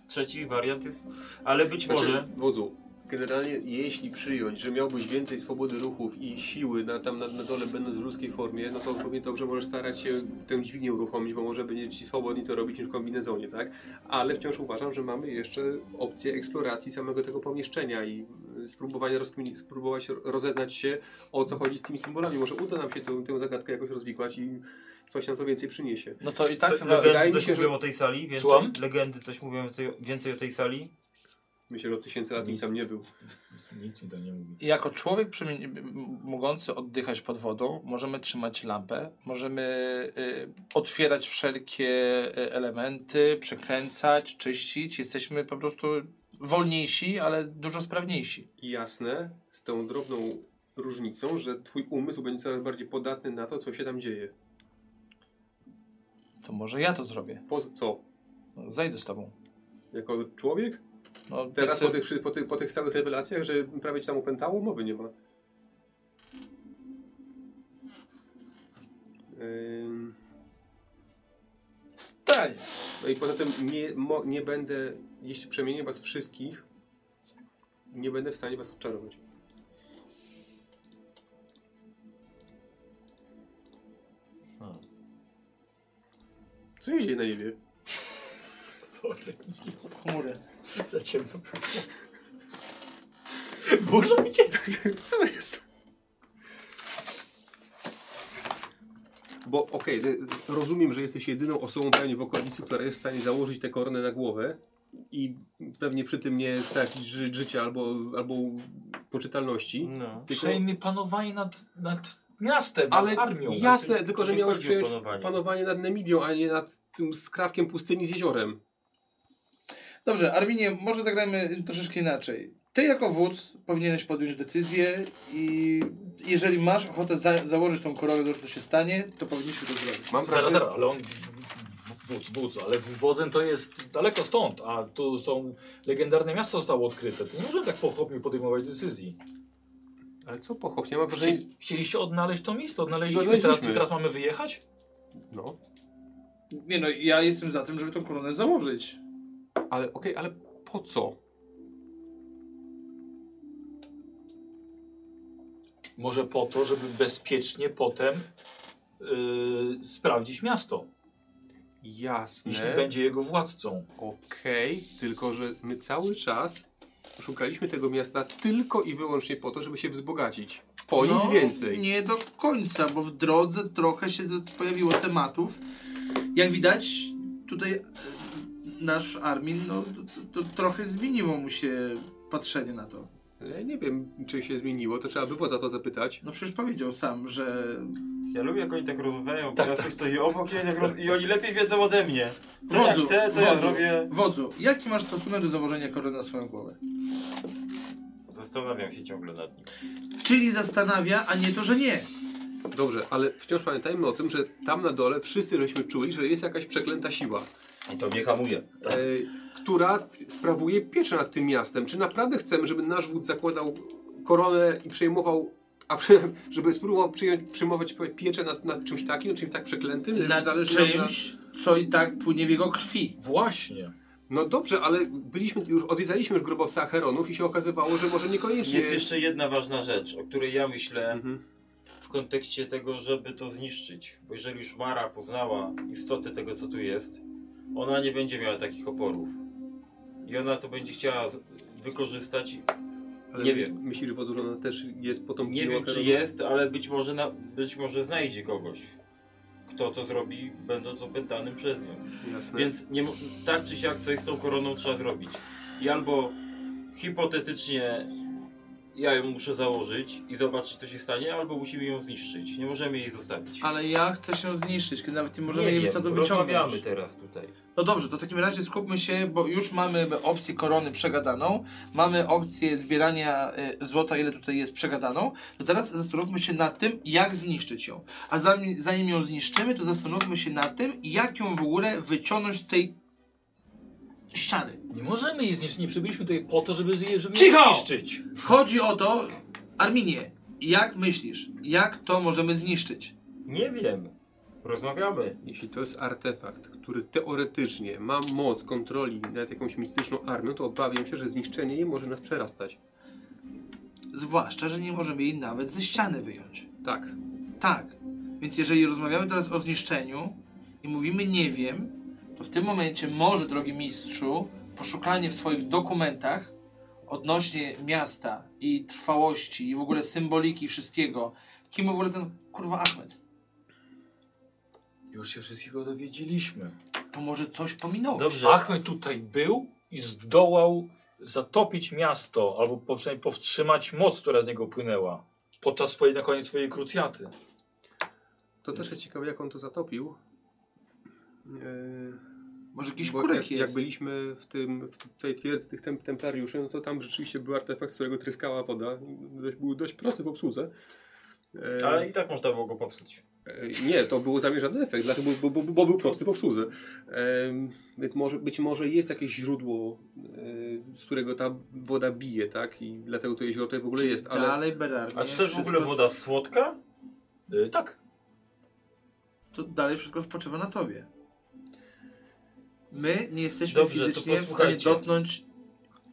Trzeci wariant jest. Ale być
Znaczy,
może.
wodzu, generalnie jeśli przyjąć, że miałbyś więcej swobody ruchów i siły na, tam na, na dole będąc w ludzkiej formie, no to równie dobrze możesz starać się tę dźwignię uruchomić, bo może będzie ci swobodniej to robić niż w kombinezonie, tak? Ale wciąż uważam, że mamy jeszcze opcję eksploracji samego tego pomieszczenia i y, spróbowania rozkmini- spróbować ro- rozeznać się o co chodzi z tymi symbolami. Może uda nam się tę, tę zagadkę jakoś rozwikłać i coś nam to więcej przyniesie.
No to i tak
co-
chyba...
legendy
wydaje mi
coś
się,
mówią
że-
o tej sali? Więcej?
Słucham?
Legendy coś mówią więcej- więcej o tej sali?
Myślę, że od tysięcy lat nikt tam nie był.
Nic mi to nie mówi.
Jako człowiek przemieni- m- mogący oddychać pod wodą, możemy trzymać lampę, możemy y, otwierać wszelkie y, elementy, przekręcać, czyścić. Jesteśmy po prostu wolniejsi, ale dużo sprawniejsi.
jasne, z tą drobną różnicą, że twój umysł będzie coraz bardziej podatny na to, co się tam dzieje.
To może ja to zrobię.
Po co?
No, Zajdę z tobą.
Jako człowiek?
No,
Teraz
decy-
po tych, wszy- po, tych, po tych całych rewelacjach, że prawie ci tam opętało, mowy nie ma. Ym,
Pytanie.
No i poza tym nie, mo, nie będę, jeśli przemienię was wszystkich, nie będę w stanie was odczarować.
Hmm.
Co się dzieje na niebie?
Sorry,
Chmury.
za ciemno. Burza mi cię
Co jest? Bo okej, ty- rozumiem, że jesteś jedyną osobą pewnie w okolicy, która jest w stanie założyć tę koronę na głowę i pewnie przy tym nie stracić ży życia albo, albo poczytalności.
No.
Tylko,
Przejmie panowanie nad, nad miastem,
ale
nad armią.
jasne,
Znaczy,
tylko że
nie
miałeś
chodzi o
przejąć
panowanie.
panowanie. nad Nemidią, a nie nad tym skrawkiem pustyni z jeziorem.
Dobrze, Arminie, może zagrajmy troszeczkę inaczej. Ty jako wódz powinieneś podjąć decyzję i jeżeli masz ochotę za założyć tą koronę, to się stanie, to powinniśmy to zrobić.
Mam
Zaraz,
wrażenie,
zaraz, ale on w- wódz, wódz, ale wodzem to jest daleko stąd, a tu są legendarne miasto zostało odkryte. To nie możemy tak pochopnie podejmować decyzji.
Ale co pochopnie, mam wrażenie...
Chci, chcieliście odnaleźć to miejsce, odnaleźliśmy teraz,
Odnaleźliśmy.
i teraz mamy wyjechać?
No,
Nie no, ja jestem za tym, żeby tą koronę założyć.
ale okej, ale po co?
Może po to, żeby bezpiecznie potem yy, sprawdzić miasto,
Jasne.
jeśli będzie jego władcą.
Okej, tylko że my cały czas szukaliśmy tego miasta tylko i wyłącznie po to, żeby się wzbogacić. Po nic więcej.
No, Nie do końca, bo w drodze trochę się z- pojawiło tematów. Jak widać, tutaj e, nasz Armin, no to, to trochę zmieniło mu się patrzenie na to.
Ale nie wiem, czy się zmieniło, to trzeba było za to zapytać.
No przecież powiedział sam, że
Ja lubię, jak oni tak rozmawiają, bo
Tak,
ja
tak.
tu stoję obok ja tak roz... i oni lepiej wiedzą ode mnie. Co ja
Wodzu,
chcę, to ja
wodzu.
zrobię...
Wodzu, jaki masz stosunek do założenia korony na swoją głowę?
Zastanawiam się ciągle nad nim.
Czyli zastanawia, a nie to, że nie.
Dobrze, ale wciąż pamiętajmy o tym, że tam na dole wszyscy żeśmy czuli, że jest jakaś przeklęta siła,
I to mnie hamuje. Tak.
e, która sprawuje pieczę nad tym miastem. Czy naprawdę chcemy, żeby nasz wódz zakładał koronę i przejmował, a przy- żeby spróbował przyjąć, przyjmować pieczę nad, nad czymś takim, czymś tak przeklętym? że
Na
zależy nam na-
czymś, co i tak płynie w jego krwi.
Właśnie.
No dobrze, ale byliśmy już, odwiedzaliśmy już grobowce Acheronów i się okazywało, że może niekoniecznie...
Jest jeszcze jedna ważna rzecz, o której ja myślę
Mhm.
w kontekście tego, żeby to zniszczyć. Bo jeżeli już Mara poznała istotę tego, co tu jest, ona nie będzie miała takich oporów. I ona to będzie chciała z- wykorzystać. i-
Ale
nie wiem.
Myślisz, wodzu, że ona też jest potomkiem
Nie wiem, czy
Acheronów?
jest, ale być może, na, być może znajdzie kogoś, kto to zrobi, będąc opętanym przez nią.
Jasne.
Więc nie, mo- tak czy siak coś z tą koroną trzeba zrobić. I albo hipotetycznie ja ją muszę założyć i zobaczyć co się stanie, albo musimy ją zniszczyć. Nie możemy jej zostawić.
Ale ja chcę się zniszczyć, kiedy nawet nie możemy
Nie
jej
wiem,
co do
Rozmawiamy
wyciągnąć.
teraz tutaj.
No dobrze, to w takim razie skupmy się, bo już mamy opcję korony przegadaną, mamy opcję zbierania e, złota, ile tutaj jest przegadaną, to teraz zastanówmy się nad tym, jak zniszczyć ją. A zanim, zanim ją zniszczymy, to zastanówmy się nad tym, jak ją w ogóle wyciągnąć z tej ściany.
Nie możemy jej zniszczyć, nie przybyliśmy tutaj po to, żeby, je- żeby
Cicho!
ją zniszczyć.
Chodzi o to, Arminie, jak myślisz, jak to możemy zniszczyć?
Nie wiem. Rozmawiamy.
Jeśli to jest artefakt, który teoretycznie ma moc kontroli nad jakąś mistyczną armią, to obawiam się, że zniszczenie jej może nas przerastać.
Zwłaszcza, że nie możemy jej nawet ze ściany wyjąć.
Tak.
Tak. Więc jeżeli rozmawiamy teraz o zniszczeniu i mówimy nie wiem, to w tym momencie może, drogi mistrzu, poszukanie w swoich dokumentach odnośnie miasta i trwałości i w ogóle symboliki wszystkiego, kim w ogóle ten kurwa Ahmed,
Już się wszystkiego dowiedzieliśmy.
to może coś pominąłeś.
Dobrze.
Achmed tutaj był i zdołał zatopić miasto, albo przynajmniej powstrzymać moc, która z niego płynęła podczas swojej, na koniec swojej krucjaty.
To też jest ciekawe, jak on to zatopił. Eee,
Może jakiś
Bo
kurek
jak,
jest.
jak byliśmy w, tym, w tej twierdzy tych tem, templariuszy, no to tam rzeczywiście był artefakt, z którego tryskała woda. Dość, był dość prosty w obsłudze. E,
Ale i tak można było go popsuć.
e, nie, to był zamierzony efekt, dlatego, bo, bo, bo był prosty w obsłudze. Em, więc może, być może jest jakieś źródło, e, z którego ta woda bije, tak? I dlatego to jezioro tutaj w ogóle jest. Ale
Dalej Berarnie.
A czy to jest w ogóle
wszystko-
woda słodka? Y,
Yy, tak.
To dalej wszystko spoczywa na tobie. My nie jesteśmy
Dobrze, to
fizycznie w stanie
posłuchajcie.
dotknąć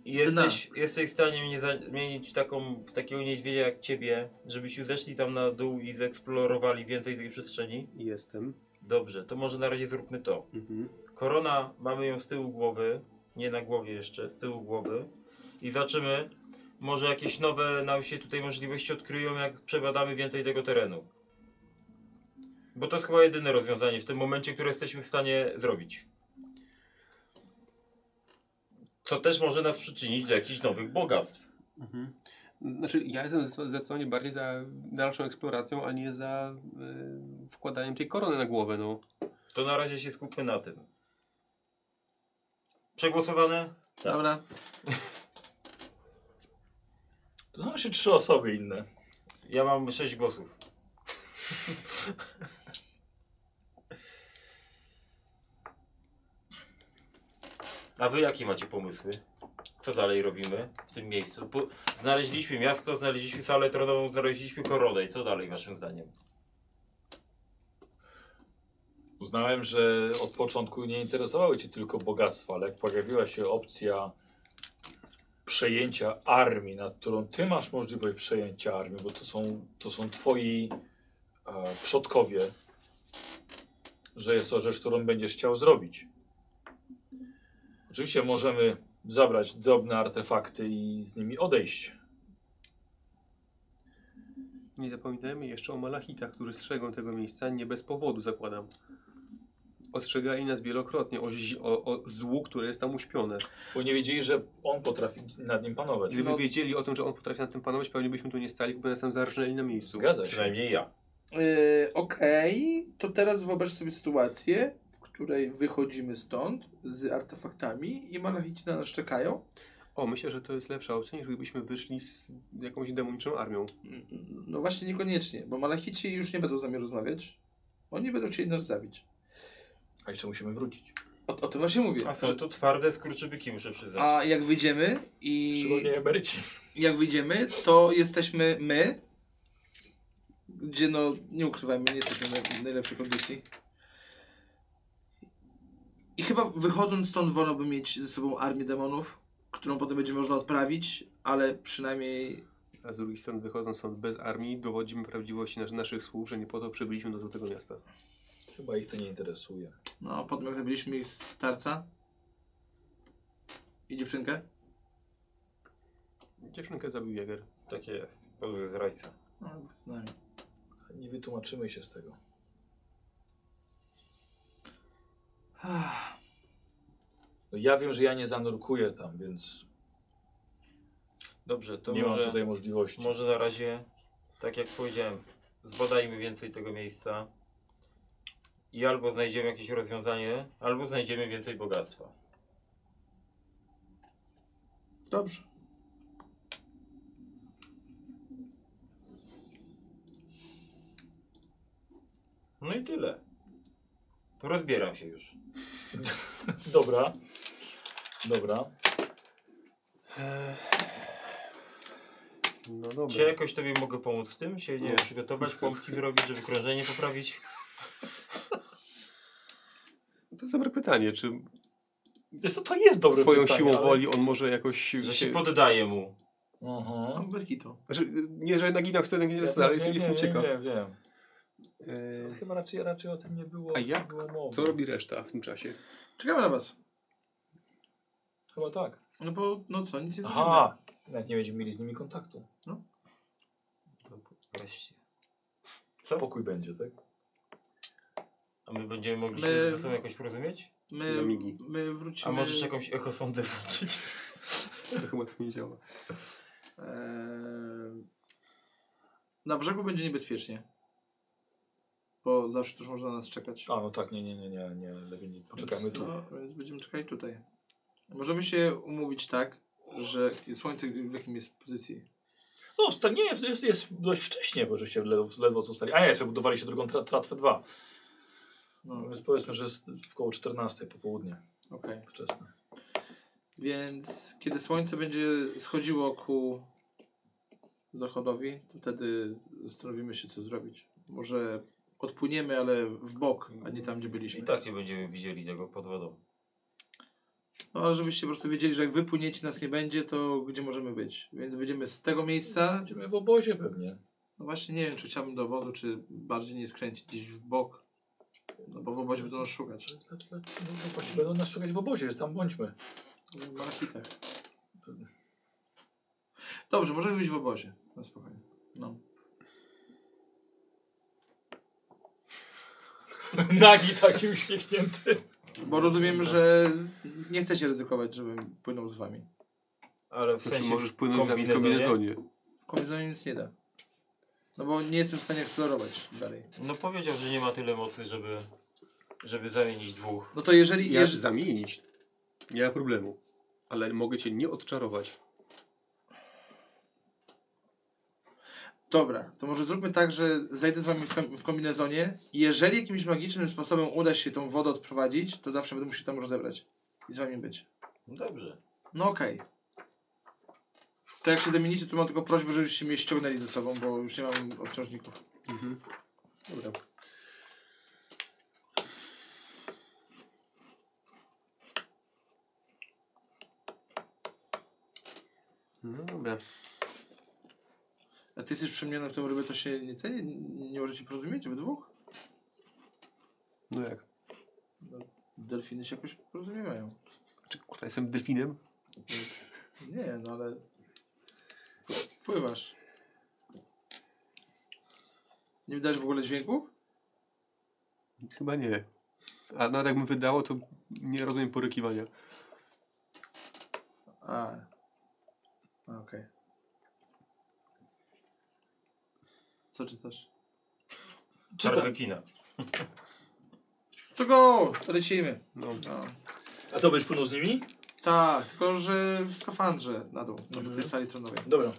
Jesteś, jesteś w stanie mnie zamienić w taką, w takiego niedźwiedzia jak ciebie, żebyśmy zeszli tam na dół i zeksplorowali więcej tej przestrzeni?
jestem.
Dobrze, to może na razie zróbmy to.
Mhm.
Korona mamy ją z tyłu głowy, nie na głowie jeszcze, z tyłu głowy. I zobaczymy, może jakieś nowe nam się tutaj możliwości odkryją, jak przebadamy więcej tego terenu. Bo to jest chyba jedyne rozwiązanie w tym momencie, które jesteśmy w stanie zrobić. Co też może nas przyczynić do jakichś nowych bogactw.
Mhm. Znaczy, ja jestem zdecydowa- zdecydowanie bardziej za dalszą eksploracją, a nie za e, wkładaniem tej korony na głowę. No.
To na razie się skupmy na tym. Przegłosowane?
Tak.
Dobra.
To są jeszcze trzy osoby inne.
Ja mam sześć głosów. A wy jakie macie pomysły? Co dalej robimy w tym miejscu? Po, znaleźliśmy miasto, znaleźliśmy salę tronową, znaleźliśmy koronę. I co dalej waszym zdaniem?
Uznałem, że od początku nie interesowały cię tylko bogactwa, ale jak pojawiła się opcja przejęcia armii, nad którą ty masz możliwość przejęcia armii, bo to są, to są twoi e, przodkowie, że jest to rzecz, którą będziesz chciał zrobić. Oczywiście możemy zabrać drobne artefakty i z nimi odejść.
Nie zapominajmy jeszcze o malachitach, którzy strzegą tego miejsca nie bez powodu, zakładam. Ostrzegali nas wielokrotnie o, zi- o, o złu, które jest tam uśpione.
Bo nie wiedzieli, że on potrafi nad nim panować.
Gdyby
No-
wiedzieli o tym, że on potrafi nad tym panować, pewnie byśmy tu nie stali, by nas tam zarżnęli na miejscu.
Zgadza się.
Przynajmniej ja.
Yy, Okej, to teraz wyobraź sobie sytuację, w której wychodzimy stąd z artefaktami i malachici na nas czekają.
O, myślę, że to jest lepsza opcja, niż gdybyśmy wyszli z jakąś demoniczną armią.
Mm, No właśnie niekoniecznie, bo malachici już nie będą z nami rozmawiać. Oni będą chcieli nas zabić.
A jeszcze musimy wrócić.
O, o tym właśnie mówię.
A są tu twarde skurczybyki, muszę przyznać.
A jak wyjdziemy i
Szczególnie emeryci.
jak wyjdziemy, to jesteśmy my, gdzie no nie ukrywajmy, nie jesteśmy w najlepszej kondycji. I chyba wychodząc stąd wolałbym mieć ze sobą armię demonów, którą potem będzie można odprawić, ale przynajmniej
A z drugiej strony, wychodząc stąd bez armii, dowodzimy prawdziwości nas- naszych słów, że nie po to przybyliśmy do tego miasta.
Chyba ich to nie interesuje.
no potem jak zabiliśmy ich z tarca i dziewczynkę.
Dziewczynkę zabił Jager.
Takie jest. Podły zrajca.
No, z nami.
Nie wytłumaczymy się z tego. No ja wiem, że ja nie zanurkuję tam, więc
Dobrze, to
nie mam
może,
tutaj możliwości.
może na razie, tak jak powiedziałem, zbadajmy więcej tego miejsca. I albo znajdziemy jakieś rozwiązanie, albo znajdziemy więcej bogactwa.
Dobrze.
No i tyle. Rozbieram się już.
Dobra. Dobra.
No dobra.
Czy ja jakoś tobie mogę pomóc w tym? Się nie wiem, przygotować, pompki zrobić, żeby krążenie poprawić?
To jest dobre pytanie, czy
Jest to, to jest dobre
swoją
pytanie,
siłą
ale-
woli on może jakoś...
Że się poddaję mu.
Mhm.
No, Bez kitu.
Znaczy, nie, że nagina chce, nagina chce, ale jestem, jestem ciekaw.
Wiem, wiem.
E,
Chyba raczej, raczej o tym nie było.
A
nie
jak?
było mowy.
Co robi reszta w tym czasie?
Czekamy na was.
Chyba tak.
No bo, no co, nic nie zrobimy.
Aha. Nawet nie będziemy mieli z nimi kontaktu.
Wreszcie.
Pokój będzie, tak?
A my będziemy mogli się
My-
ze sobą jakoś porozumieć?
My,
Do migi.
my
A
wrócimy...
możesz jakąś echosondę włączyć?
To chyba tak nie działa.
Eee, Na brzegu będzie niebezpiecznie. Bo zawsze też można nas czekać.
A no tak, nie, nie, nie, nie, nie. Lepiej nie. Poczekajmy
Więc,
tu.
No, więc będziemy czekali tutaj. Możemy się umówić tak, że słońce w jakim jest pozycji.
No, to nie jest, jest, jest dość wcześnie, bo żeście ledwo, ledwo co stali. A nie, jeszcze budowali się drugą tra, tratwę 2.
No,
Więc powiedzmy, że jest w koło 14 popołudnie
okej.
wczesne.
Więc kiedy słońce będzie schodziło ku zachodowi, to wtedy zastanowimy się, co zrobić. Może odpłyniemy, ale w bok, a nie tam, gdzie byliśmy.
I tak nie będziemy widzieli tego pod wodą.
No, ale żebyście po prostu wiedzieli, że jak wypłyniecie nas nie będzie, to gdzie możemy być? Więc będziemy z tego miejsca.
Będziemy w obozie pewnie.
No właśnie nie wiem, czy chciałbym do obozu, czy bardziej nie skręcić gdzieś w bok. No bo w obozie będą nas szukać.
No, no, właśnie będą nas szukać w obozie, więc tam bądźmy.
W malachitach. Dobrze, możemy być w obozie. Na spokojnie. No.
Nagi Tak, taki uśmiechnięty.
Bo rozumiem, że z... nie chcecie ryzykować, żebym płynął z wami.
Ale w
Znaczy,
sensie
możesz płynąć za
kombinezonie?
kombinezonie.
W kombinezonie nic nie da. No bo nie jestem w stanie eksplorować dalej.
No powiedział, że nie ma tyle mocy, żeby, żeby zamienić dwóch.
No to jeżeli...
Ja
jeż-
zamienić. Nie ma problemu. Ale mogę cię nie odczarować.
Dobra, to może zróbmy tak, że zejdę z wami w, kom w kombinezonie. Jeżeli jakimś magicznym sposobem uda się tą wodę odprowadzić, to zawsze będę musiał tam rozebrać i z wami być.
Dobrze.
No okej. To jak się zamienicie, to mam tylko prośbę, żebyście mnie ściągnęli ze sobą, bo już nie mam obciążników.
Dobra. No dobra.
A ty jesteś przy mnie na tym rybę, to się nie, ty, nie, nie możecie porozumieć we dwóch?
No jak?
Delfiny się jakoś porozumiewają.
Czy kurwa jestem delfinem?
Nie, no ale... Pływasz. Nie wydajesz w ogóle dźwięków?
Chyba nie. A nawet jakbym wydało, to nie rozumiem porykiwania.
A. A, Okej. Co czytasz?
Czarnokina.
To go! To lecimy.
No.
No.
A to byś płynął z nimi?
Tak, tylko że w skafandrze na dół, do
Mhm.
tej sali tronowej.
Dobra.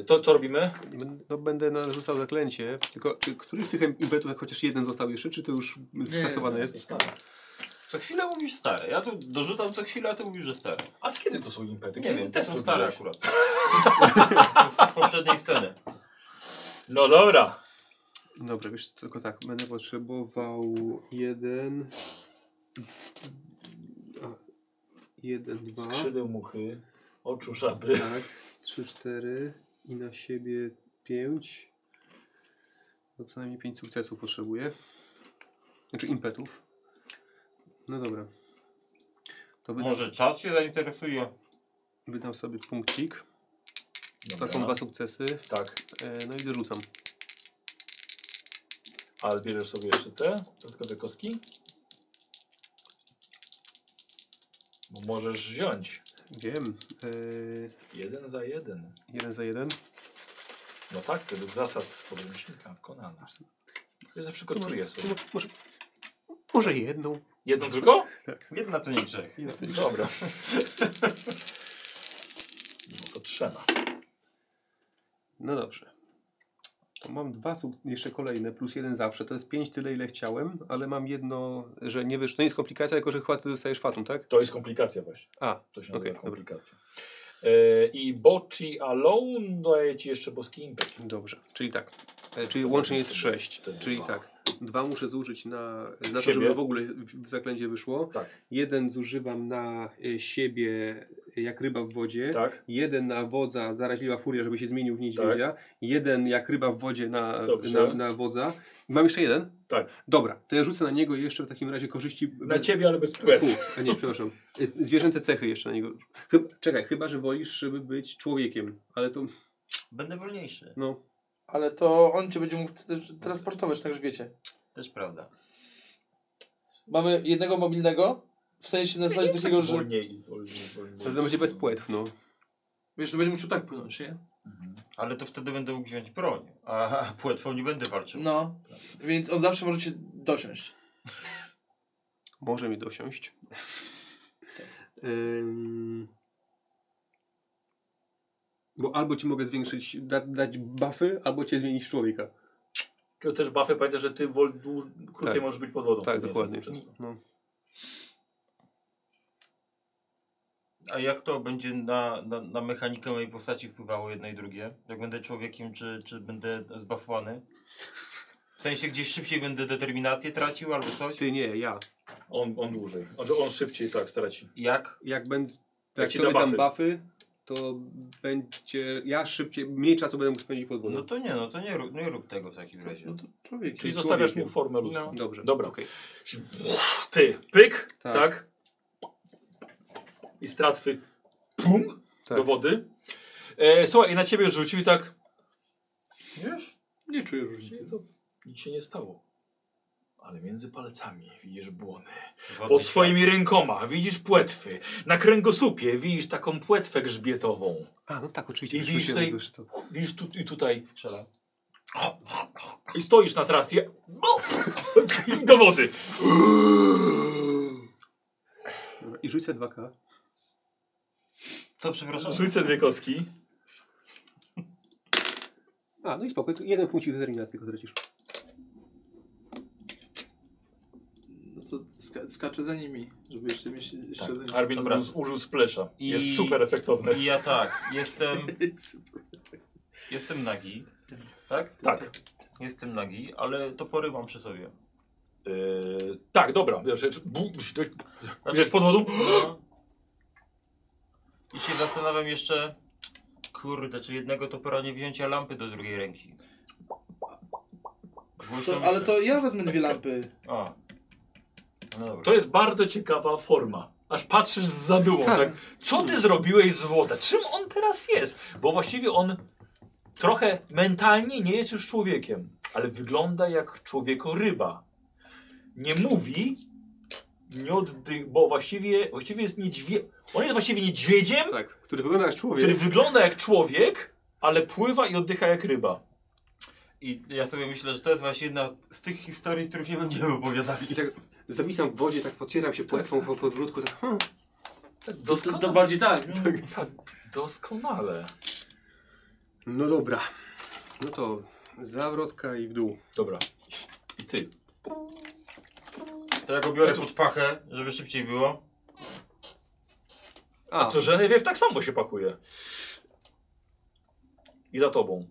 E, To co robimy?
Będę- No będę na- rzucał zaklęcie. Tylko czy któryś z tych impetów, jak chociaż jeden został jeszcze, czy to już skasowane jest?
Co chwila mówisz stare. Ja tu dorzucam co chwila, a ty mówisz, że stare.
A z kiedy to są impety?
Nie
Kiedy
wiem,
ty
te są
robiłeś?
stare akurat. To z poprzedniej sceny.
No dobra.
Dobra, wiesz, co, tylko tak, będę potrzebował jeden. A, jeden, dwa.
Skrzydeł muchy, oczu żaby.
Tak, trzy, cztery i na siebie pięć. No co najmniej pięć sukcesów potrzebuję. Znaczy impetów. No dobra. To wydam,
Może czat się zainteresuje?
wydam sobie punkcik. To
Dobra.
są dwa sukcesy.
Tak.
E, no i dorzucam.
Ale bierzesz sobie jeszcze te dodatkowe kostki? Bo możesz wziąć.
Wiem. E,
Jeden za jeden.
jeden za jeden.
No tak, to jest zasad z podręcznika Konana. Ja zawsze kotuję sobie.
Może, może jedną.
Jedną tylko?
Jedna to nie grzech.
Dobra. No to trzeba.
No dobrze. To mam dwa sub, jeszcze kolejne, plus jeden zawsze. To jest pięć tyle, ile chciałem, ale mam jedno, że nie wiesz, to nie jest komplikacja, tylko że chyba ty dostajesz fatum, tak?
To jest komplikacja właśnie.
A,
To się nazywa
Okej, dobra.
komplikacja. E, I Boci Alone daje ci jeszcze boski impet.
dobrze, czyli tak. E, czyli łącznie jest sześć. Czyli tak, dwa muszę zużyć na, na to,
Siebie.
żeby w ogóle w w zaklęcie wyszło.
Tak,
Jeden zużywam na e, siebie, e, jak ryba w wodzie.
tak.
Jeden na wodza, zaraźliwa furia, żeby się zmienił w niedźwiedzia. Jeden jak ryba w wodzie na,
Dobrze.
na, na wodza. Mam jeszcze jeden?
Tak.
Dobra, to ja rzucę na niego jeszcze w takim razie korzyści.
Na ciebie, ale bez płew.
Fu, a nie, przepraszam. Y, Zwierzęce cechy jeszcze na niego. Chyba, czekaj, chyba że wolisz, żeby być człowiekiem, ale to.
Będę wolniejszy.
No.
Ale to on cię będzie mógł wtedy transportować, tak grzbiecie.
Też prawda.
Mamy jednego mobilnego, w sensie na zasadzie takiego, że...
Wolniej, wolniej, wolniej.
To będzie bez płetw, no.
Wiesz, to będzie musiał tak płynąć, nie?
Ale to wtedy będę mógł wziąć broń. A płetwą nie będę walczył.
No, więc on zawsze może cię dosiąść.
Może mi dosiąść.
Tak.
Ym, Bo albo ci mogę zwiększyć, da, dać buffy, albo cię zmienić w człowieka.
To też Buffy pamięta, że ty wol, dłu, krócej
Tak.
możesz być pod wodą.
Tak,
To nie
dokładnie.
jest przez to.
No.
A jak to będzie na, na, na mechanikę mojej postaci wpływało jedno i drugie? Jak będę człowiekiem, czy, czy będę zbafowany? W sensie gdzieś szybciej będę determinację tracił albo coś?
Ty nie, ja.
On, on dłużej. On, on szybciej tak straci.
Jak?
Jak będę.
Jak
Jak
ci
tobie
da
dam
buffy.
buffy, to będzie. Ja szybciej, mniej czasu będę mógł spędzić pod wodą.
No to nie, no to nie rób, nie rób tego w takim razie.
No to człowiek.
Czyli
Człowiekiem.
zostawiasz mu formę ludzką.
No.
Dobrze.
Dobra.
okej.
Ty, pyk, tak.
Tak.
I stratwy, pum,
Tak.
do wody. E, słuchaj, i na ciebie rzucił i tak... Wiesz?
Nie czuję różnicy.
To nic się nie stało. Ale między palcami widzisz błony.
Wodny
Pod
świat.
swoimi rękoma widzisz płetwy. Na kręgosłupie widzisz taką płetwę grzbietową.
A, no tak, oczywiście.
I
wrzuciłem
widzisz tutaj-
tego jeszcze to.
Widzisz tu, i tutaj
Strzela.
I stoisz na trasie. I do wody.
Dobra, I rzucę 2K.
Co, przepraszam?
Rzucę dwie kostki.
A, no i spoko. tu Jeden punkt determinacji tylko tracisz.
No to ska skaczę za nimi, żeby jeszcze mieć jeszcze
Tak.
jeden.
Arbin
Dobra.
użył- użył splesza.
I-
Jest super efektowny.
I ja tak, jestem, jestem nagi. Tak?
Tak.
Jestem nagi, ale topory mam przy sobie.
Yy, tak, dobra. Wiesz, rzecz- bu- Wiesz, pod wodą.
No. I się zastanawiam jeszcze, kurde, czy jednego topora nie wziąć, a lampy do drugiej ręki. Głośno
To, ale
myślę.
to ja wezmę dwie lampy.
A. No dobra.
To jest bardzo ciekawa forma. Aż patrzysz z zadumą, tak. Co ty zrobiłeś z woda? Czym on teraz jest? Bo właściwie on trochę mentalnie nie jest już człowiekiem, ale wygląda jak człowieko-ryba. Nie mówi, nie oddy... bo właściwie, właściwie jest niedźwie... On jest właściwie niedźwiedziem,
Tak, który wygląda jak człowiek.
który wygląda jak człowiek, ale pływa i oddycha jak ryba.
I ja sobie myślę, że to jest właśnie jedna z tych historii, których nie będziemy opowiadali.
I tak zawisam w wodzie, tak podcieram się płetwą po podbródku, tak hmm,
Doskonale.
To bardziej tak.
Tak, doskonale.
no dobra. No to zawrotka i w dół.
Dobra. I ty.
To ja go biorę pod pachę, żeby szybciej było.
A,
To Genevieve tak samo się pakuje. I za tobą.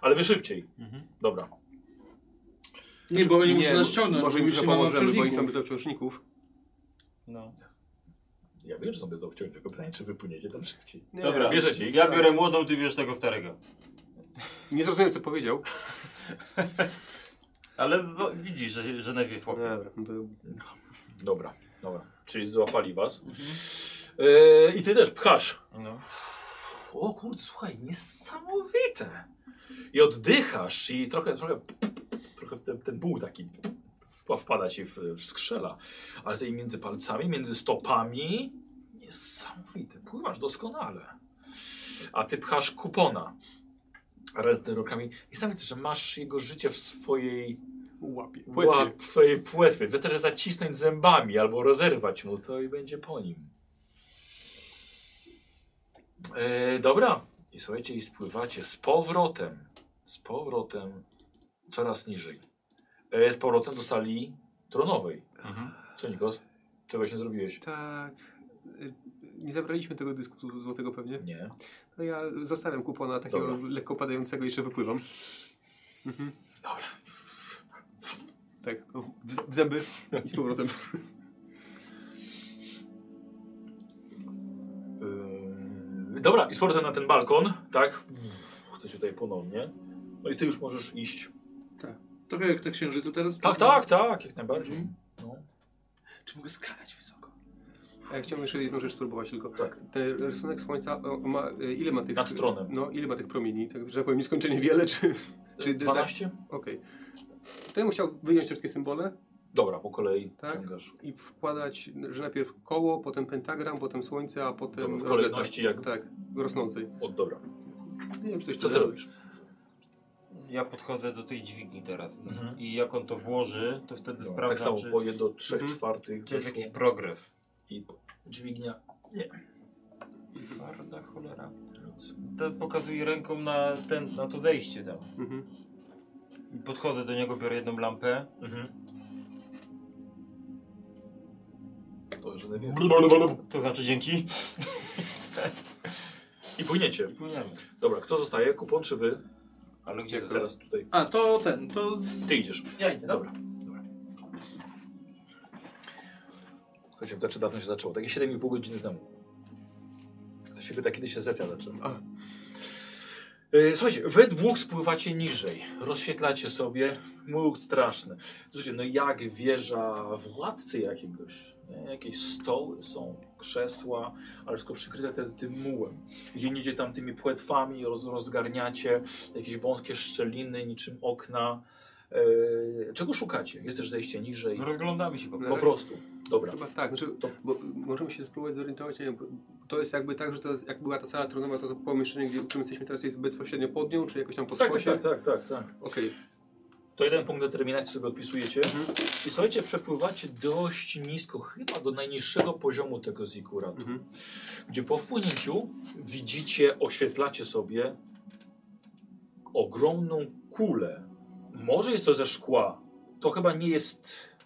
Ale wy szybciej. Dobra.
Nie, bo oni muszą
mo-
nas ściągnąć.
Może im
musimy
trochę pomożemy, bo oni
obciążników.
są bez obciążników.
No.
Ja wiem, że są bez obciążeń, tylko pytanie, czy wypłyniecie tam szybciej.
Dobra,
Bierzecie ich.
ja biorę młodą, ty bierzesz tego starego.
Nie zrozumiałem, co powiedział.
Ale w- widzisz, że, że najpierw chłopie.
Dobra, no to
Dobra, dobra. Czyli złapali was. E, I ty też pchasz.
No.
O kurde, słuchaj, niesamowite. I oddychasz i trochę, trochę, trochę ten, ten ból taki wpa- wpada ci w, w skrzela. Ale tutaj między palcami, między stopami, niesamowite. Pływasz doskonale. A ty pchasz kupona. Raz z rokami. Niesamowite, że masz jego życie w swojej
łapie. Płetwie.
Łap twojej płetwy. Wystarczy zacisnąć zębami albo rozerwać mu to i będzie po nim. E, dobra. I słuchajcie, i spływacie z powrotem. Z powrotem coraz niżej. E, z powrotem do sali tronowej. Co Nikos? Czegoś nie zrobiłeś?
Tak. y, Nie zabraliśmy tego dysku złotego pewnie.
Nie.
To ja zostawiam kupona takiego
Dobra.
lekko padającego i jeszcze wypływam. Mhm.
Dobra.
Tak, w, w zęby i z powrotem.
Ym, E, dobra, i z powrotem na ten balkon, tak? Chcę tutaj ponownie. No i ty już możesz iść.
Trochę jak na księżycu teraz.
Tak, tak, tak, jak najbardziej.
Czy mogę skakać wysoko?
A ja E, chciałbym jeszcze jedną rzecz spróbować tylko.
Tak.
Ten rysunek słońca, o, ma, y, ile ma tych...
Nad tronem.
No, ile ma tych promieni? Tak, że tak powiem, nieskończenie wiele, czy... Czyli dydak-
12?
Okej. To ja bym chciał wyjąć te wszystkie symbole.
Dobra, po kolei
Tak?
ciągasz.
i wkładać, że najpierw koło, potem pentagram, potem słońce, a potem
Dobra, w
rozeta.
kolejności jak-
Tak, rosnącej.
O, dobra.
Nie wiem, coś
Co ty
tam-
robisz?
Ja podchodzę do tej dźwigni teraz.
Mhm.
I jak on to włoży, to wtedy
Dobra, tak
sprawdzam,
samo,
czy,
boję do 3
Mhm.
czwartych
czy jest
weszło.
jakiś progres.
i dźwignia.
Twarda cholera.
Nic.
To pokazuję ręką na, ten, na to zejście tam.
Mhm.
I podchodzę do niego, biorę jedną lampę.
Mhm. To że nie wiem.
To znaczy dzięki.
I płyniecie.
I płyniemy.
Dobra, kto zostaje? Kupon czy wy?
Ale gdzie to?
Teraz tutaj.
A, to ten, to z...
Ty idziesz.
Ja idę,
Dobra. dobra. Słuchajcie, to czy dawno się zaczęło? Takie 7,5 godziny temu. To się pyta, kiedy się sesja zaczyna.
A.
E, Słuchajcie, we dwóch spływacie niżej. Rozświetlacie sobie. Mógł straszny. Słuchajcie, no jak wieża władcy jakiegoś. Nie? Jakieś stoły są, krzesła, ale wszystko przykryte te- tym mułem. Gdzie indziej tam tymi płetwami roz, rozgarniacie jakieś wąskie szczeliny, niczym okna. E, czego szukacie? Jest też zejście niżej.
No rozglądamy się po
Po
prostu.
prostu. Dobra.
Chyba tak, znaczy,
To-
bo y, możemy się spróbować zorientować, nie wiem, bo- to jest jakby tak, że to jest, jak była ta sala tronowa, to to pomieszczenie, gdzie, w którym jesteśmy teraz jest bezpośrednio pod nią, czy jakoś tam po
Tak, tak,
skosie?
tak, tak, tak, tak.
Okej,
To jeden punkt determinacji sobie odpisujecie. I słuchajcie, przepływacie dość nisko, chyba do najniższego poziomu tego zikuratu.
Mhm.
Gdzie po wpłynięciu widzicie, oświetlacie sobie ogromną kulę. Może jest to ze szkła. To chyba nie jest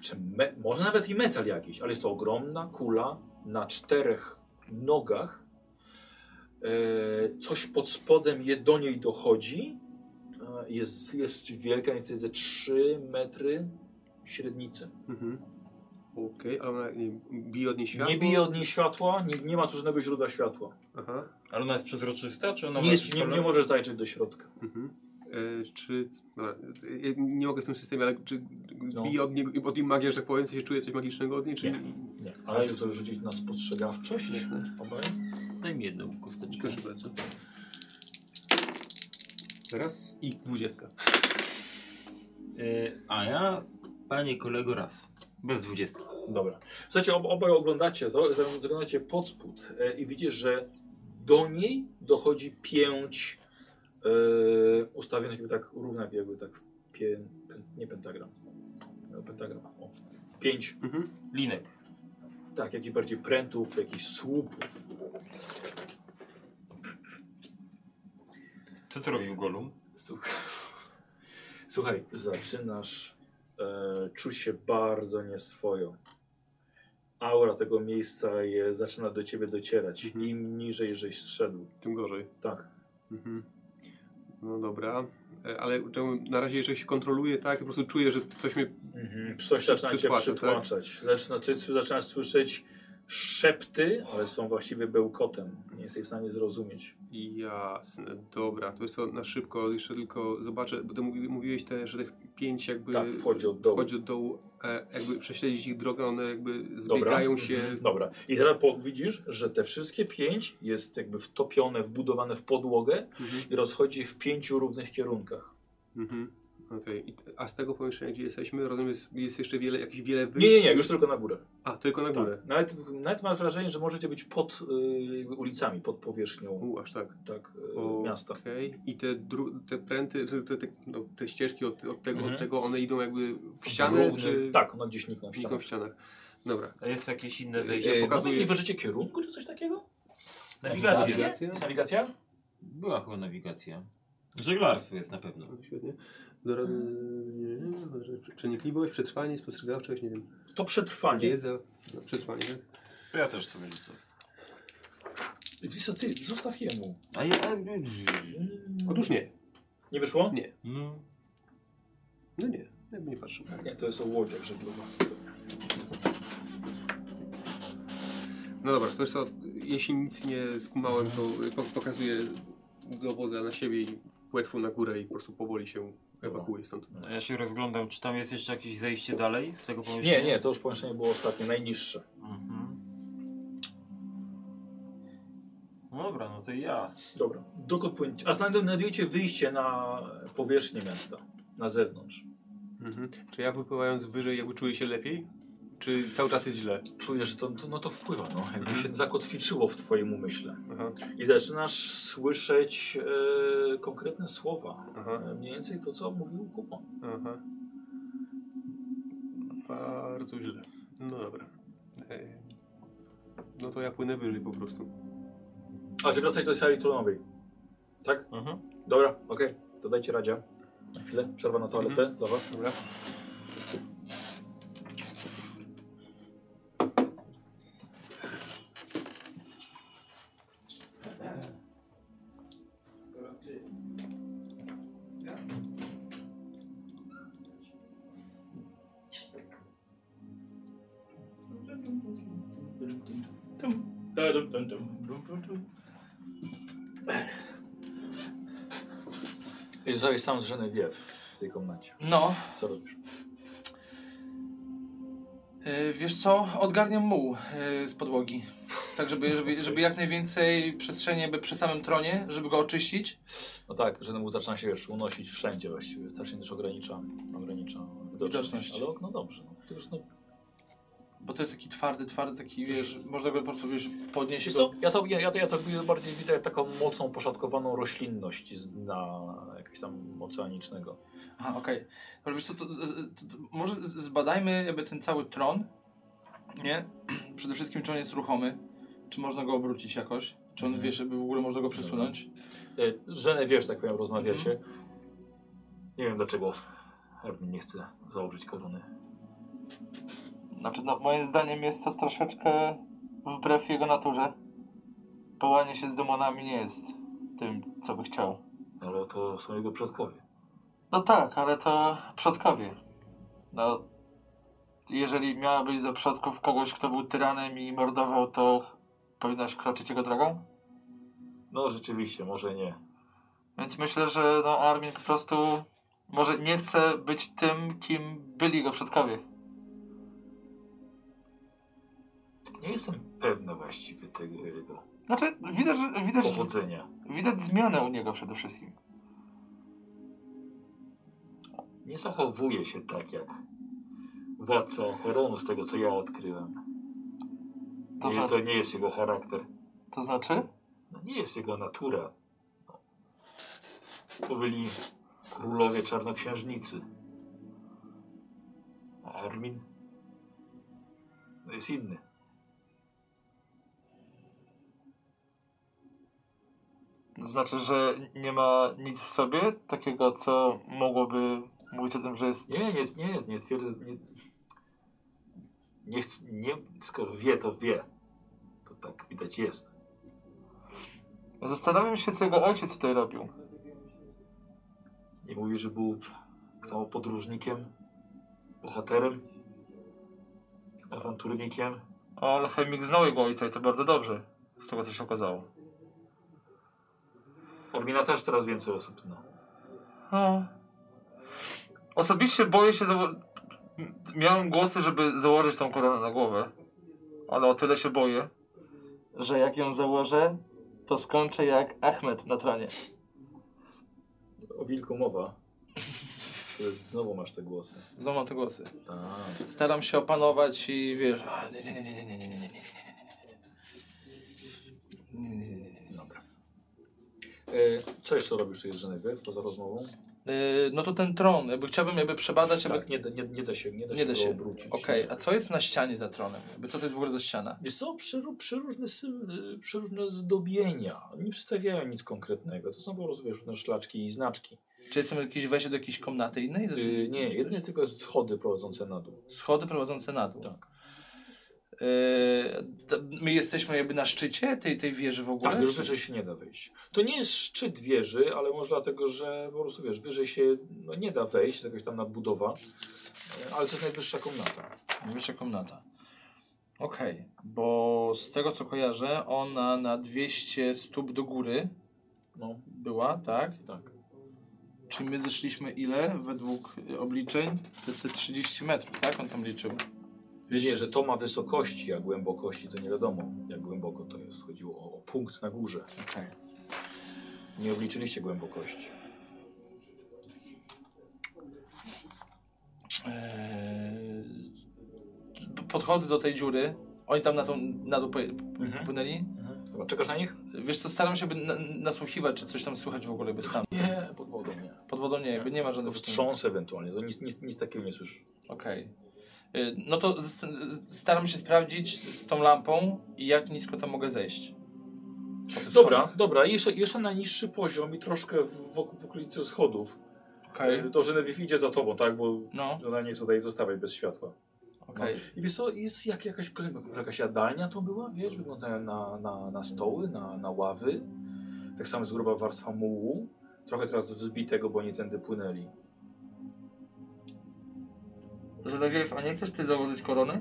czy me, może nawet i metal jakiś, ale jest to ogromna kula na czterech nogach. E, coś pod spodem je do niej dochodzi. E, jest, jest wielka, więc jest ze 3 metry średnicy.
Mhm. Okej, ale ona nie, wiem, bije od niej światło?
Nie bije od niej światła, nie, nie ma tu żadnego źródła światła.
Aha.
Ale ona jest przezroczysta, czy ona
Nie,
ma
jest,
jakiś
nie, nie
No kolor?
możesz zajrzeć do środka.
Mhm. E, czy... Dobra, ja nie mogę w tym systemie, ale czy
No.
bije od, niego, od niej magia, że tak powiem, się czuje coś magicznego od niej, czy...
Nie. Nie. Ale musisz sobie rzucić na spostrzegawczość.
Jasne.
Obaj.
Daj mi jedną kosteczkę.
Proszę bardzo. Raz i dwudziestka.
E,
Y, a ja, panie kolego, raz. Bez dwudziestki.
Dobra. Słuchajcie, ob, obaj oglądacie to, zaglądacie pod spód e, i widzisz, że do niej dochodzi pięć e, ustawionych jakby tak równa, jakby tak w pie, pe- nie pentagram. No, pentagram. O. Pięć,
Mhm.
Linek.
tak, jakichś bardziej prętów, jakichś słupów.
Co to robił Golum?
Słuchaj, Słuchaj zaczynasz e, czuć się bardzo nieswojo. Aura tego miejsca je, zaczyna do ciebie docierać.
Mhm.
Im niżej żeś zszedł.
Tym gorzej.
Tak.
Mhm. No dobra. E, Ale to na razie, jeżeli się kontroluje, tak, po prostu czuję, że coś mnie...
Mhm. Coś zaczyna cię
Przytłacza,
przytłaczać. Zaczyna, ty zaczynasz słyszeć szepty, ale są właściwie bełkotem. Nie jesteś w stanie zrozumieć.
Jasne, dobra. To jest to na szybko, jeszcze tylko zobaczę, bo ty mówi- mówiłeś te, że tych pięć jakby...
Tak, wchodzi od dołu.
Wchodzi od dołu, e, jakby prześledzić ich drogę, one jakby zbiegają się...
Mhm. Dobra. I teraz po, widzisz, że te wszystkie pięć jest jakby wtopione, wbudowane w podłogę
Mhm.
i rozchodzi w pięciu równych kierunkach.
Mhm. Okej. I t- A z tego pomieszczenia, gdzie jesteśmy, rozumiem, jest, jest jeszcze wiele, jakieś wiele wyjść?
Nie, nie, nie, już tylko na górę.
A, tylko na górę.
Tak. Nawet, nawet mam wrażenie, że możecie być pod y, jakby ulicami, pod powierzchnią
U, aż tak.
tak, y,
O,
miasta.
Okej. I te, dru- te pręty, czy te, te, no, te ścieżki od, od, tego,
Mhm.
od tego, one idą jakby w ścianę,
Równy-
czy...
Tak, one gdzieś nikną w
Niką
ścianę.
w ścianach. Dobra.
A jest jakieś inne
Yy,
zejście?
No,
pokazuje-
nie wyżycie kierunku czy coś takiego?
Nawigacja.
Nawigacja?
Jest nawigacja?
Była chyba nawigacja. Żeglarstwo jest na pewno.
O, Świetnie. Dobra, yy, przenikliwość, przetrwanie, spostrzegawczość, nie wiem,
To przetrwanie.
wiedza, no, przetrwanie, tak?
Ja też sobie rzucę.
Wiesz co, ty, zostaw jemu.
A ja...
Otóż nie.
Nie wyszło?
Nie.
No.
No nie, jakby nie patrzył.
Nie, to jest o łodziach żeglowych.
No dobra, to wiesz co, jeśli nic nie skumałem, to y, po- pokazuję dowodzę na siebie i płetwą na górę i po prostu powoli się ewakuuję stąd.
A ja się rozglądam, czy tam jest jeszcze jakieś zejście dalej z tego pomieszczenia?
Nie, nie, to już pomieszczenie było ostatnie, najniższe.
Mhm. No dobra, no to ja.
Dobra, dokąd płyniecie? A znajdu- znajdujecie wyjście na powierzchnię miasta, na zewnątrz.
Mhm. Czy ja wypływając wyżej jakby czuję się lepiej? Czy cały czas jest źle?
Czujesz, że to, to, no to wpływa, no, jakby się zakotwiczyło w twoim umyśle.
Aha,
I zaczynasz słyszeć e, konkretne słowa.
aha,
E, Mniej więcej to, co mówił Kuba.
aha. Bardzo źle. No dobra. Ej. No to ja płynę wyżej po prostu.
A, że wracać do sali tronowej. Tak?
Mhm.
Dobra, okej, to dajcie radzie. Na chwilę, przerwa na toaletę dla was.
Dobra.
Zostałeś sam z Genevieve w tej komnacie.
No,
Co robisz?
E, Wiesz co, odgarniam muł e, z podłogi. Tak, żeby, żeby, żeby jak najwięcej przestrzeni jakby przy samym tronie, żeby go oczyścić.
No tak, Genemu zaczyna się już unosić wszędzie właściwie. Zaczyna też ogranicza, ogranicza widoczność.
Widoczność.
Ale okno dobrze. No. Tylko, że no,
Bo to jest taki twardy, twardy, taki, wiesz, można go po prostu wiesz,
Wiesz
podnieść.
co,
Go.
ja to, ja, ja, to, ja to bardziej widzę jak taką mocną, poszatkowaną roślinność z dna jakiegoś tam oceanicznego.
Aha, okej. Dobra, Wiesz co, to, z- z- to, to może z- zbadajmy jakby ten cały tron, nie? Przede wszystkim, czy on jest ruchomy, czy można go obrócić jakoś, czy
Mhm.
on, wiesz, jakby w ogóle można go przesunąć.
Żenę wiesz, tak powiem, rozmawiacie. Nie wiem dlaczego Hermin nie chce założyć korony.
Znaczy, no, moim zdaniem jest to troszeczkę wbrew jego naturze. Połanie się z demonami nie jest tym, co by chciał.
Ale to są jego przodkowie.
No tak, ale to przodkowie. No, jeżeli miała być za przodków kogoś, kto był tyranem i mordował, to powinnaś kroczyć jego drogą?
No rzeczywiście, może nie.
Więc myślę, że no, Armin po prostu może nie chce być tym, kim byli jego przodkowie.
Nie jestem pewna właściwie tego jego
Znaczy, widać, że- widać,
pochodzenia.
widać zmianę u niego przede wszystkim.
Nie zachowuje się tak jak władca Heronu, z tego co ja odkryłem.
To,
Nie,
zna-
to nie jest jego charakter.
to znaczy?
No, nie jest jego natura. No. To byli królowie czarnoksiężnicy. A Armin no jest inny.
Znaczy, że nie ma nic w sobie takiego, co mogłoby mówić o tym, że jest.
Nie, nie, nie, nie twierdzę. Nie, nie, chc- nie, skoro wie, to wie. To tak widać jest.
Zastanawiam się, co jego ojciec tutaj robił.
Nie mówię, że był samopodróżnikiem, bohaterem, awanturnikiem.
Ale Chemik znał jego ojca i to bardzo dobrze, z tego co się okazało.
Armina też teraz więcej osób zna.
No. Osobiście boję się. Zało- m- Miałem głosy, żeby założyć tą koronę na głowę. Ale o tyle się boję, że jak ją założę, to skończę jak Ahmed na tronie.
O wilku mowa. Znowu masz te głosy.
Znowu te głosy.
Tak.
Staram się opanować i wiesz. a, Nie, nie, nie, nie, nie, nie, nie, nie, nie, nie, nie, nie, nie, nie, nie, nie, nie.
Dobra. E, co jeszcze robisz tu Jerzynowy poza rozmową?
Yy, No to ten tron, jakby chciałbym jakby przebadać, jakby.
Tak, nie, da- nie, nie da się, nie da
Nie
się,
da
go
się.
obrócić.
Okej, a co jest na ścianie za tronem? Jakby co to jest w ogóle za ściana?
Wiesz co, przeró- przeróżne, sym- y, przeróżne zdobienia. Nie przedstawiają nic konkretnego. To są po prostu wiesz, różne szlaczki i znaczki.
Czy jestem jakiś wejście do jakiejś komnaty innej?
Y, nie, jedynie tylko schody prowadzące na dół.
Schody prowadzące na dół.
Tak.
Yy, d- my jesteśmy jakby na szczycie tej, tej wieży w ogóle?
Tak, już
czy-
wyżej się nie da wejść. To nie jest szczyt wieży, ale może dlatego, że po prostu wiesz, wyżej się no, nie da wejść, jakaś tam nadbudowa, y, ale to jest najwyższa komnata.
Wyższa komnata. Okej, bo z tego co kojarzę, ona na 200 stóp do góry
No,
była, tak?
tak.
Czy my zeszliśmy ile według y, obliczeń? Te, te 30 metrów, tak? On tam liczył.
Nie, że to ma wysokości, a głębokości to nie wiadomo, jak głęboko to jest. Chodziło o, o punkt na górze.
Okej.
Nie obliczyliście głębokości.
Eee, Podchodzę do tej dziury. Oni tam na, tą, na dół poje-
Mhm.
popłynęli.
Mhm. Dobra, czekasz na nich?
Wiesz co, staram się by na, nasłuchiwać, czy coś tam słychać w ogóle by tam.
Nie, pod wodą nie.
Pod wodą nie, jakby nie ma
To
żadnego
No, wstrząs ewentualnie, to nic, nic, nic takiego nie słyszysz.
Okej. Y, No to z, staram się sprawdzić z z tą lampą i jak nisko tam mogę zejść. Po tych
Dobra,
schodach.
dobra, jeszcze, jeszcze na niższy poziom i troszkę w, wokół, w okolicy schodów.
Okej.
To, że Nevi idzie za tobą, tak? Bo
No,
ona nie chce tutaj zostawiać bez światła.
okej.
I wiesz co, jest jak, jakaś kolejna, może jakaś jadalnia to była, wiesz, wyglądają na, na, na stoły, na, na ławy. Tak samo jest gruba warstwa mułu. Trochę teraz wzbitego, bo nie tędy płynęli.
Żelewiew, tak a nie chcesz ty założyć koronę?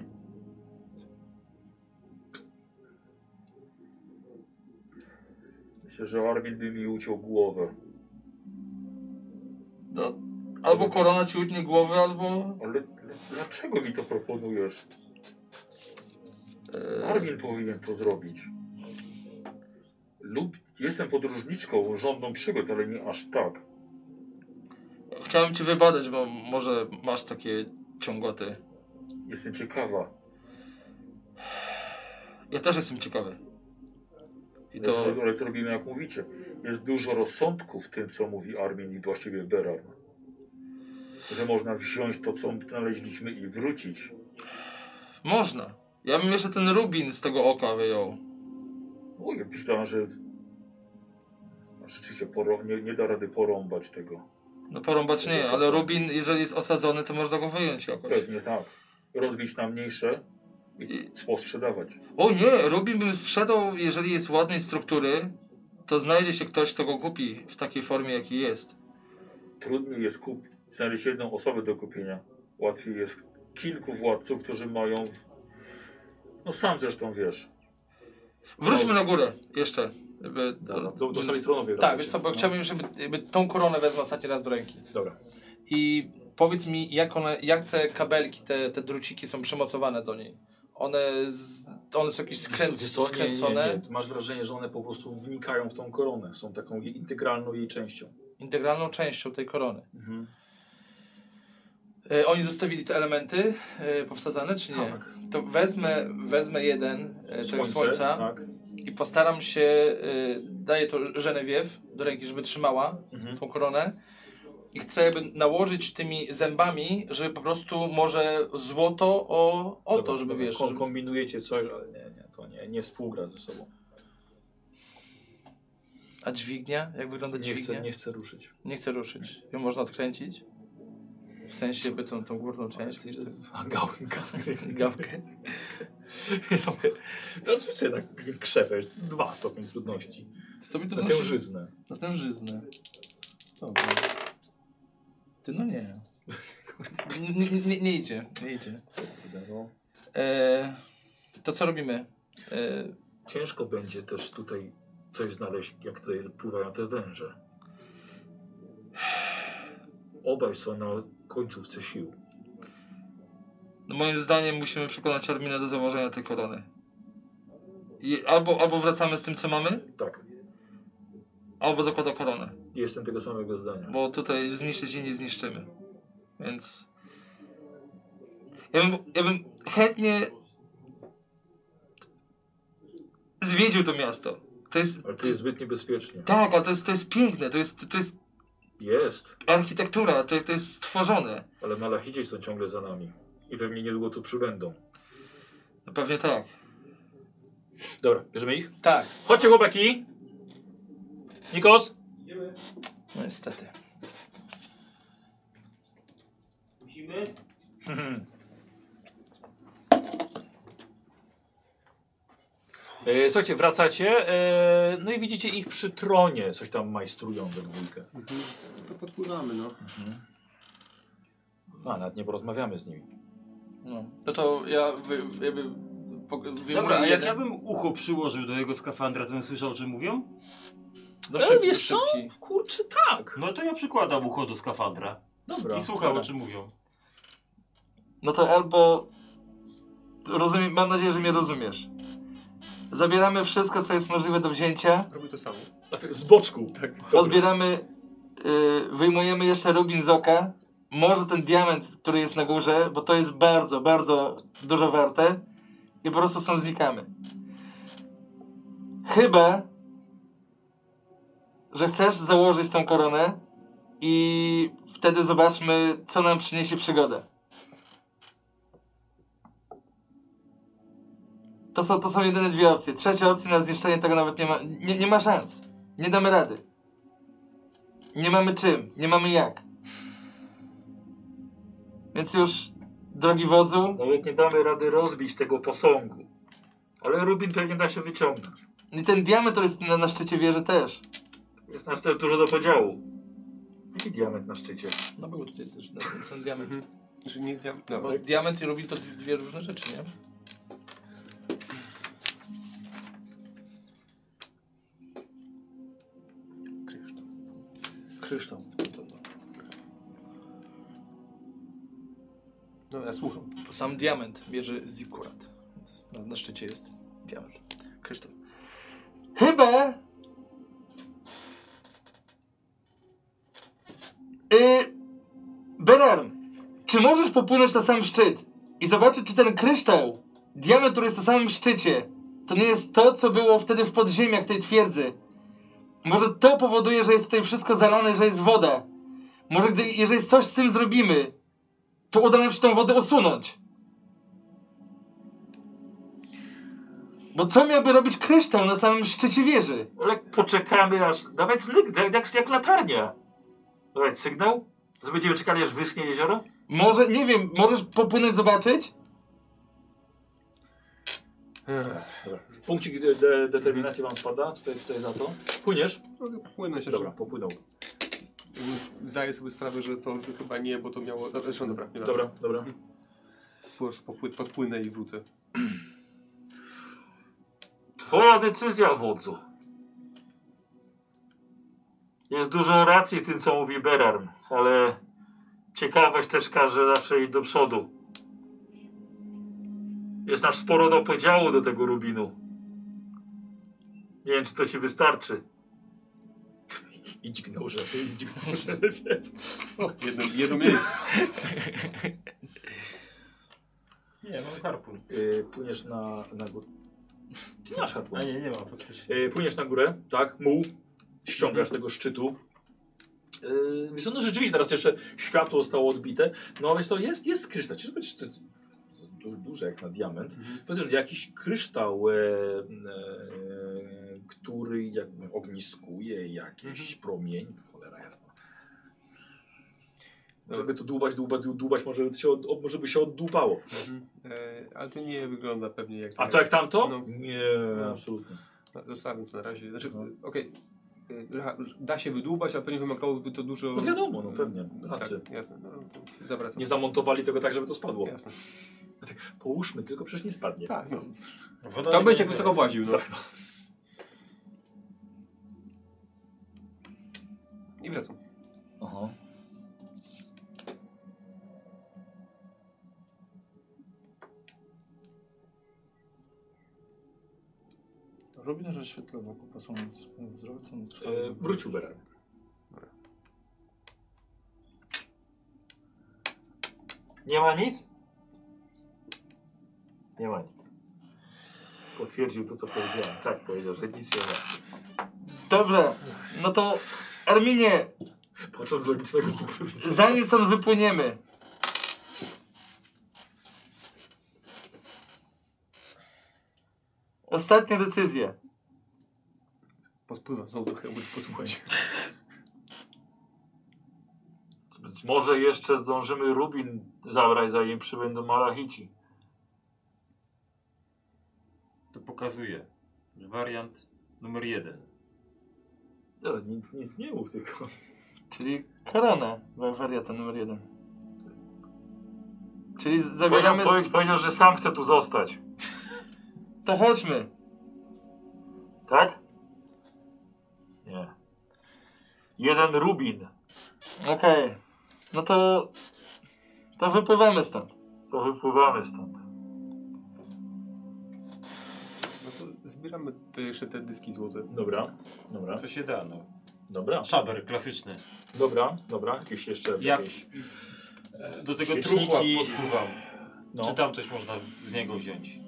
Myślę, że Armin by mi uciął głowę.
No, albo korona ci utnie głowę, albo...
Ale dlaczego mi to proponujesz?
Eee,
Armin powinien to zrobić. Lub jestem podróżniczką, żądną przygód, ale nie aż tak.
chciałem cię wybadać, bo może masz takie ciągoty.
Jestem ciekawa.
Ja też jestem ciekawy. I
To...
to...
Ale zrobimy jak mówicie. Jest dużo rozsądku w tym, co mówi Armin i właściwie Berar. Że można wziąć to, co znaleźliśmy i wrócić.
Można. Ja bym jeszcze ten rubin z tego oka wyjął.
O, No, ja myślałem, że rzeczywiście poro... nie, nie da rady porąbać tego.
No porąbacz nie, ale rubin, jeżeli jest osadzony, to można go wyjąć jakoś.
Pewnie tak. rozbić na mniejsze i sprzedawać.
O nie, Rubin bym sprzedał, jeżeli jest ładnej struktury, to znajdzie się ktoś, kto go kupi w takiej formie, jaki jest.
Trudniej jest kupić, znaleźć jedną osobę do kupienia. Łatwiej jest kilku władców, którzy mają. No sam zresztą wiesz.
Wróćmy na górę jeszcze. Jakby-
Do, do sali tronowej.
Tak, wiesz co, bo chciałbym, żeby jakby tą koronę wezmę ostatni raz do ręki.
no. Dobra.
I powiedz mi, jak, one, jak te kabelki, te, te druciki są przymocowane do niej? One, z, one są jakieś skręc,
Wiesz co, nie,
skręcone,
Nie, nie, Ty Masz wrażenie, że one po prostu wnikają w tą koronę. Są taką jej- integralną jej częścią. Mhm.
integralną częścią tej korony. E, oni zostawili te elementy e, powsadzane, czy nie?
Tak.
To wezmę, wezmę jeden, e, czyli słońca,
Tak.
i postaram się, e, daję to Żenewiew do ręki, żeby trzymała
Mhm.
tą koronę. I chcę jakby nałożyć tymi zębami, żeby po prostu może złoto o, o
Dobra,
to, żeby
dobra.
wiesz,
Kom-
żeby
Kombinujecie coś, ale nie, nie, to nie, nie współgra ze sobą.
A dźwignia? Jak wygląda
Nie
dźwignia?
chcę, nie chcę ruszyć.
Nie chcę ruszyć. Ją można odkręcić? W sensie by tą, tą górną część.
Ty- A gał, gał.
Gawkę.
Sobie- To oczywiście tak krzepę, jest dwa stopień trudności.
Sobie to
Na
nosi-
tę żyznę.
Na tę żyznę. Dobra. Ty no nie. nie, nie, nie idzie, nie idzie.
No,
E, to co robimy? E,
ciężko będzie też tutaj coś znaleźć, jak tutaj pływają te węże. Obaj są na końcówce sił.
No moim zdaniem musimy przekonać Arminę do założenia tej korony. I albo, albo wracamy z tym, co mamy,
Tak,
albo zakłada koronę.
jestem tego samego zdania.
Bo tutaj zniszczyć jej nie zniszczymy. Więc... Ja bym, ja bym chętnie... Zwiedził to miasto. To jest...
Ale to jest zbyt niebezpiecznie.
Tak, ale to jest, to jest piękne, to jest, to jest
Jest,
architektura, to, to jest stworzone.
ale malachici są ciągle za nami. I pewnie niedługo tu przybędą.
No Pewnie tak.
Dobra, bierzemy ich?
tak.
Chodźcie chłopaki! Nikos!
No niestety.
Musimy?
E, Słuchajcie, wracacie, e, no i widzicie ich przy tronie, coś tam majstrują we dwójkę.
To podpływamy, no.
A, nawet nie porozmawiamy z nimi.
No. no to ja wy, jakby po- wyjmuję
Dobra, a jak
jeden.
ja bym ucho przyłożył do jego skafandra, to bym słyszał, czy mówią?
do
E,
szyb,
wiesz co?
szybki.
Kurczę, tak!
No to ja przykładam ucho do skafandra
Dobra.
i słucham, o
dobra.
czym mówią.
No to albo. Rozumiem, mam nadzieję, że mnie rozumiesz. Zabieramy wszystko, co jest możliwe do wzięcia.
Robię to samo.
A ty Z boczku.
Odbieramy. y, wyjmujemy jeszcze rubin z oka. Może ten diament, który jest na górze, bo to jest bardzo, bardzo dużo warte. I po prostu stąd znikamy. Chyba, że chcesz założyć tą koronę i wtedy zobaczmy, co nam przyniesie przygoda. To są, to są jedyne dwie opcje. Trzecia opcja na zniszczenie tego nawet nie ma, nie, nie ma szans. Nie damy rady. Nie mamy czym, nie mamy jak. Więc już, drogi wodzu,
Nawet No nie damy rady rozbić tego posągu. Ale Rubin pewnie da się wyciągnąć.
i ten diament, który jest na, na szczycie wieży też.
Jest nas też dużo do podziału. Jaki diament na szczycie?
No był tutaj też no, ten diament.
Znaczy, nie, ja, no.
Bo diament i rubin to dwie- dwie różne rzeczy, nie? Kryształ. Kryształ.
no ja słucham.
To sam diament bierze zikurat. Na, na szczycie jest diament. Kryształ.
Chyba. Y... Bernard, czy możesz popłynąć na sam szczyt i zobaczyć, czy ten kryształ, diament, który jest na samym szczycie, to nie jest to, co było wtedy w podziemiach tej twierdzy? Może to powoduje, że jest tutaj wszystko zalane, że jest woda. Może gdy, jeżeli coś z tym zrobimy, to uda nam się tą wodę usunąć. Bo co miałby robić kryształ na samym szczycie wieży?
Ale poczekamy aż... Dawać zlyk, da- jak, jak latarnia. Dawać sygnał? Że będziemy czekali aż wyschnie jezioro?
Może, nie wiem, możesz popłynąć, zobaczyć?
Dobra. Punkcik de de determinacji wam spada, tutaj, tutaj za to. Płyniesz?
Mogę popłynąć jeszcze.
Dobra, popłynął.
Zdaję sobie sprawę, że to chyba nie, bo to miało... Dobra, zresztą dobra. nie
Dobra, dobra.
Po prostu popły- podpłynę i wrócę.
Twoja decyzja, wodzu. Jest dużo racji w tym, co mówi Berarm, ale ciekawość też każe zawsze iść do przodu. Jest aż sporo do podziału do tego Rubinu. Nie wiem, czy to ci wystarczy.
I dźgnął żeby, i dźgnął żeby.
Jedno, jedno mniej.
Nie, mam harpun.
Yy, płyniesz na, na górę. Ty masz harpun.
A nie, nie mam faktycznie.
Yy, płyniesz na górę, tak, muł. Ściągasz z tego szczytu. Yy, wiesz co, no rzeczywiście teraz jeszcze światło zostało odbite. No więc to jest, jest kryształ. Czy to jest to jest du- duże jak na diament.
Mhm.
Powiedzmy, że jakiś kryształ, e, e, który jakby ogniskuje jakiś
Mhm.
promień. Cholera jasna. No, Żeby to dłubać, dłubać, dłubać, może, się od, od, może by się oddupało.
E, ale to nie wygląda pewnie jak...
A to jak tamto?
No.
Nie,
No.
absolutnie.
Zostawiam to na razie. Znaczy, okej. e, ha- Da się wydłubać, ale pewnie wymagałoby to dużo...
No wiadomo, no pewnie, pracy.
Tak, jasne. No, to zawracam.
Nie zamontowali tego tak, żeby to spadło.
Jasne.
Połóżmy, tylko przecież nie spadnie.
Tak, no.
Woda
Tam
nie
będzie
widzę.
jak wysoko właził, no. I wracam.
Aha.
Robi na rzecz świetlową, kupa są zdrowe, to
E, wrócił Beran.
Nie ma nic? Nie ma nic. Potwierdził to, co powiedziałem. Tak, powiedział, że nic nie ma.
Dobrze, no to Arminie,
Patrząc z logicznego punktu widzenia.
zanim stąd wypłyniemy. Ostatnia decyzja.
Podpływam znowu do Helmuta posłuchać.
Więc może jeszcze zdążymy Rubin zabrać, zanim przybędą Malachici.
To pokazuje. Wariant numer jeden.
No, nic, nic nie mów tylko.
Czyli korona, wa- wariata numer jeden. Czyli z- zabieramy...
Powiedział, powiedział, że sam chce tu zostać.
To chodźmy.
Tak? Nie. Jeden Rubin.
Okej. No to... To wypływamy stąd.
To wypływamy stąd.
No to zbieramy te, jeszcze te dyski złote.
Dobra, dobra,
Co się da, no.
dobra,
Szaber klasyczny.
dobra, dobra. Jakieś jeszcze
Ja-
jakieś...
Do tego
Świeczniki.
trukła podpływam.
No.
Czy tam coś można z niego wziąć?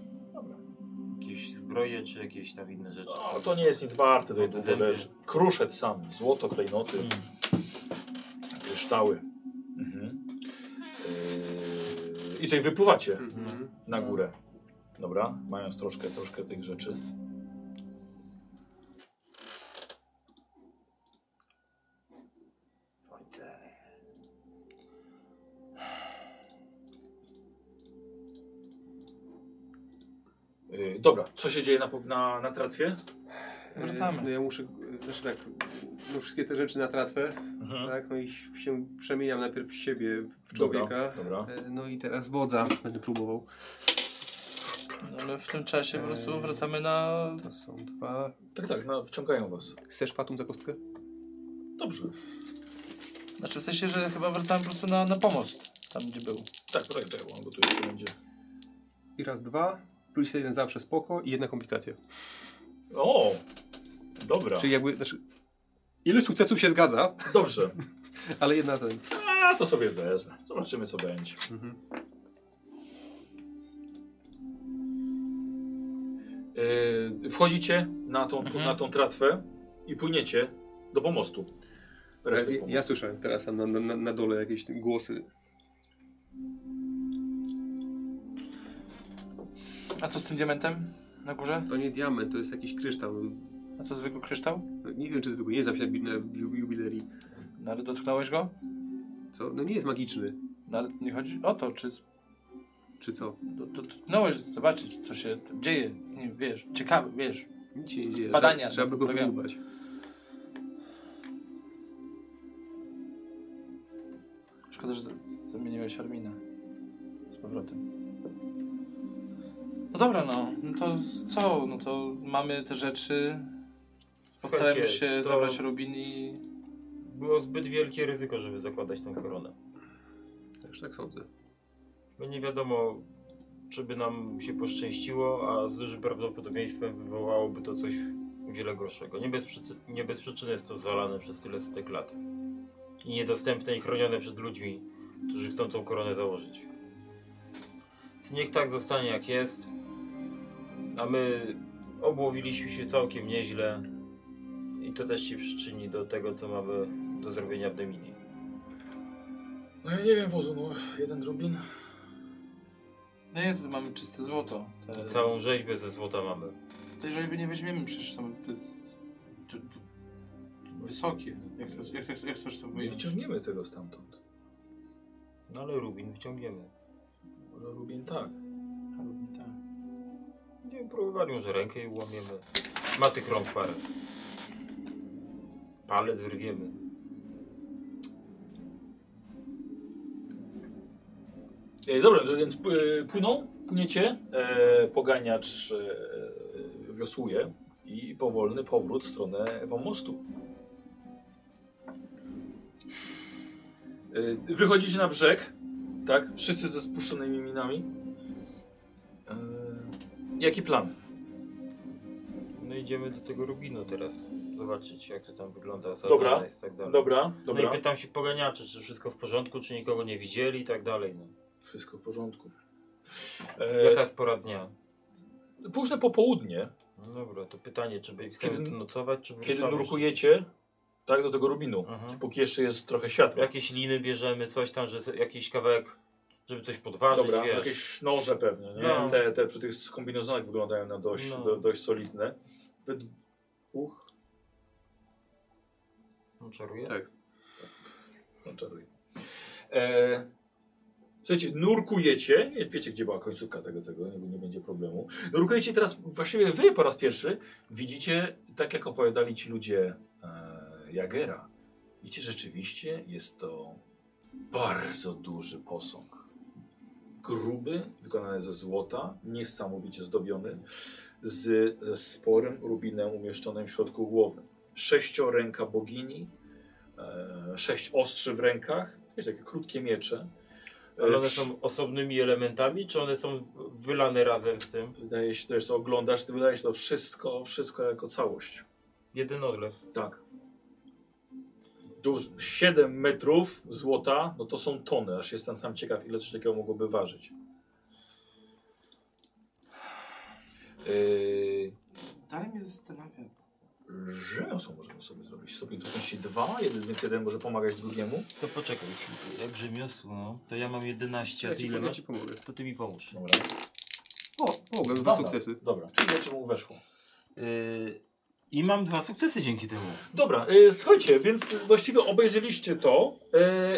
Jakieś zbroje, czy jakieś tam inne rzeczy.
No, to nie jest nic warte. Tutaj
Zęby.
to zależy. Kruszec sam, złoto, klejnoty,
Mm.
kryształy. Mhm. Yy, I tutaj wypływacie
Mhm.
na górę. Dobra, mając troszkę, troszkę tych rzeczy. Yy, dobra, co się dzieje na, po- na, na tratwie?
Wracamy.
E, No ja muszę, e, znaczy tak, no wszystkie te rzeczy na tratwę, tak, no i się przemieniam najpierw w siebie, w człowieka.
Dobra.
E, No i teraz wodza będę próbował.
Ale No, w tym czasie po prostu wracamy na...
To są dwa.
Tak, tak, no, wciągają was.
Chcesz fatum za kostkę?
Dobrze.
Znaczy w sensie, że chyba wracamy po prostu na, na pomost. Tam gdzie był.
Tak, tak, tak, bo tu jeszcze będzie.
I raz, dwa, plus jeden zawsze spoko i jedna komplikacja.
O! Dobra,
Czyli jakby, znaczy, ilość sukcesów się zgadza,
dobrze.
ale jedna ten.
A to sobie wezmę. Zobaczymy co będzie. Yy, wchodzicie na tą, na tą tratwę i płyniecie do pomostu.
Teraz,
Reszty
ja, ja słyszałem teraz tam na, na, na dole jakieś te głosy.
A co z tym diamentem na górze?
To nie diament, to jest jakiś kryształ.
A co zwykły kryształ?
Nie wiem czy zwykły, nie jest zawsze na ju- jubilerii.
No ale dotknąłeś go?
Co? No nie jest magiczny.
No ale nie chodzi o to, czy...
czy co?
Do- do- Dotknąłeś, zobaczyć, co się tam dzieje. Nie wiesz, ciekawy, wiesz.
Nic się nie dzieje.
Badania.
no,
Trzeba by go
Robią.
wydłubać.
Szkoda, że z- zamieniłeś Armina z powrotem. No dobra, no. No to co? No to mamy te rzeczy. Postarajmy
Słuchajcie,
się
to-
zabrać Rubin i...
Było zbyt wielkie ryzyko, żeby zakładać tą koronę.
Też tak sądzę.
Bo No nie wiadomo, czy by nam się poszczęściło, a z dużym prawdopodobieństwem wywołałoby to coś wiele gorszego. Nie bez, przycy- nie bez przyczyny jest to zalane przez tyle setek lat. I niedostępne i chronione przed ludźmi, którzy chcą tą koronę założyć. Więc niech tak zostanie jak jest. A my obłowiliśmy się całkiem nieźle. I to też się przyczyni do tego, co mamy do zrobienia w Demidii.
No ja nie wiem, wozu, no jeden rubin.
No Nie, tu mamy czyste złoto. Te...
Całą rzeźbę ze złota mamy.
To jeżeli by nie weźmiemy, przecież tam to jest to, to, wysokie. Jak, to, jak, jak, jak chcesz to
Nie
wyjść?
wyciągniemy tego stamtąd.
No ale Rubin wciągniemy.
Może rubin tak.
Nie wiem, próbowali może rękę i łamiemy. Ma tych rąk parę. Palec wyrwiemy.
E, dobra, że więc e, płyną, płyniecie, e, poganiacz e, wiosłuje i powolny powrót w stronę pomostu. E, wychodzicie na brzeg, tak? Wszyscy ze spuszczonymi minami. E, jaki plan?
No idziemy do tego Rubinu teraz. Zobaczyć jak to tam wygląda. Za
Dobra.
dobra. Jest, tak dalej.
Dobra, dobra.
No i pytam się poganiaczy, czy wszystko w porządku, czy nikogo nie widzieli i tak dalej. No.
Wszystko w porządku. E,
Jaka jest pora dnia?
Późne popołudnie,
No dobra, to pytanie, czy by- chcemy
Kiedy-
tu nocować, czy
kiedy
ruszamy
nurkujecie, tak, do tego rubinu,
Mhm.
póki jeszcze jest trochę światła.
Jakieś liny bierzemy, coś tam, że jakiś kawałek, żeby coś podważyć,
Dobra,
wiesz.
jakieś noże pewnie, nie?
No.
Te, te przy tych kombinezonach wyglądają na dość,
No.
do, dość solidne. We dwóch...
No, czaruję?
E,
Tak.
No, czaruję. E, słuchajcie, nurkujecie, nie, wiecie gdzie była końcówka tego, tego nie, nie będzie problemu. Nurkujecie teraz, właściwie wy po raz pierwszy widzicie, tak jak opowiadali ci ludzie e, Jagera. Widzicie, rzeczywiście jest to bardzo duży posąg. Gruby, wykonany ze złota, niesamowicie zdobiony, z ze sporym rubinem umieszczonym w środku głowy. Sześcioręka bogini, e, sześć ostrzy w rękach, wiesz, takie krótkie miecze. E,
Ale one
przy-
są osobnymi elementami, czy one są wylane razem z tym?
Wydaje się, też oglądasz, ty wydaje się to wszystko, wszystko jako całość.
Jeden odlew.
Tak. Duż, 7 metrów złota, no to są tony, aż jestem sam ciekaw, ile coś takiego mogłoby ważyć. Yy,
Dalej mnie zastanawia.
rzemiosło możemy sobie zrobić. Stopień trudności 2, jeden, więc jeden może pomagać drugiemu.
To poczekaj, jak rzemiosło, no, to ja mam 11,
Ja
a ty
no.
ci,
ile
ja
masz?
ci pomogę.
To ty mi pomóż.
Dobra,
O, mogę,
Dwa
dwa sukcesy.
dobra. czyli jeszcze mu weszło.
Yy, I mam dwa sukcesy dzięki temu.
Dobra, y, słuchajcie, więc właściwie obejrzeliście to.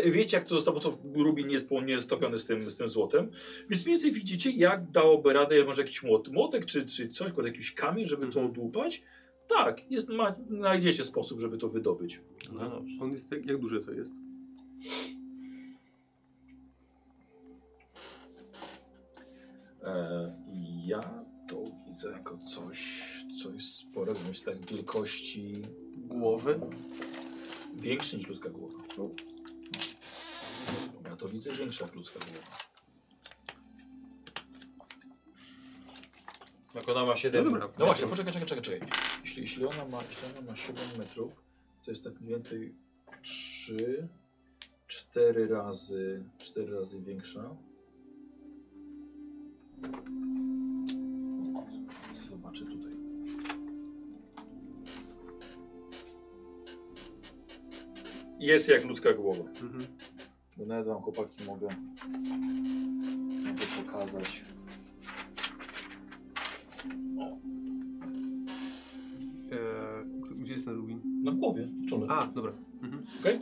Y, wiecie, jak to zostało, bo to Rubin jest, po- nie jest stopiony z tym, z tym złotem. Więc mniej więcej widzicie, jak dałoby radę, może jakiś młot, młotek czy, czy coś, kod jakiś kamień, żeby to odłupać. Tak, jest, ma, znajdziecie sposób, żeby to wydobyć.
No dobrze.
On jest tak, jak duże to jest?
E, ja to widzę jako coś, coś sporego, myślę, tak wielkości głowy. Większe niż ludzka głowa. Ja to widzę większe jak ludzka głowa.
Jak ona ma
No
7.
dobra.
No właśnie, poczekaj, czekaj, czekaj, czekaj. Jeśli, jeśli, ona ma, jeśli ona ma 7 metrów, to jest tak mniej więcej 3, 4 razy, 4 razy większa. Zobaczę tutaj. Jest jak ludzka głowa.
Mhm.
Bo nawet wam chłopaki mogę, mogę pokazać.
E, gdzie jest ten Rubin?
Na głowie, No w czole.
A, dobra. Mhm.
Okej.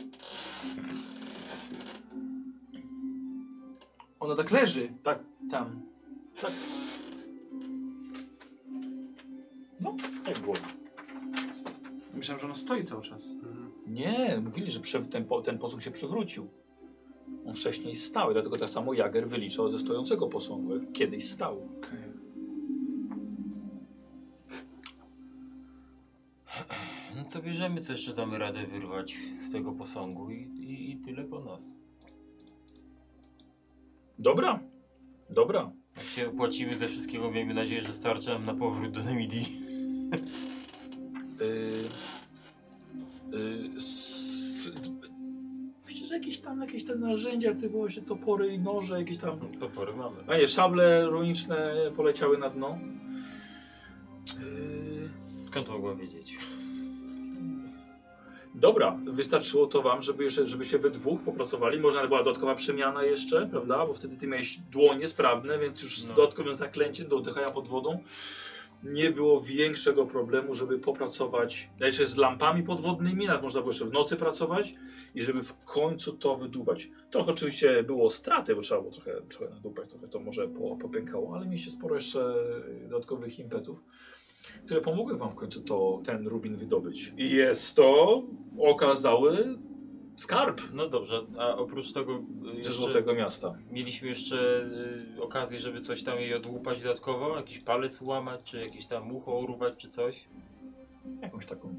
Ona tak leży.
Tak.
Tam.
Tak. No, tak było.
Myślałem, że ona stoi cały czas.
Nie, mówili, że przew- ten, po- ten posąg się przewrócił. On wcześniej stał, i dlatego tak samo Jager wyliczał ze stojącego posągu, jak kiedyś stał.
No to bierzemy, co jeszcze damy radę wyrwać z tego posągu i, i, i tyle po nas.
Dobra, dobra.
Jak się opłacimy ze wszystkiego, miejmy nadzieję, że starczy nam na powrót do Nemidii.
Yy, yy, s- Myślę, że jakieś tam jakieś te narzędzia, ty było się topory i noże, jakieś tam.
To porywamy.
A nie, szable runiczne poleciały na dno. Yy,
Skąd mogła wiedzieć?
Dobra, wystarczyło to wam, żeby, jeszcze, żeby się we dwóch popracowali. Można była dodatkowa przemiana jeszcze, prawda? Bo wtedy ty miałeś dłonie sprawne, więc już z
No.
dodatkowym zaklęciem do oddychania pod wodą nie było większego problemu, żeby popracować. A Jeszcze z lampami podwodnymi, nawet można było jeszcze w nocy pracować i żeby w końcu to wydubać. Trochę oczywiście było straty, bo trzeba było trochę, trochę nadupać, trochę to może po, popękało, ale mieliście sporo jeszcze dodatkowych impetów, które pomogły wam w końcu to, ten rubin wydobyć. I jest to okazały skarb
No dobrze, a oprócz tego y,
ze
jeszcze,
Złotego Miasta.
mieliśmy jeszcze y, okazję, żeby coś tam jej odłupać dodatkowo? Jakiś palec łamać, czy jakieś tam ucho urwać, czy coś?
Jakąś taką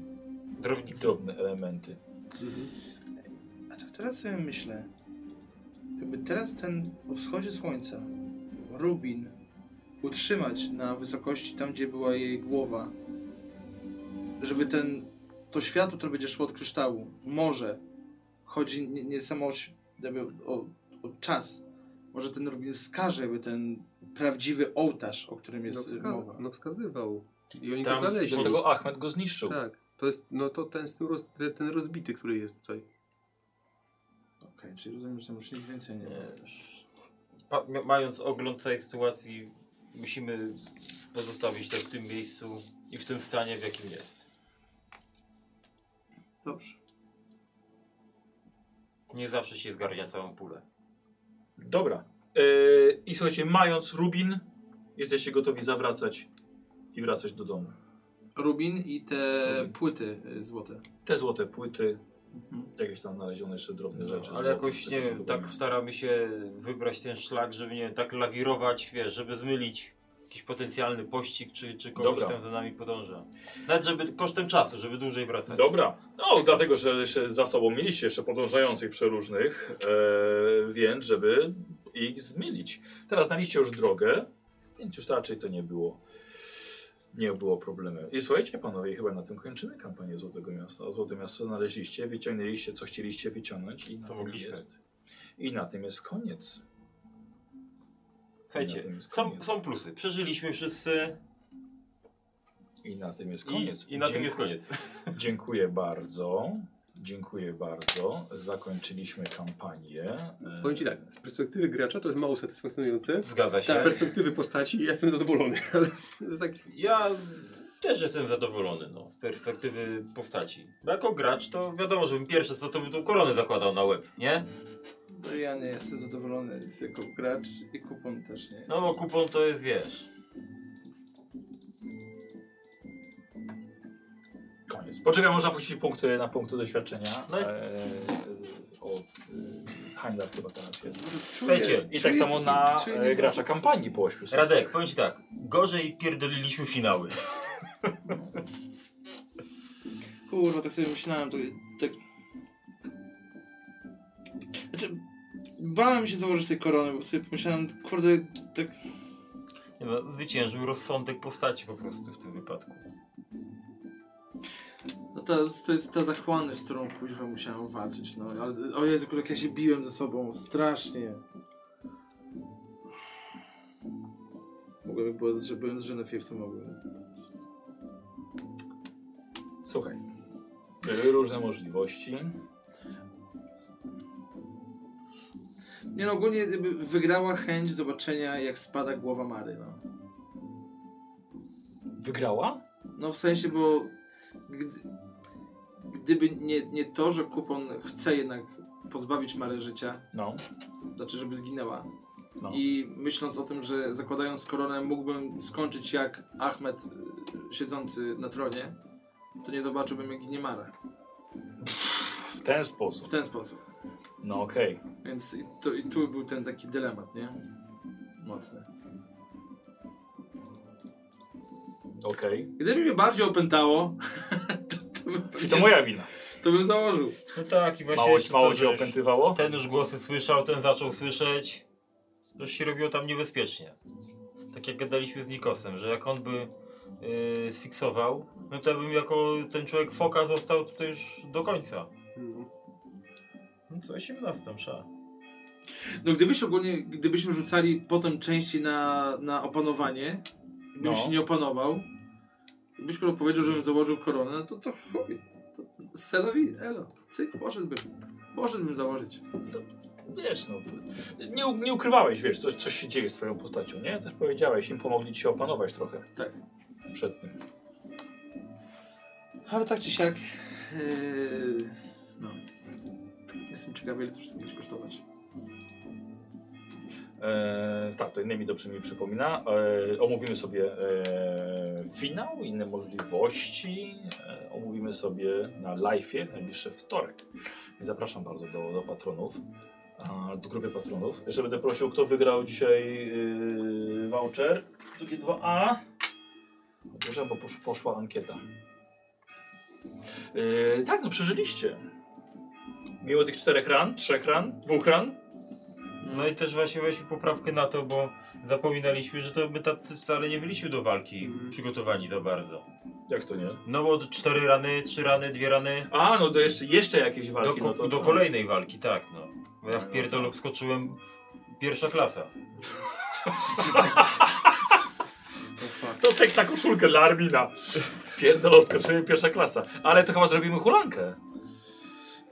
Drobnicę.
drobne elementy.
A tak teraz sobie myślę, jakby teraz ten o wschodzie słońca Rubin utrzymać na wysokości tam, gdzie była jej głowa, żeby ten, to światło, które będzie szło od kryształu, może, chodzi nie, nie samo o, ś- jakby o, o czas, może ten Rubin wskaże jakby ten prawdziwy ołtarz, o którym
No,
jest y, mowa.
wskaza- no wskazywał. I oni
Tam-
go znaleźli.
Dlatego Ahmed go zniszczył.
Tak. To jest, no to ten, z tym roz, ten, ten rozbity, który jest tutaj.
Okej, czyli rozumiem, że tam już nic więcej nie ma.
E, Pa, mia- mając ogląd całej sytuacji, musimy pozostawić to w tym miejscu i w tym stanie, w jakim jest.
Dobrze.
Nie zawsze się zgarnia całą pulę.
Dobra. Yy, I słuchajcie, mając Rubin, jesteście gotowi zawracać i wracać do domu.
Rubin i te płyty y, złote.
Te złote płyty, jakieś tam znalezione jeszcze drobne rzeczy.
Mhm. No, ale
złote,
jakoś,
które
nie
są
wiem,
dobre.
tak staramy się wybrać ten szlak, żeby, nie wiem, tak lawirować, wiesz, żeby zmylić jakiś potencjalny pościg, czy, czy kogoś
Dobra.
tam za nami podąża. Nawet żeby kosztem czasu, żeby dłużej wracać.
Dobra. No, dlatego, że jeszcze za sobą mieliście jeszcze podążających przeróżnych, e, więc żeby ich zmielić. Teraz znaliście już drogę, więc już raczej to nie było. Nie było problemem. I słuchajcie, panowie, chyba na tym kończymy kampanię Złotego Miasta. Złote Miasto znaleźliście, wyciągnęliście, co chcieliście wyciągnąć i na
Co
tym
mogliśmy.
jest. I na tym jest koniec. I na
Słuchajcie,
tym jest
są,
koniec.
są plusy. Przeżyliśmy wszyscy
I na tym jest
i,
koniec.
i na tym
Dziękuję.
jest koniec.
Dziękuję bardzo. Dziękuję bardzo. Zakończyliśmy kampanię. E,
Powiem ci tak, z perspektywy gracza to jest mało satysfakcjonujące.
Tak.
Zgadza się.
Z perspektywy postaci ja jestem zadowolony, ale to jest tak,
Ja też jestem zadowolony no, z perspektywy postaci. Bo jako gracz to wiadomo, żebym pierwsze co to bym tą koronę zakładał na łeb, nie?
No ja nie jestem zadowolony, tylko gracz i kupon też nie jest.
No bo kupon to jest, wiesz...
Koniec. Poczekaj, można puścić punkty na punkty doświadczenia.
No i-
e, od e, Heimdall chyba teraz jest.
Słuchajcie,
I tak samo na e, gracza kampanii po ośmiu sesjach.
Radek, powiem ci tak, gorzej pierdoliliśmy finały.
Kurwa, tak sobie myślałem, to tak... Znaczy, bałem się założyć tej korony, bo sobie pomyślałem, kurde, tak...
Nie no, zwyciężył rozsądek postaci po prostu w tym wypadku.
No to, to jest ta zachłanność, z którą kuźwa musiałem walczyć, no. Ale, o Jezu, kurde, jak ja się biłem ze sobą, strasznie. Mogłem, bo że byłem z Genevieve, to mogłem.
Słuchaj. Były różne możliwości.
Nie no, ogólnie jakby wygrała chęć zobaczenia, jak spada głowa Mary, no.
Wygrała?
No w sensie, bo gdy, gdyby nie, nie to, że kupon chce jednak pozbawić Marę życia,
No.
znaczy żeby zginęła,
No.
I myśląc o tym, że zakładając koronę mógłbym skończyć jak Ahmed y, siedzący na tronie, to nie zobaczyłbym jak Giniemara.
W ten sposób.
W ten sposób.
No okej.
Więc i, to, i tu był ten taki dylemat, nie? Mocny.
Okej.
Gdyby mnie bardziej opętało, to, to, bym,
Czyli to moja wina.
to bym założył.
No tak, i właśnie
Mało,
jeszcze
mało
to,
cię
że już
opętywało?
ten już głosy słyszał, ten zaczął słyszeć. To się robiło tam niebezpiecznie. Tak jak gadaliśmy z Nikosem, że jak on by yy, sfiksował, no to ja bym jako ten człowiek foka został tutaj już do końca. No to 18, sza.
No gdybyś ogólnie, gdybyśmy rzucali potem części na, na opanowanie, bym
No.
się nie opanował, gdybyś kurwa powiedział, żebym założył koronę, no to to chuj, to selawi, elo, cyk, poszedłbym, poszedłbym założyć.
Wiesz, no, nie, u- nie ukrywałeś, wiesz, coś, coś się dzieje z twoją postacią, nie? Też powiedziałeś, im pomogli ci się opanować trochę.
Tak.
Przed tym.
Ale tak czy siak, yy, no, jestem ciekawy, ile to wszystko będzie kosztować.
E, tak, to innymi dobrze mi przypomina. E, omówimy sobie e, finał, inne możliwości. E, omówimy sobie na live'ie w najbliższy wtorek. Zapraszam bardzo do, do patronów, a, do grupy patronów. Jeszcze będę prosił, kto wygrał dzisiaj e, voucher. Drugie 2A. Dobrze, bo posz, poszła ankieta. E, tak, no przeżyliście. Mimo tych czterech ran, trzech ran, dwóch ran.
No i też właśnie weźmy poprawkę na to, bo zapominaliśmy, że to my ta, wcale nie byliśmy do walki przygotowani za bardzo.
Jak to nie?
No bo cztery rany, trzy rany, dwie rany.
A, no do jeszcze, jeszcze jakieś
Do,
walki.
ko-
no to,
do
to-
kolejnej walki, tak no. Bo ja w pierdolu skoczyłem pierwsza klasa.
To tak na koszulkę dla Armina. Pierdolotka, czyli pierwsza klasa. Ale to chyba zrobimy hulankę.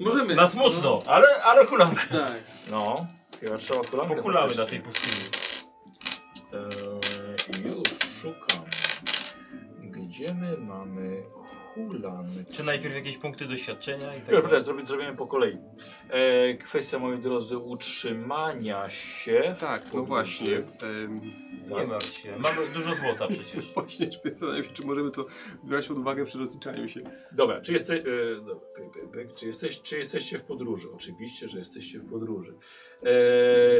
Możemy.
Na smutno, ale, ale hulanka.
Tak.
No, chyba trzeba hulankę.
Pokulamy na
faktycznie.
tej pustyni.
Eee, już szukam. Gdzie my mamy hulankę?
Czy najpierw jakieś punkty doświadczenia i tak
Dobra,
dalej?
zrobi- zrobimy po kolei. Eee, kwestia, moi drodzy, utrzymania się. w
Tak, no
podróży.
właśnie. em,
Nie martw się. Mamy dużo złota przecież.
Właśnie, czy zastanawiam się, czy możemy to brać pod uwagę przy rozliczaniu się.
Dobra, czy, jeste, e, dobra, pyk, pyk, pyk. czy, jesteś, czy jesteście w podróży? Oczywiście, że jesteście w podróży. E,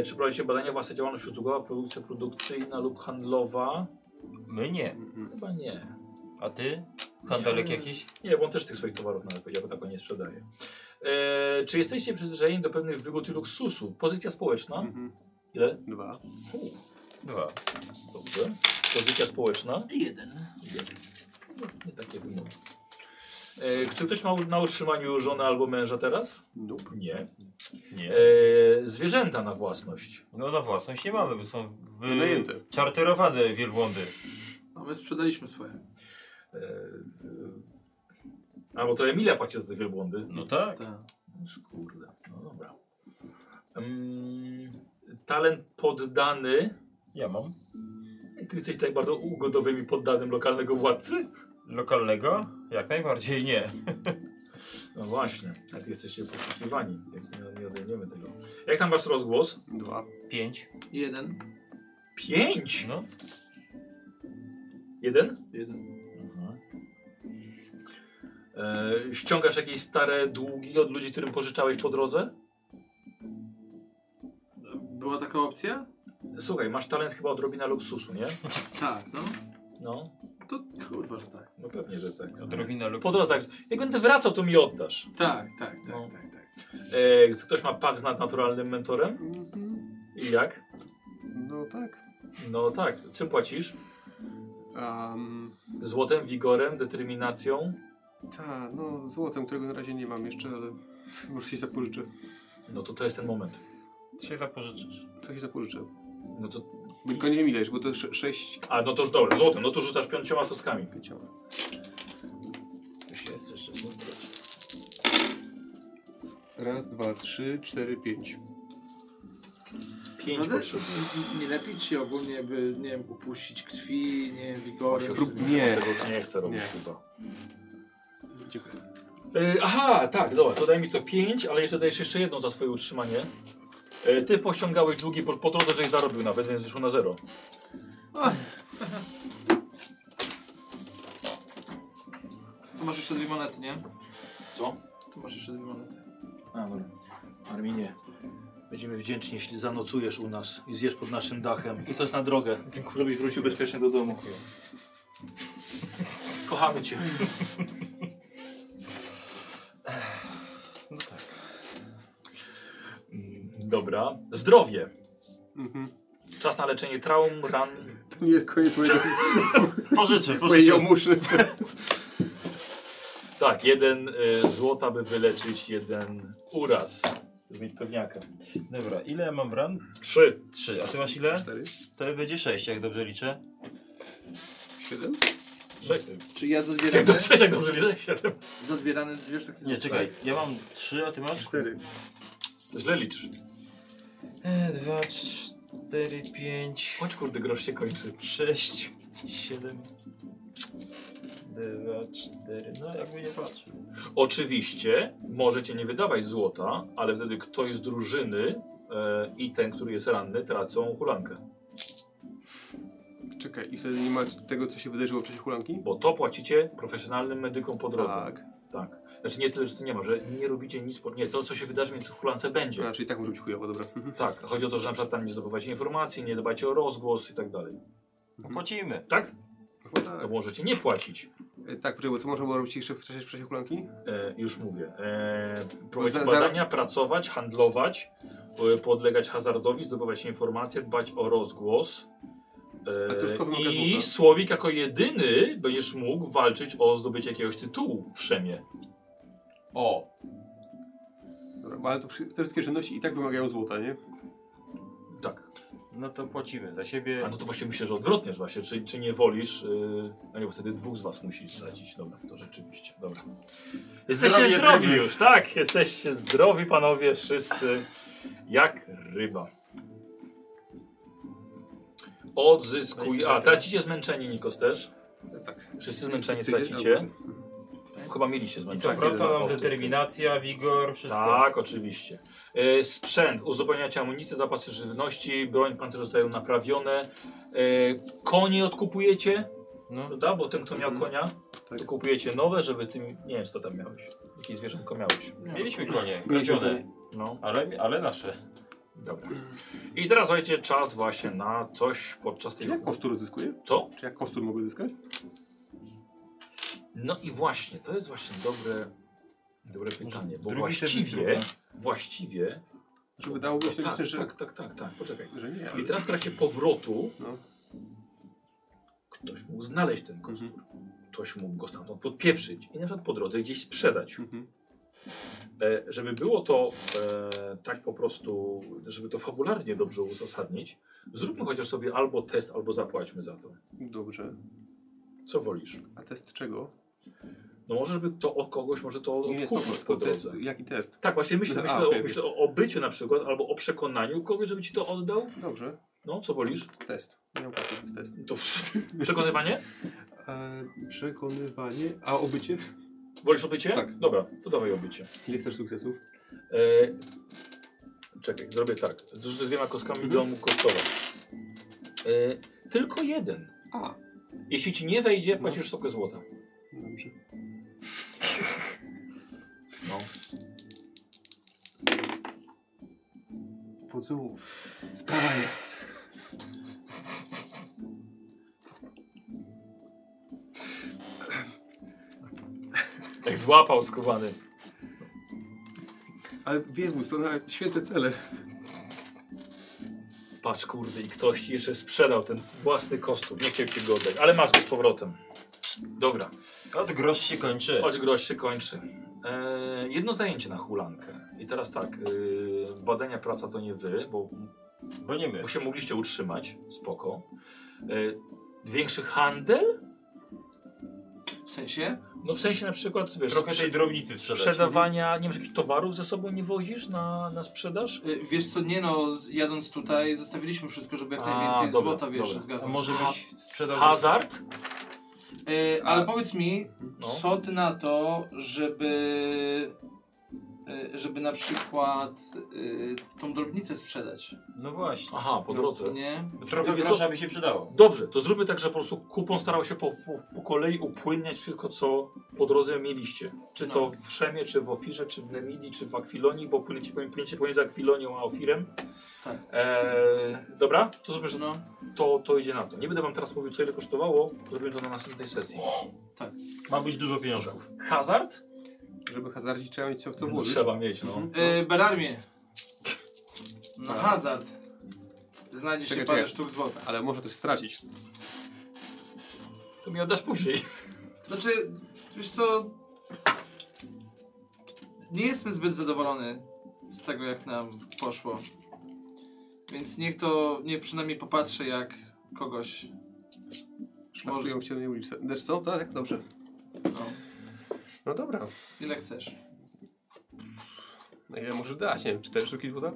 czy prowadzicie badania własna działalność usługowa, produkcja produkcyjna lub handlowa?
My nie.
Chyba nie.
A ty? Handalek
Nie.
jakiś?
Nie, bo on też tych swoich towarów nawet ja tak nie sprzedaje. E, czy jesteście przyzwyczajeni do pewnych wygód i luksusu? Pozycja społeczna?
Mhm.
Ile?
Dwa.
U,
Dwa.
dobrze. Pozycja społeczna?
Jeden.
Jeden. No, Nie takie wymogi. E, czy ktoś ma na utrzymaniu żonę albo męża teraz?
Nope.
Nie.
Nie.
E, zwierzęta na własność.
No na własność nie mamy, bo są wy...
Wynajęte.
czarterowane wielbłądy.
A No, my sprzedaliśmy swoje.
E, e, a bo to Emilia płaci za te wielbłądy.
No tak.
Tak.
Noż, Kurde, no dobra. Mm, talent poddany.
Ja mam.
Ej, Ty jesteś tak bardzo ugodowym i poddanym lokalnego władcy?
Lokalnego? Jak najbardziej nie.
No właśnie, a ty jesteście poszukiwani, więc nie, nie odejmiemy tego. Jak tam wasz rozgłos?
Dwa.
Pięć.
Jeden.
Pięć!
No.
Jeden?
Jeden.
E, ściągasz jakieś stare długi od ludzi, którym pożyczałeś po drodze?
Była taka opcja?
Słuchaj, masz talent chyba odrobina luksusu, nie?
Tak, no.
No,
To kurwa, że tak.
no pewnie, że tak.
Odrobina
Po
luksusu.
drodze, jak- jak będę wracał, to mi oddasz.
Tak, tak, tak,
No.
tak, tak.
E, ktoś ma pakt z nadnaturalnym mentorem?
Mhm.
I jak?
No tak.
No tak, czym płacisz?
Um,
Złotem, wigorem, determinacją?
ta, no złotem, którego na razie nie mam jeszcze, ale może się zapożyczę.
No to to jest ten moment.
Ty się zapożyczysz.
To się zapożyczę.
No to,
Tylko nie widać, bo to sze- sześć
a no to już dobra, złotem, no to rzucasz pięcioma kostkami.
pięciowa.
Jest jeszcze.
Raz, dwa, trzy, cztery, pięć.
Pięć
No,
potrzeb.
nie- Nie lepiej ci ogólnie, by, nie wiem, upuścić krwi, nie wiem, wigory.
Prób- nie.
Tego już nie chcę robić
Nie.
chyba. Y,
Dziękuję.
E, aha, tak, dobra, to daj mi to pięć, ale jeszcze dajesz jeszcze jedną za swoje utrzymanie. E, Ty pościągałeś długi po, po drodze, żeś zarobił nawet, więc wyszło na zero.
Tu masz jeszcze dwie monety, nie?
Co?
Tu masz jeszcze dwie monety.
A, dobra. Arminie, będziemy wdzięczni, jeśli zanocujesz u nas i zjesz pod naszym dachem. I to jest na drogę. Dziękuję, żebyś wrócił bezpiecznie do domu. Kochamy cię. No tak. Mm, Dobra. Zdrowie. Mhm. Czas na leczenie traum, ran.
To nie jest koniec mojego,
Pożyczę,
mojej
pożyczę.
jomuszy.
Tak, jeden y, złota, by wyleczyć jeden uraz. Żeby mieć pewniaka.
Dobra, ile ja mam ran?
Trzy.
Trzy. A ty masz ile?
Cztery?
To będzie sześć, jak dobrze liczę.
Siedem?
Sześć.
Czy ja za dwie
Jak
rany,
dobrze, jak dobrze liczę? Siedem.
za dwie rany dwie sztuki
Nie, czekaj. Ja mam trzy, a ty masz?
Cztery.
Źle liczysz.
E, Dwa, cztery, pięć,
Chodź kurde, grosz się kończy.
sześć, siedem, dwa, cztery. No jakby nie patrzył.
Oczywiście możecie nie wydawać złota, ale wtedy ktoś z drużyny e, i ten, który jest ranny, tracą hulankę.
Czekaj, i wtedy nie ma tego, co się wydarzyło w czasie hulanki?
Bo to płacicie profesjonalnym medykom po drodze. Tak.
Tak.
Znaczy nie tyle, że to nie ma, że nie robicie nic, po... nie, to co się wydarzy między hulance będzie.
A, czyli tak może być chujowo, dobra. Mhm.
Tak, chodzi o to, że na przykład tam nie zdobywacie informacji, nie dbacie o rozgłos i tak dalej.
Płacimy.
Tak?
Chyba tak.
To możecie nie płacić.
E, Tak, poczekaj, bo co można było robić jeszcze w czasie, w czasie hulanki?
E, już mówię. E, prowadzić
Za- za-
badania, pracować, handlować, e, podlegać hazardowi, zdobywać informacje, dbać o rozgłos.
Ale to już tylko wymaga
E, I
złota.
Słowik jako jedyny będziesz mógł walczyć o zdobycie jakiegoś tytułu w Szemie.
O.
Dobra, bo ale to wszy- te wszystkie czynności i tak wymagają złota, nie?
Tak.
No to płacimy za siebie.
A no to właśnie myślę, że odwrotnie, że właśnie, czy, czy nie wolisz, yy, no nie, bo wtedy dwóch z was musi stracić. Dobra, to rzeczywiście, dobra. Jesteście
Zdrowie
zdrowi
ryby.
już, tak? Jesteście zdrowi panowie wszyscy, jak ryba. Odzyskuj, a tracicie zmęczenie Nikos też?
E, Tak.
Wszyscy zmęczenie
Chcecie?
tracicie?
Dobra.
Chyba mieliście
I
zmęczenie.
co, wraca nam Tak, determinacja, wigor, wszystko.
Tak, oczywiście. E, sprzęt, uzupełniacie amunicję, zapasy żywności, broń, pancerze zostają naprawione. E, konie odkupujecie,
No.
prawda? Bo ten, kto miał konia,
Tak.
to kupujecie nowe, żeby tym... Nie wiem, co tam miałeś. Jakie zwierzątko miałeś.
Mieliśmy konie, kradzione.
No,
Ale, ale nasze.
dobra. I teraz, słuchajcie, czas właśnie na coś podczas tej...
Czy ja kostur odzyskuję?
Co?
Czy ja kostur mogę zyskać?
No i właśnie, to jest właśnie dobre... Dobre pytanie, bo
drugi
właściwie,
serwis,
właściwie,
Żeby dałoby się
tak,
liczyć, że...
tak, tak, tak, tak, poczekaj.
Że nie, ale...
I teraz w trakcie powrotu
No.
ktoś mógł znaleźć ten kostur.
Mhm.
Ktoś mógł go stamtąd podpieprzyć i na przykład po drodze gdzieś sprzedać.
Mhm.
E, żeby było to e, tak po prostu, żeby to fabularnie dobrze uzasadnić, zróbmy chociaż sobie albo test, albo zapłaćmy za to.
mhm. Dobrze.
Co wolisz?
A test czego?
No może, żeby to od kogoś, może to
Nie,
odkupić
spoko,
po
test,
drodze.
jaki test?
Tak, właśnie myślę,
A,
myślę,
okej.
o, myślę o, o byciu na przykład, albo o przekonaniu kogoś, żeby ci to oddał.
Dobrze.
No, co wolisz?
Test. Nie mam kasy, to jest test.
To przekonywanie?
E, przekonywanie... A obycie?
Wolisz obycie?
Tak.
Dobra, to dawaj obycie.
Ile chcesz sukcesów?
E... Czekaj, zrobię tak. Zrzucę dwiema kostkami,
Mhm.
będą mógł kosztować. E... Tylko jeden.
A. No.
Jeśli ci nie wejdzie, płacisz sokę złota.
Dobrze.
No.
Wodzu, sprawa jest.
Jak złapał skubany.
Ale Wiewus, to na święte cele.
Patrz kurde i ktoś ci jeszcze sprzedał ten własny kostur. Nie chciał ci go oddać, ale masz go z powrotem. Dobra.
Od grosz się kończy.
Choć grosz się kończy. E, jedno zajęcie na hulankę. I teraz tak, e, badania praca to nie wy, bo
Bo nie my.
Bo się mogliście utrzymać, spoko. E, większy handel?
W sensie?
No w sensie na przykład, wiesz,
Trochę
sprze-
tej drobnicy sprzedać.
sprzedawania, nie masz jakichś towarów ze sobą nie wozisz na, na sprzedaż?
Y, Wiesz co, nie no, z- jadąc tutaj zostawiliśmy wszystko, żeby jak
A,
najwięcej
dobra,
złota, wiesz,
dobra.
A
zgadnąć.
może byś sprzedał...
Hazard?
Y, ale powiedz mi,
No.
co ty na to, żeby e, żeby na przykład e, tą drobnicę sprzedać.
No właśnie.
Aha, po drodze.
Nie?
Trochę
Wiesz co?
grosza by się przydało.
Dobrze, to zróbmy tak, że po prostu kupon starał się po, po, po kolei upłynniać wszystko, co po drodze mieliście. Czy to
No.
w Szemie, czy w Ofirze, czy w Nemidii, czy w Akwilonii, bo płyniecie, płyniecie pomiędzy Akwilonią a Ofirem.
Tak.
Eee, dobra, to zróbmy, że
No,
to, to idzie na to. Nie będę wam teraz mówił, co ile kosztowało, zrobimy to na następnej sesji.
Tak.
Ma być dużo pieniążków.
Hazard?
Żeby hazardzić trzeba mieć co w to włożyć.
Trzeba mieć, no.
e, Berarmie. Na hazard. Znajdziesz
Czekaj,
się parę
czekaj.
sztuk złota.
Ale może też stracić.
To mi oddasz później.
Znaczy, wiesz co... Nie jestem zbyt zadowolony z tego, jak nam poszło. Więc niech to, nie przynajmniej popatrzę, jak kogoś...
Może ją w ciemnej ulicy. Znaczy co? Tak, dobrze.
No,
No dobra.
ile chcesz.
Na Ile może dać? Nie wiem, cztery sztuki złota?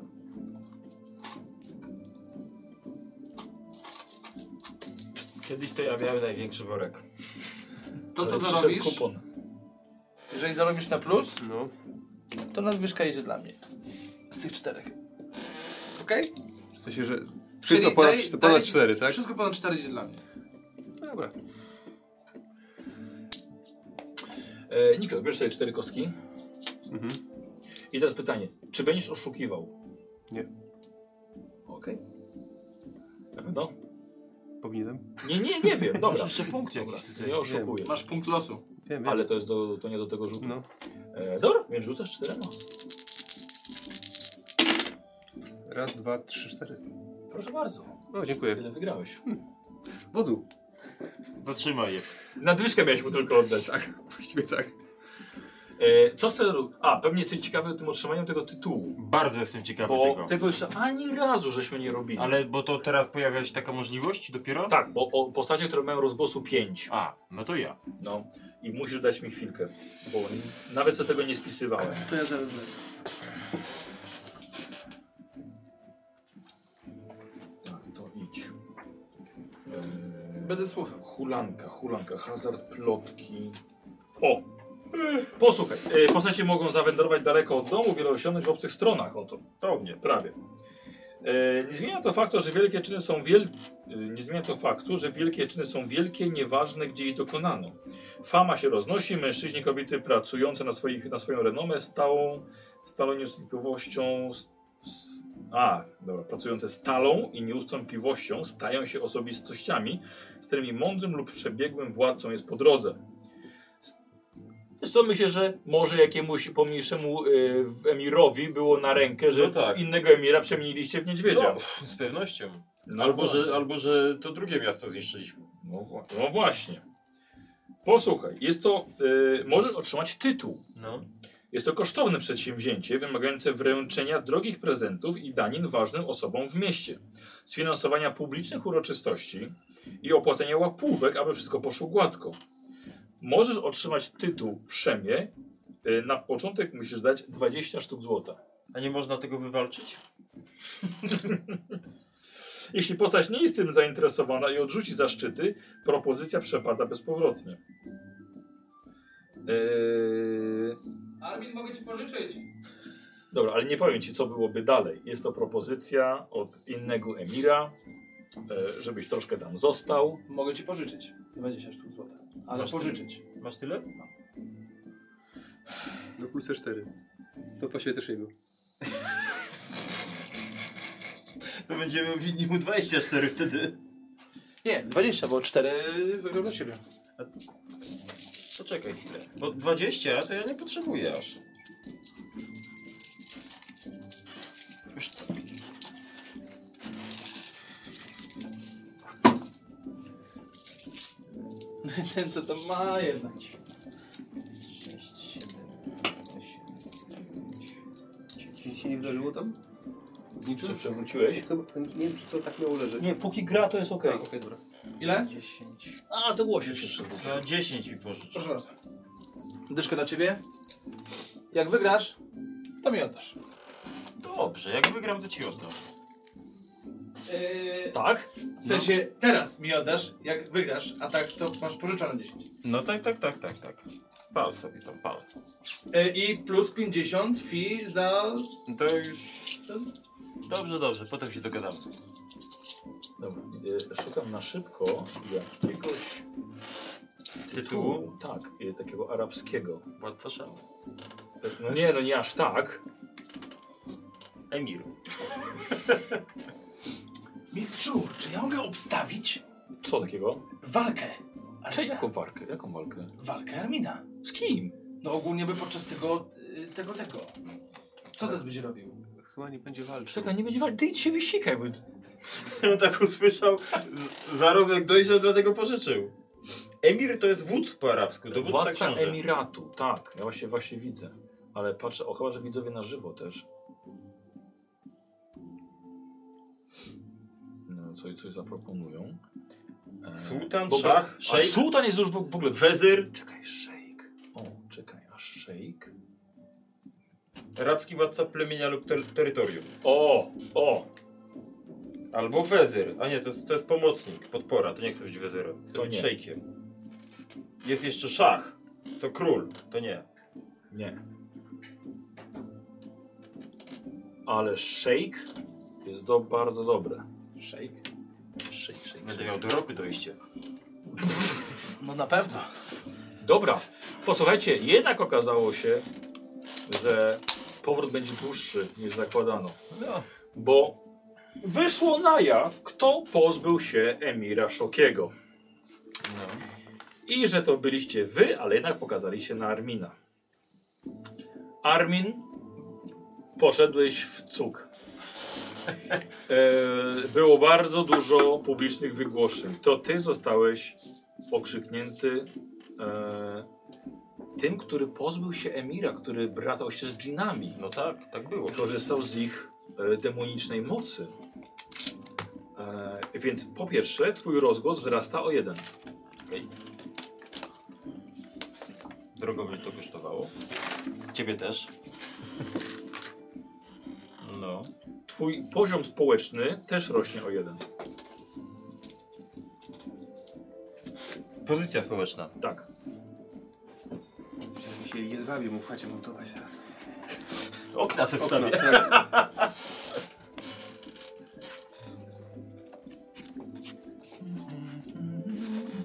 Kiedyś to ja miałem największy worek.
To, co
Ale przyszedł
zarobisz,
Kupon.
jeżeli zarobisz na plus,
No.
to nadwyżka jedzie dla mnie. Z tych czterech. Okej?
W sensie, że wszystko ponad,
daj-
ponad
daj-
cztery, tak? No
Wszystko ponad cztery jedzie dla mnie.
Dobra.
E, Niko, bierz sobie cztery kostki.
Mhm.
I teraz pytanie, czy będziesz oszukiwał?
Nie.
Okej. Na pewno?
Powinienem?
Nie, nie, nie wiem,
Masz
dobra.
jeszcze punkt jakiś tutaj.
Nie oszukuję.
Masz punkt losu.
Wiem, wiem.
Ale to jest do, to nie do tego rzutu.
No.
E, dobra, więc rzucasz No. czterema.
Raz, dwa, trzy, cztery.
Proszę bardzo,
O, dziękuję.
tyle wygrałeś.
Wodu.
Zatrzymaj je.
Nadwyżkę miałeś mu tylko oddać.
Tak, właściwie tak.
E, co chcę robić? A, pewnie jesteś ciekawy o tym otrzymaniu tego tytułu.
Bardzo jestem ciekawy
Bo
tego.
tego jeszcze ani razu żeśmy nie robili.
Ale bo to teraz pojawia się taka możliwość dopiero?
Tak, bo o postacie, które mają rozgłosu 5.
A, no to ja.
No i musisz dać mi chwilkę, bo nawet sobie tego nie spisywałem.
To ja zaraz lecę.
Tak, to idź.
Będę słuchał.
Hulanka, hulanka, hazard, plotki. O! Posłuchaj, e, postacie mogą zawędrować daleko od domu, wiele osiągnąć w obcych stronach. Oto,
To u mnie.
prawie. E, nie zmienia to faktu, że wielkie czyny są wielkie. Nie zmienia to faktu, że wielkie czyny są wielkie, nieważne gdzie je dokonano. Fama się roznosi, mężczyźni i kobiety pracujące na, swoich, na swoją renomę stałą, stałą nieustępliwością. s- s- A, dobra, pracujące stalą i nieustępliwością stają się osobistościami, z którymi mądrym lub przebiegłym władcą jest po drodze. S- Wiesz co, myślę, że może jakiemuś pomniejszemu y, w- emirowi było na rękę, że
No tak.
innego emira przemieniliście w niedźwiedzia.
No, z pewnością.
No
albo,
właśnie.
że, albo, że to drugie miasto zniszczyliśmy.
No, wła- no właśnie. Posłuchaj, jest to. Y, możesz otrzymać tytuł.
No.
Jest to kosztowne przedsięwzięcie wymagające wręczenia drogich prezentów i danin ważnym osobom w mieście, sfinansowania publicznych uroczystości i opłacenia łapówek, aby wszystko poszło gładko. Możesz otrzymać tytuł Szemie. Y, Na początek musisz dać 20 sztuk złota.
A nie można tego wywalczyć?
Jeśli postać nie jest tym zainteresowana i odrzuci zaszczyty, propozycja przepada bezpowrotnie. Eee,
Armin, mogę ci pożyczyć.
dobra, ale nie powiem ci, co byłoby dalej. Jest to propozycja od innego emira, e, żebyś troszkę tam został.
Mogę ci pożyczyć. 20 sztuk złota. Ale
Masz
pożyczyć.
Masz tyle?
No plus cztery. To właściwie też jego.
To będziemy winni mu 24 wtedy.
Nie, 20, bo 4 zagram dla siebie.
Poczekaj chwilę. Bo 20 to ja nie potrzebuję aż. Już tak.
Ten co tam ma jednak.
6, 7, 8, 9,
Nic się nie wydarzyło tam? W
Czy
Niczym?
przewróciłeś?
Chyba, nie wiem, czy to tak miało leżeć.
Nie, póki gra to jest ok.
A, Okej, dobra.
Ile?
10.
A, to było się przewróciło.
No 10 mi pożycz.
Proszę bardzo. Dyszkę dla ciebie. Jak wygrasz, to mi oddasz.
Dobrze, jak wygram to ci oddam.
Yy,
Tak?
w sensie teraz mi oddasz, jak wygrasz, a tak to masz pożyczone 10.
No tak, tak, tak, tak, tak. Pal sobie tam, pal.
Yy,
E, I plus 50 fi za...
No To już... Dobrze, dobrze, potem się dogadamy.
Dobra. y, Szukam na szybko jakiegoś
Tytułu?
Tak, y, takiego arabskiego.
Władca Szam.
No nie, no nie aż tak.
Emir.
Mistrzu, czy ja mogę obstawić
Co takiego?
walkę? Ale
Czy jaką walkę? Jaką walkę?
Walkę Armina.
Z kim?
No ogólnie by podczas tego, y, tego, tego. Co teraz będzie robił?
Chyba nie będzie walczył.
Czekaj, nie będzie walki. Ty idź się wysikaj, bo
On tak usłyszał, z- zarobek dojrzał, dlatego pożyczył. Emir to jest wódz po arabsku, dowódca
Władca
książę.
Emiratu, tak. Ja właśnie, właśnie widzę. Ale patrzę, o chyba, że widzowie na żywo też. No, co, coś zaproponują. E,
Sułtan,
bo-
szach,
a
szejk,
Sułtan jest już w w ogóle...
wezyr,
Czekaj, szejk. O, czekaj, a szejk?
arabski władca plemienia lub ter terytorium.
O, o,
Albo wezyr. A nie, to jest, to jest pomocnik, podpora. To nie chce być wezyrem. Chce
To
być
nie.
szejkiem. Jest jeszcze szach. To król. To nie.
nie. Ale szejk jest do, bardzo dobre.
Shake.
Szejk, szejk.
Będę miał do ropy dojście.
No na pewno.
Dobra, posłuchajcie, jednak okazało się, że powrót będzie dłuższy niż zakładano. Bo wyszło na jaw, kto pozbył się Emira Szokiego. I że to byliście wy, ale jednak pokazali się na Armina. Armin, poszedłeś w cuk. E, Było bardzo dużo publicznych wygłoszeń. To ty zostałeś okrzyknięty e, tym, który pozbył się Emira, który bratał się z dżinami,
No tak, tak było.
korzystał z ich e, demonicznej mocy. E, więc po pierwsze, twój rozgłos wzrasta o jeden.
Okej. Drogo mnie to kosztowało. Ciebie też. No.
Twój poziom społeczny też rośnie o jeden.
Pozycja społeczna.
Tak.
Musiałem się jedwabie mu w chacie montować teraz.
Okna se
No,
wstawię.
tak.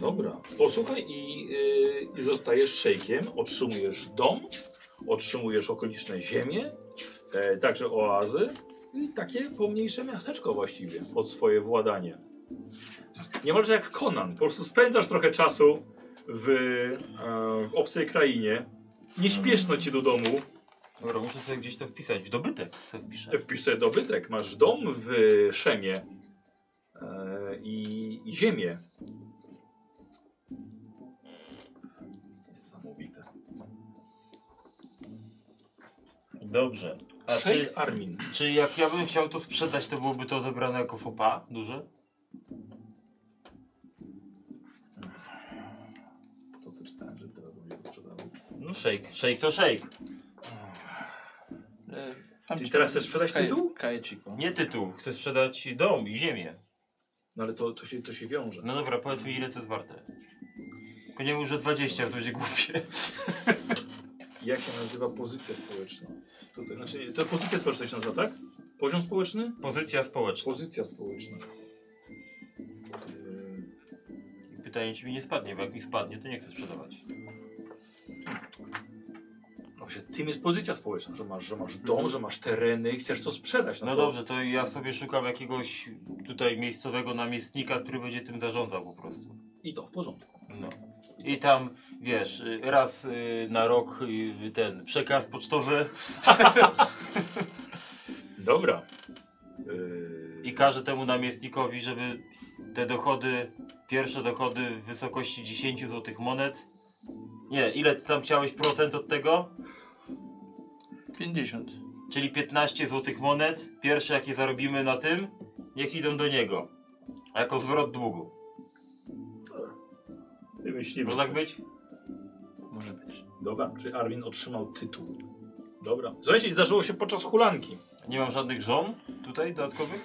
Dobra. Posłuchaj i, y, i zostajesz szejkiem, otrzymujesz dom, otrzymujesz okoliczne ziemie, e, także oazy i takie pomniejsze miasteczko właściwie pod swoje władanie. Niemalże jak Conan, po prostu spędzasz trochę czasu w, e, w obcej krainie, nie śpieszno ci do domu,
Dobra, muszę sobie gdzieś to wpisać. W dobytek sobie wpiszę.
Wpisz sobie dobytek, masz dom w Szemie e, i, i ziemię. Niesamowite.
Dobrze. A
Szejk
czy,
Armin.
czy jak ja bym chciał to sprzedać, to byłoby to odebrane jako fopa? Duże?
To ty czytałem, że teraz będzie to sprzedawał.
No szejk. Szejk to szejk.
E,
Czyli teraz chcesz sprzedać
kaje-
tytuł?
Kajeciku.
Nie tytuł. Chcę sprzedać dom i ziemię.
No ale to, to, się, to się wiąże.
No dobra, powiedz mi ile to jest warte. Tylko nie mów, że 20, bo to będzie głupie.
Jak się nazywa pozycja społeczna? Tutaj, znaczy, nie, to pozycja społeczna się nazywa, tak? Poziom społeczny?
Pozycja społeczna.
Pozycja społeczna. Yy,
Pytanie, czy mi nie spadnie, bo jak mi spadnie, to nie chcę sprzedawać.
no Właśnie, tym jest pozycja społeczna, że masz, że masz dom, że masz tereny i chcesz to sprzedać.
No
to-
dobrze, to ja sobie szukam jakiegoś tutaj miejscowego namiestnika, który będzie tym zarządzał po prostu.
I to w porządku.
No. I tam, wiesz, y, raz y, na rok y, ten przekaz pocztowy
Dobra. Yy,
i każe temu namiestnikowi, żeby te dochody, pierwsze dochody w wysokości 10 złotych monet, nie, ile ty tam chciałeś procent od tego?
50.
Czyli 15 złotych monet, pierwsze jakie zarobimy na tym, niech idą do niego. A jako zwrot długu.
Wymyślimy.
Może tak być?
Może być.
Dobra, czyli Armin otrzymał tytuł. Dobra. Słuchajcie, i zdarzyło się podczas hulanki.
Nie mam żadnych żon tutaj dodatkowych?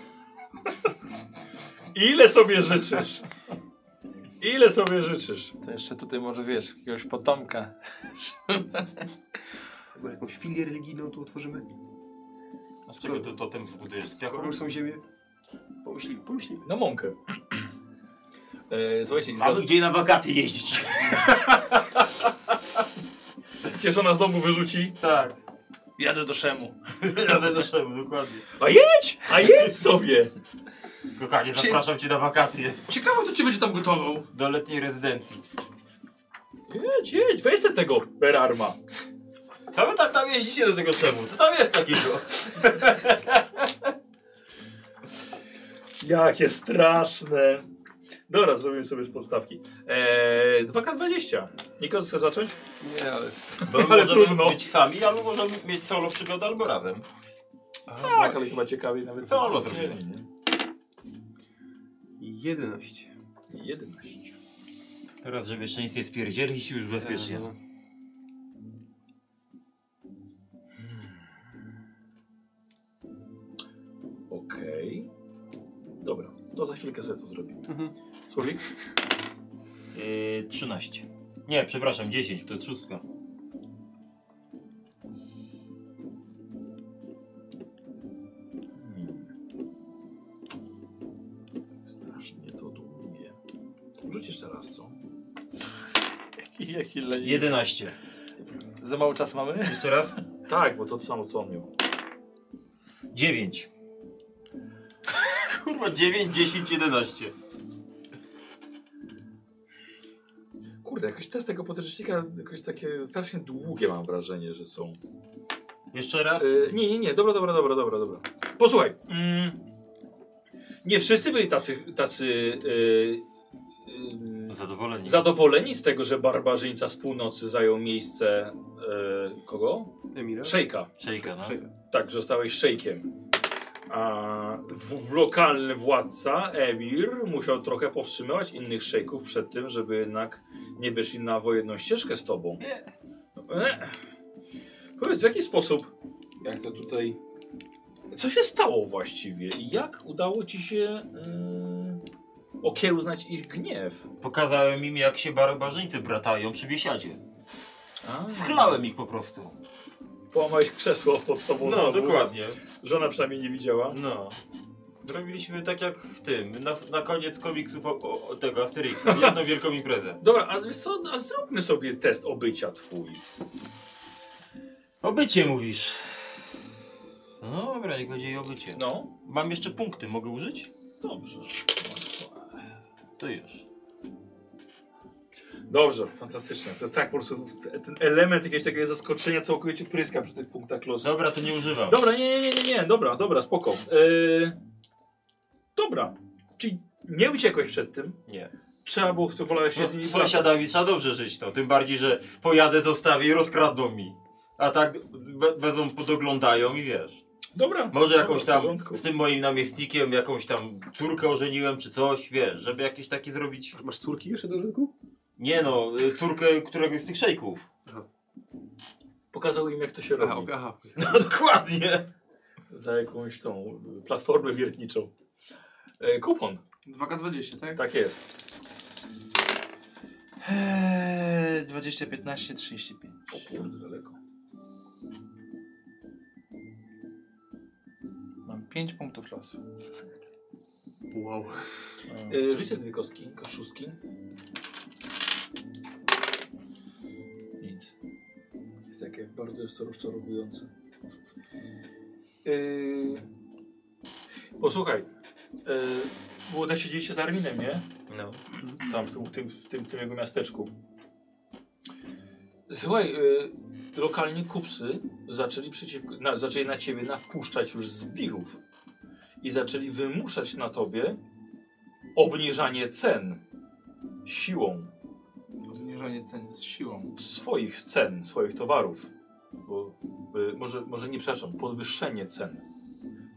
Ile sobie życzysz? Ile sobie życzysz?
To jeszcze tutaj może wiesz, jakiegoś potomka.
Albo jakąś filię religijną tu otworzymy.
A z czego to totem zbudujesz? Z piachu?
Skoro już są ziemie. Pomyślimy, pomyślimy.
Na No, mąkę. E, słuchajcie, i
Mamy gdzie na wakacje jeździć.
za- cię żona z domu wyrzuci.
Tak.
Jadę do Szemu.
Jadę do Szemu, dokładnie.
A jedź! A jedź sobie!
Kochanie,
Czy-
zapraszam cię na wakacje.
Ciekawe, kto cię będzie tam gotował.
Do letniej rezydencji.
Jedź, jedź, weź se tego Berarma.
Co wy tak tam jeździcie do tego Szemu? Co tam jest takiego?
Jakie straszne. Dobra, zrobimy sobie z podstawki. Eee, 2K20. Niko, chcesz zacząć?
Nie, ale...
Bo
Ale
możemy
trudno.
być sami, albo możemy mieć solo przygodę, albo razem.
Tak, ale chyba ciekawiej nawet.
Solo zrobimy.
11.
11.
Teraz, żeby jeszcze nic nie spierdzielić już bezpiecznie.
no.
Okej. Dobra, to za chwilkę sobie to zrobimy.
Mhm.
Słowik?
Yy, 13. Nie, przepraszam, 10, to jest szóstka.
Tak Strasznie to długie. Rzuć jeszcze raz, co?
Jaki, jaki leniwy.
11.
Za mało czasu mamy?
Jeszcze raz?
Tak, bo to to samo, co on miał.
9. Kurwa, 9, 10, 11.
Kurde, jakoś te z tego podręcznika jakoś takie strasznie długie mam wrażenie, że są.
Jeszcze raz?
E, nie, nie, nie, dobra, dobra, dobra, dobra, dobra. Posłuchaj. Mm, nie wszyscy byli tacy, tacy e, e,
Zadowoleni.
zadowoleni z tego, że barbarzyńca z północy zajął miejsce e, kogo?
Emira?
Szejka.
Szejka, no.
Szejka.
Tak, że zostałeś szejkiem. A w, w lokalny władca, Emir, musiał trochę powstrzymywać innych szejków przed tym, żeby jednak nie wyszli na wojenną ścieżkę z tobą. E. Powiedz, w jaki sposób, jak to tutaj, co się stało właściwie i jak udało ci się yy, okiełznać ich gniew?
Pokazałem im, jak się barbarzyńcy bratają przy biesiadzie. Schlałem ich po prostu.
Połamałeś krzesło pod sobą
No,
znowu.
dokładnie.
Żona przynajmniej nie widziała.
No. Robiliśmy tak jak w tym, na, na koniec komiksów o, o, o tego Asterixa. Jedną wielką imprezę.
Dobra, a, wiesz co, no, a zróbmy sobie test obycia twój.
Obycie mówisz. No dobra, niech będzie i obycie.
No.
Mam jeszcze punkty, mogę użyć?
Dobrze.
To już.
Dobrze, fantastycznie. To jest tak po prostu ten element jakiegoś takiego zaskoczenia całkowicie pryska przy tych punktach losu.
Dobra, to nie używam.
Dobra, nie, nie, nie, nie, nie. dobra, dobra, spoko. Yy, dobra, czyli nie uciekłeś przed tym?
Nie.
Trzeba było, tu wolałeś się z
No,
nimi
z
wracać.
sąsiadami trzeba dobrze żyć to. Tym bardziej, że pojadę, zostawię i rozkradną mi. A tak be- będą podoglądają i wiesz.
Dobra.
Może jakąś
dobra, No, w
tam
porządku.
z tym moim namiestnikiem, jakąś tam córkę ożeniłem czy coś, wiesz, żeby jakieś takie zrobić.
Masz córki jeszcze do rynku?
Nie no, y, córkę któregoś z tych szejków.
Pokazał im, jak to się robi.
Aha, ok, aha.
No dokładnie.
Za jakąś tą y, platformę wiertniczą. Yy, kupon,
2K20, tak?
tak jest.
Eee, 20, 15, 35.
O kurde, daleko.
Mam 5 punktów losu.
Wow.
Yy, rzuć sobie dwie kostki, szóstki.
Nic.
Jest takie bardzo jest to rozczarowujące. Yy... Posłuchaj, yy, było też siedzieliście z Arminem, nie?
No.
Tam w tym, w tym, w tym, w tym jego miasteczku. Słuchaj, yy, lokalni kupcy zaczęli, przeciw, na, zaczęli na ciebie napuszczać już zbirów i zaczęli wymuszać na tobie obniżanie cen siłą
Zniżanie cen z siłą.
swoich cen, swoich towarów. Bo, y, może, może nie, przepraszam, podwyższenie cen.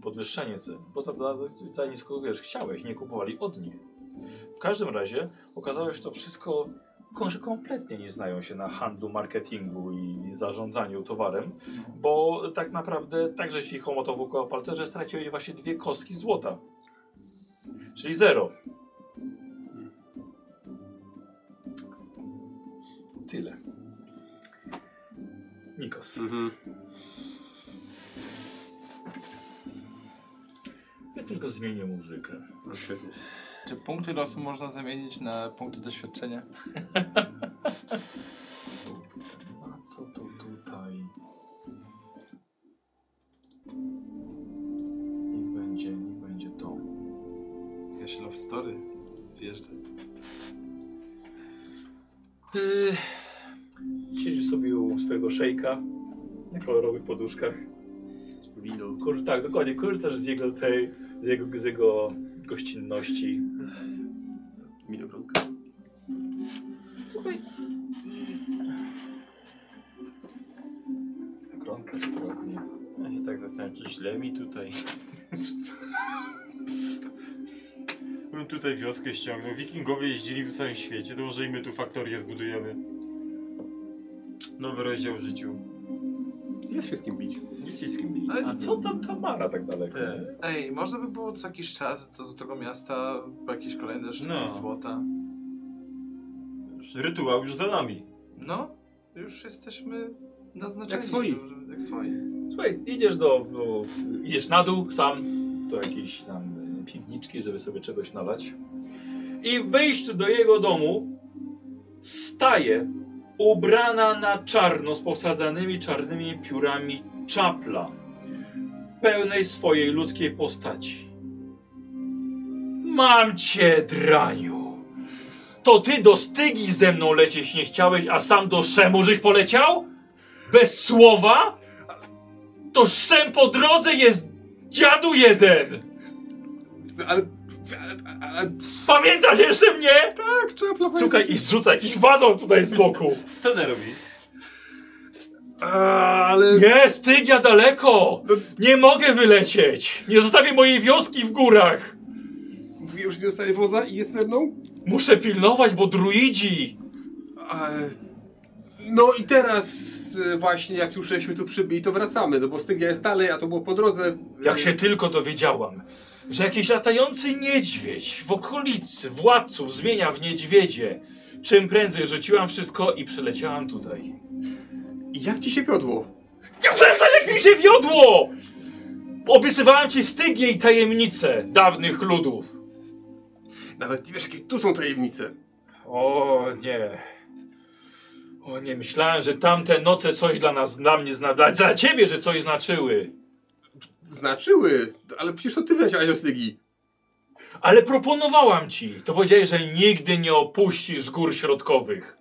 Podwyższenie cen. Bo za, za, za nisko, wiesz, chciałeś, nie kupowali od nich. W każdym razie okazało się, że to wszystko, ko- że kompletnie nie znają się na handlu, marketingu i, i zarządzaniu towarem, bo tak naprawdę także ci homotowo koło palcerze straciłeś właśnie dwie kostki złota. Czyli zero. tyle. Nikos.
Mhm.
Ja tylko zmienię muzykę.
No, świetnie.
Czy punkty losu można zamienić na punkty doświadczenia?
A co to tutaj? Niech będzie, niech będzie to.
Jakaś love story. Wjeżdża.
Yy, Siedzisz sobie u swojego szejka na kolorowych poduszkach.
Wino.
Kur, tak, dokładnie, korzystasz z jego, tej, z jego, z jego gościnności.
Winogronka.
Słuchaj. Gronka czy gronka?
Ja się tak zastanawiam, czy źle mi tutaj. Bym tutaj wioskę ściągnął. Wikingowie jeździli po całym świecie, to może i my tu faktorię zbudujemy. Nowy rozdział w życiu.
Jest się z kim bić.
Jest się z kim bić.
A co tam Tamara tak daleko?
Te.
Ej, można by było co jakiś czas do, do tego miasta po jakieś kolejne sztuki
No.
złota.
Już Rytuał już za nami.
No, już jesteśmy naznaczeni.
Jak swoi.
że- że- Jak swoi.
Słuchaj, idziesz do, do... Idziesz na dół sam do jakiejś tam y, piwniczki, żeby sobie czegoś nalać. I w wejściu do jego domu staje ubrana na czarno z powsadzanymi czarnymi piórami czapla pełnej swojej ludzkiej postaci. Mam cię, draniu! To ty do Stygi ze mną lecieć nie chciałeś, a sam do Szemu żeś poleciał? Bez słowa? To szem po drodze jest dziadu jeden!
No, ale, ale, ale...
Pamiętasz jeszcze mnie?
Tak, trzeba planować.
Słuchaj, i rzuca jakiś wazon tutaj z boku.
Scenę robi.
Ale...
Nie, Stygia daleko! Nie mogę wylecieć! Nie zostawię mojej wioski w górach!
Mówiłem, że nie dostaję wodza i jest ze mną?
Muszę pilnować, bo druidzi!
Ale... No i teraz e, właśnie, jak już żeśmy tu przybyli, to wracamy, no bo Stygia jest dalej, a to było po drodze.
Jak się tylko dowiedziałam, że jakiś latający niedźwiedź w okolicy władców zmienia w niedźwiedzie. Czym prędzej rzuciłam wszystko i przyleciałam tutaj.
I Jak ci się wiodło?
Ja przestań, jak mi się wiodło! Obiecywałem ci stygię i tajemnice dawnych ludów.
Nawet nie wiesz, jakie tu są tajemnice.
O nie. O nie, myślałem, że tamte noce coś dla nas, dla mnie, zna, dla, dla ciebie, że coś znaczy, znaczyły.
Znaczyły, ale przecież to ty wiedziałeś o Stygii.
Ale proponowałam ci. To powiedziałeś, że nigdy nie opuścisz gór środkowych.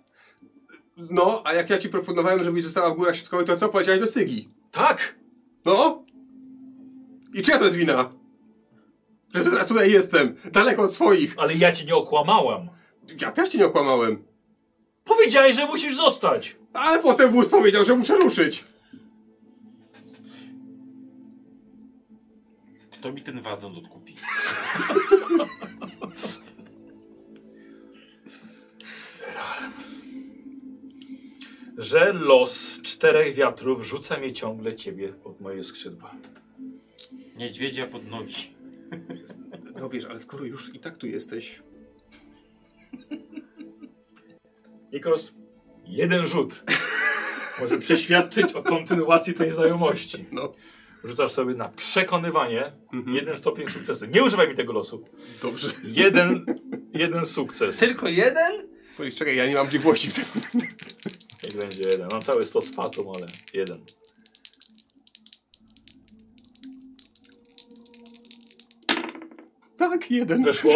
No, a jak ja ci proponowałem, żebyś została w górach środkowych, to co powiedziałeś do Stygii?
Tak?
No? I czyja to jest wina? Że teraz tutaj jestem, daleko od swoich.
Ale ja cię nie okłamałam.
Ja też cię nie okłamałem.
Powiedziałeś, że musisz zostać.
Ale potem wóz powiedział, że muszę ruszyć.
Kto mi ten wazon odkupi?
Że los czterech wiatrów rzuca mnie ciągle ciebie pod moje skrzydła.
Niedźwiedzia pod nogi.
No wiesz, ale skoro już i tak tu jesteś...
Nikos, jeden rzut może przeświadczyć o kontynuacji tej znajomości.
No.
Rzucasz sobie na przekonywanie
Mhm.
jeden stopień sukcesu. Nie używaj mi tego losu.
Dobrze.
Jeden, jeden sukces.
Tylko jeden?
Powiedz, czekaj, ja nie mam biegłości w tym.
Niech będzie jeden. Mam cały stos fatum, ale jeden.
Tak, jeden.
Weszło?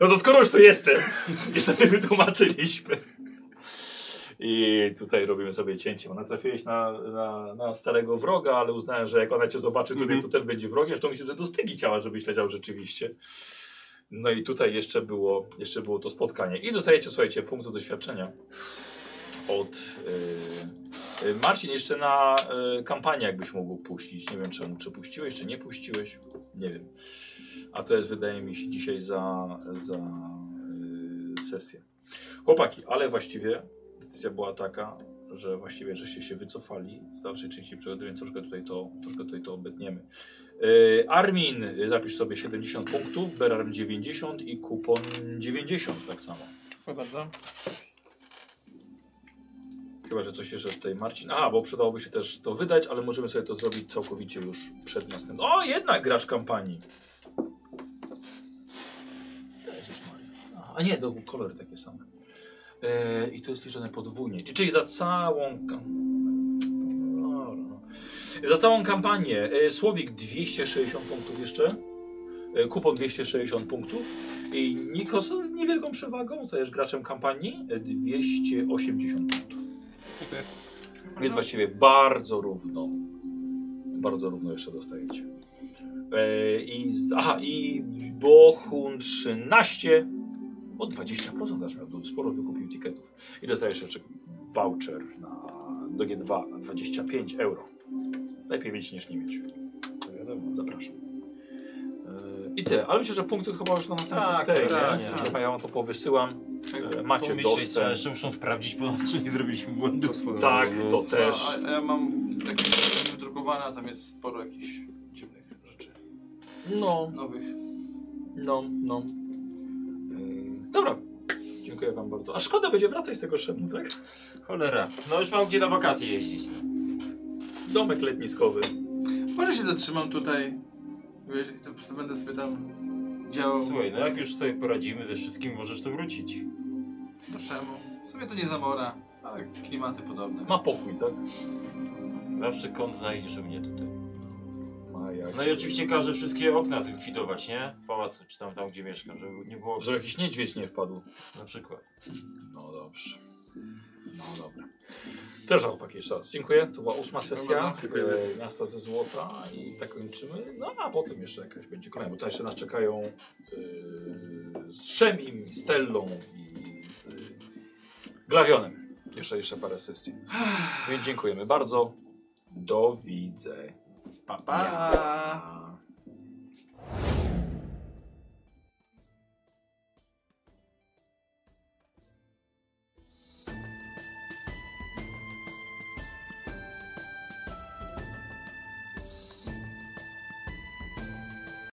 No to skoro już tu jestem i sobie wytłumaczyliśmy. I tutaj robimy sobie cięcie. Ona trafiłeś na, na, na starego wroga, ale uznałem, że jak ona cię zobaczy tutaj,
Mhm.
to ten będzie wrogiem. Zresztą myślę, że do stygi chciała, żebyś leciał rzeczywiście. No i tutaj jeszcze było, jeszcze było to spotkanie. I dostajecie, słuchajcie, punktu doświadczenia od... Yy, yy, Marcin, jeszcze na yy, kampanię jakbyś mógł puścić. Nie wiem czemu, czy puściłeś, czy nie puściłeś. Nie wiem. A to jest, wydaje mi się, dzisiaj za, za yy, sesję. Chłopaki, ale właściwie decyzja była taka, że właściwie żeście się wycofali z dalszej części przygody, więc troszkę tutaj to, troszkę tutaj to obetniemy. Yy, Armin, yy, zapisz sobie 70 punktów, Berarm 90 i kupon 90 tak samo.
Dziękuję bardzo.
Chyba, że coś jeszcze tutaj Marcin. A, bo przydałoby się też to wydać, ale możemy sobie to zrobić całkowicie już przed następnym. O, jednak gracz kampanii. Jezus Maria. Aha, A nie, do kolory takie same. E, I to jest liczone podwójnie. Czyli za całą kampanię. Za całą kampanię e, Słowik 260 punktów jeszcze. E, Kupon 260 punktów. I Nikos z niewielką przewagą, zostajesz graczem kampanii, e, 280 punktów. Więc właściwie bardzo równo. Bardzo równo jeszcze dostajecie. E, I, z- aha, i Bochun 13 o 20% aż miał, sporo wykupił tiketów. I dostajesz jeszcze voucher na, do G2 na 25 euro. Lepiej mieć niż nie mieć. To wiadomo, zapraszam. E, I tyle, ale myślę, że punkty to chyba już na
Tak,
następny tak,
tak,
nie?
tak.
Chyba ja wam to powysyłam. E, Macie
Pomyśleć trzeba,
dostęp.
jeszcze muszą sprawdzić po nas, czy nie zrobiliśmy błędu.
Tak, to
No.
też.
A, a ja mam jakieś wydrukowane, a tam jest sporo jakichś dziwnych rzeczy.
No,
Nowych.
No, no. Yy, Dobra. Dziękuję wam bardzo. A szkoda będzie wracać z tego szemu, tak?
Cholera. No już mam gdzie na wakacje jeździć. no.
Domek letniskowy.
Może się zatrzymam tutaj. Wiesz, i to po prostu będę sobie tam działał.
Słuchaj, no jak już sobie poradzimy ze wszystkim, możesz to wrócić.
Do szemu. Sobie to nie zamora, ale klimaty podobne.
Ma pokój, tak?
Zawsze kąt znajdziesz u mnie tutaj.
Ma jak.
No i oczywiście każę wszystkie okna zlikwidować, nie? W pałacu, czy tam, tam gdzie mieszkam, żeby nie było...
Że jakiś niedźwiedź nie wpadł.
Na przykład.
No dobrze. No dobra. Też chłopaki jeszcze raz. Dziękuję. To była ósma sesja e, Miasta ze Złota i tak kończymy. No a potem jeszcze jakaś będzie kolejna, bo tutaj jeszcze nas czekają e, z Szemim, z Tellą i z y, Glawionem. Jeszcze, jeszcze parę sesji. Więc dziękujemy bardzo. Do widzenia.
Pa!
Pa.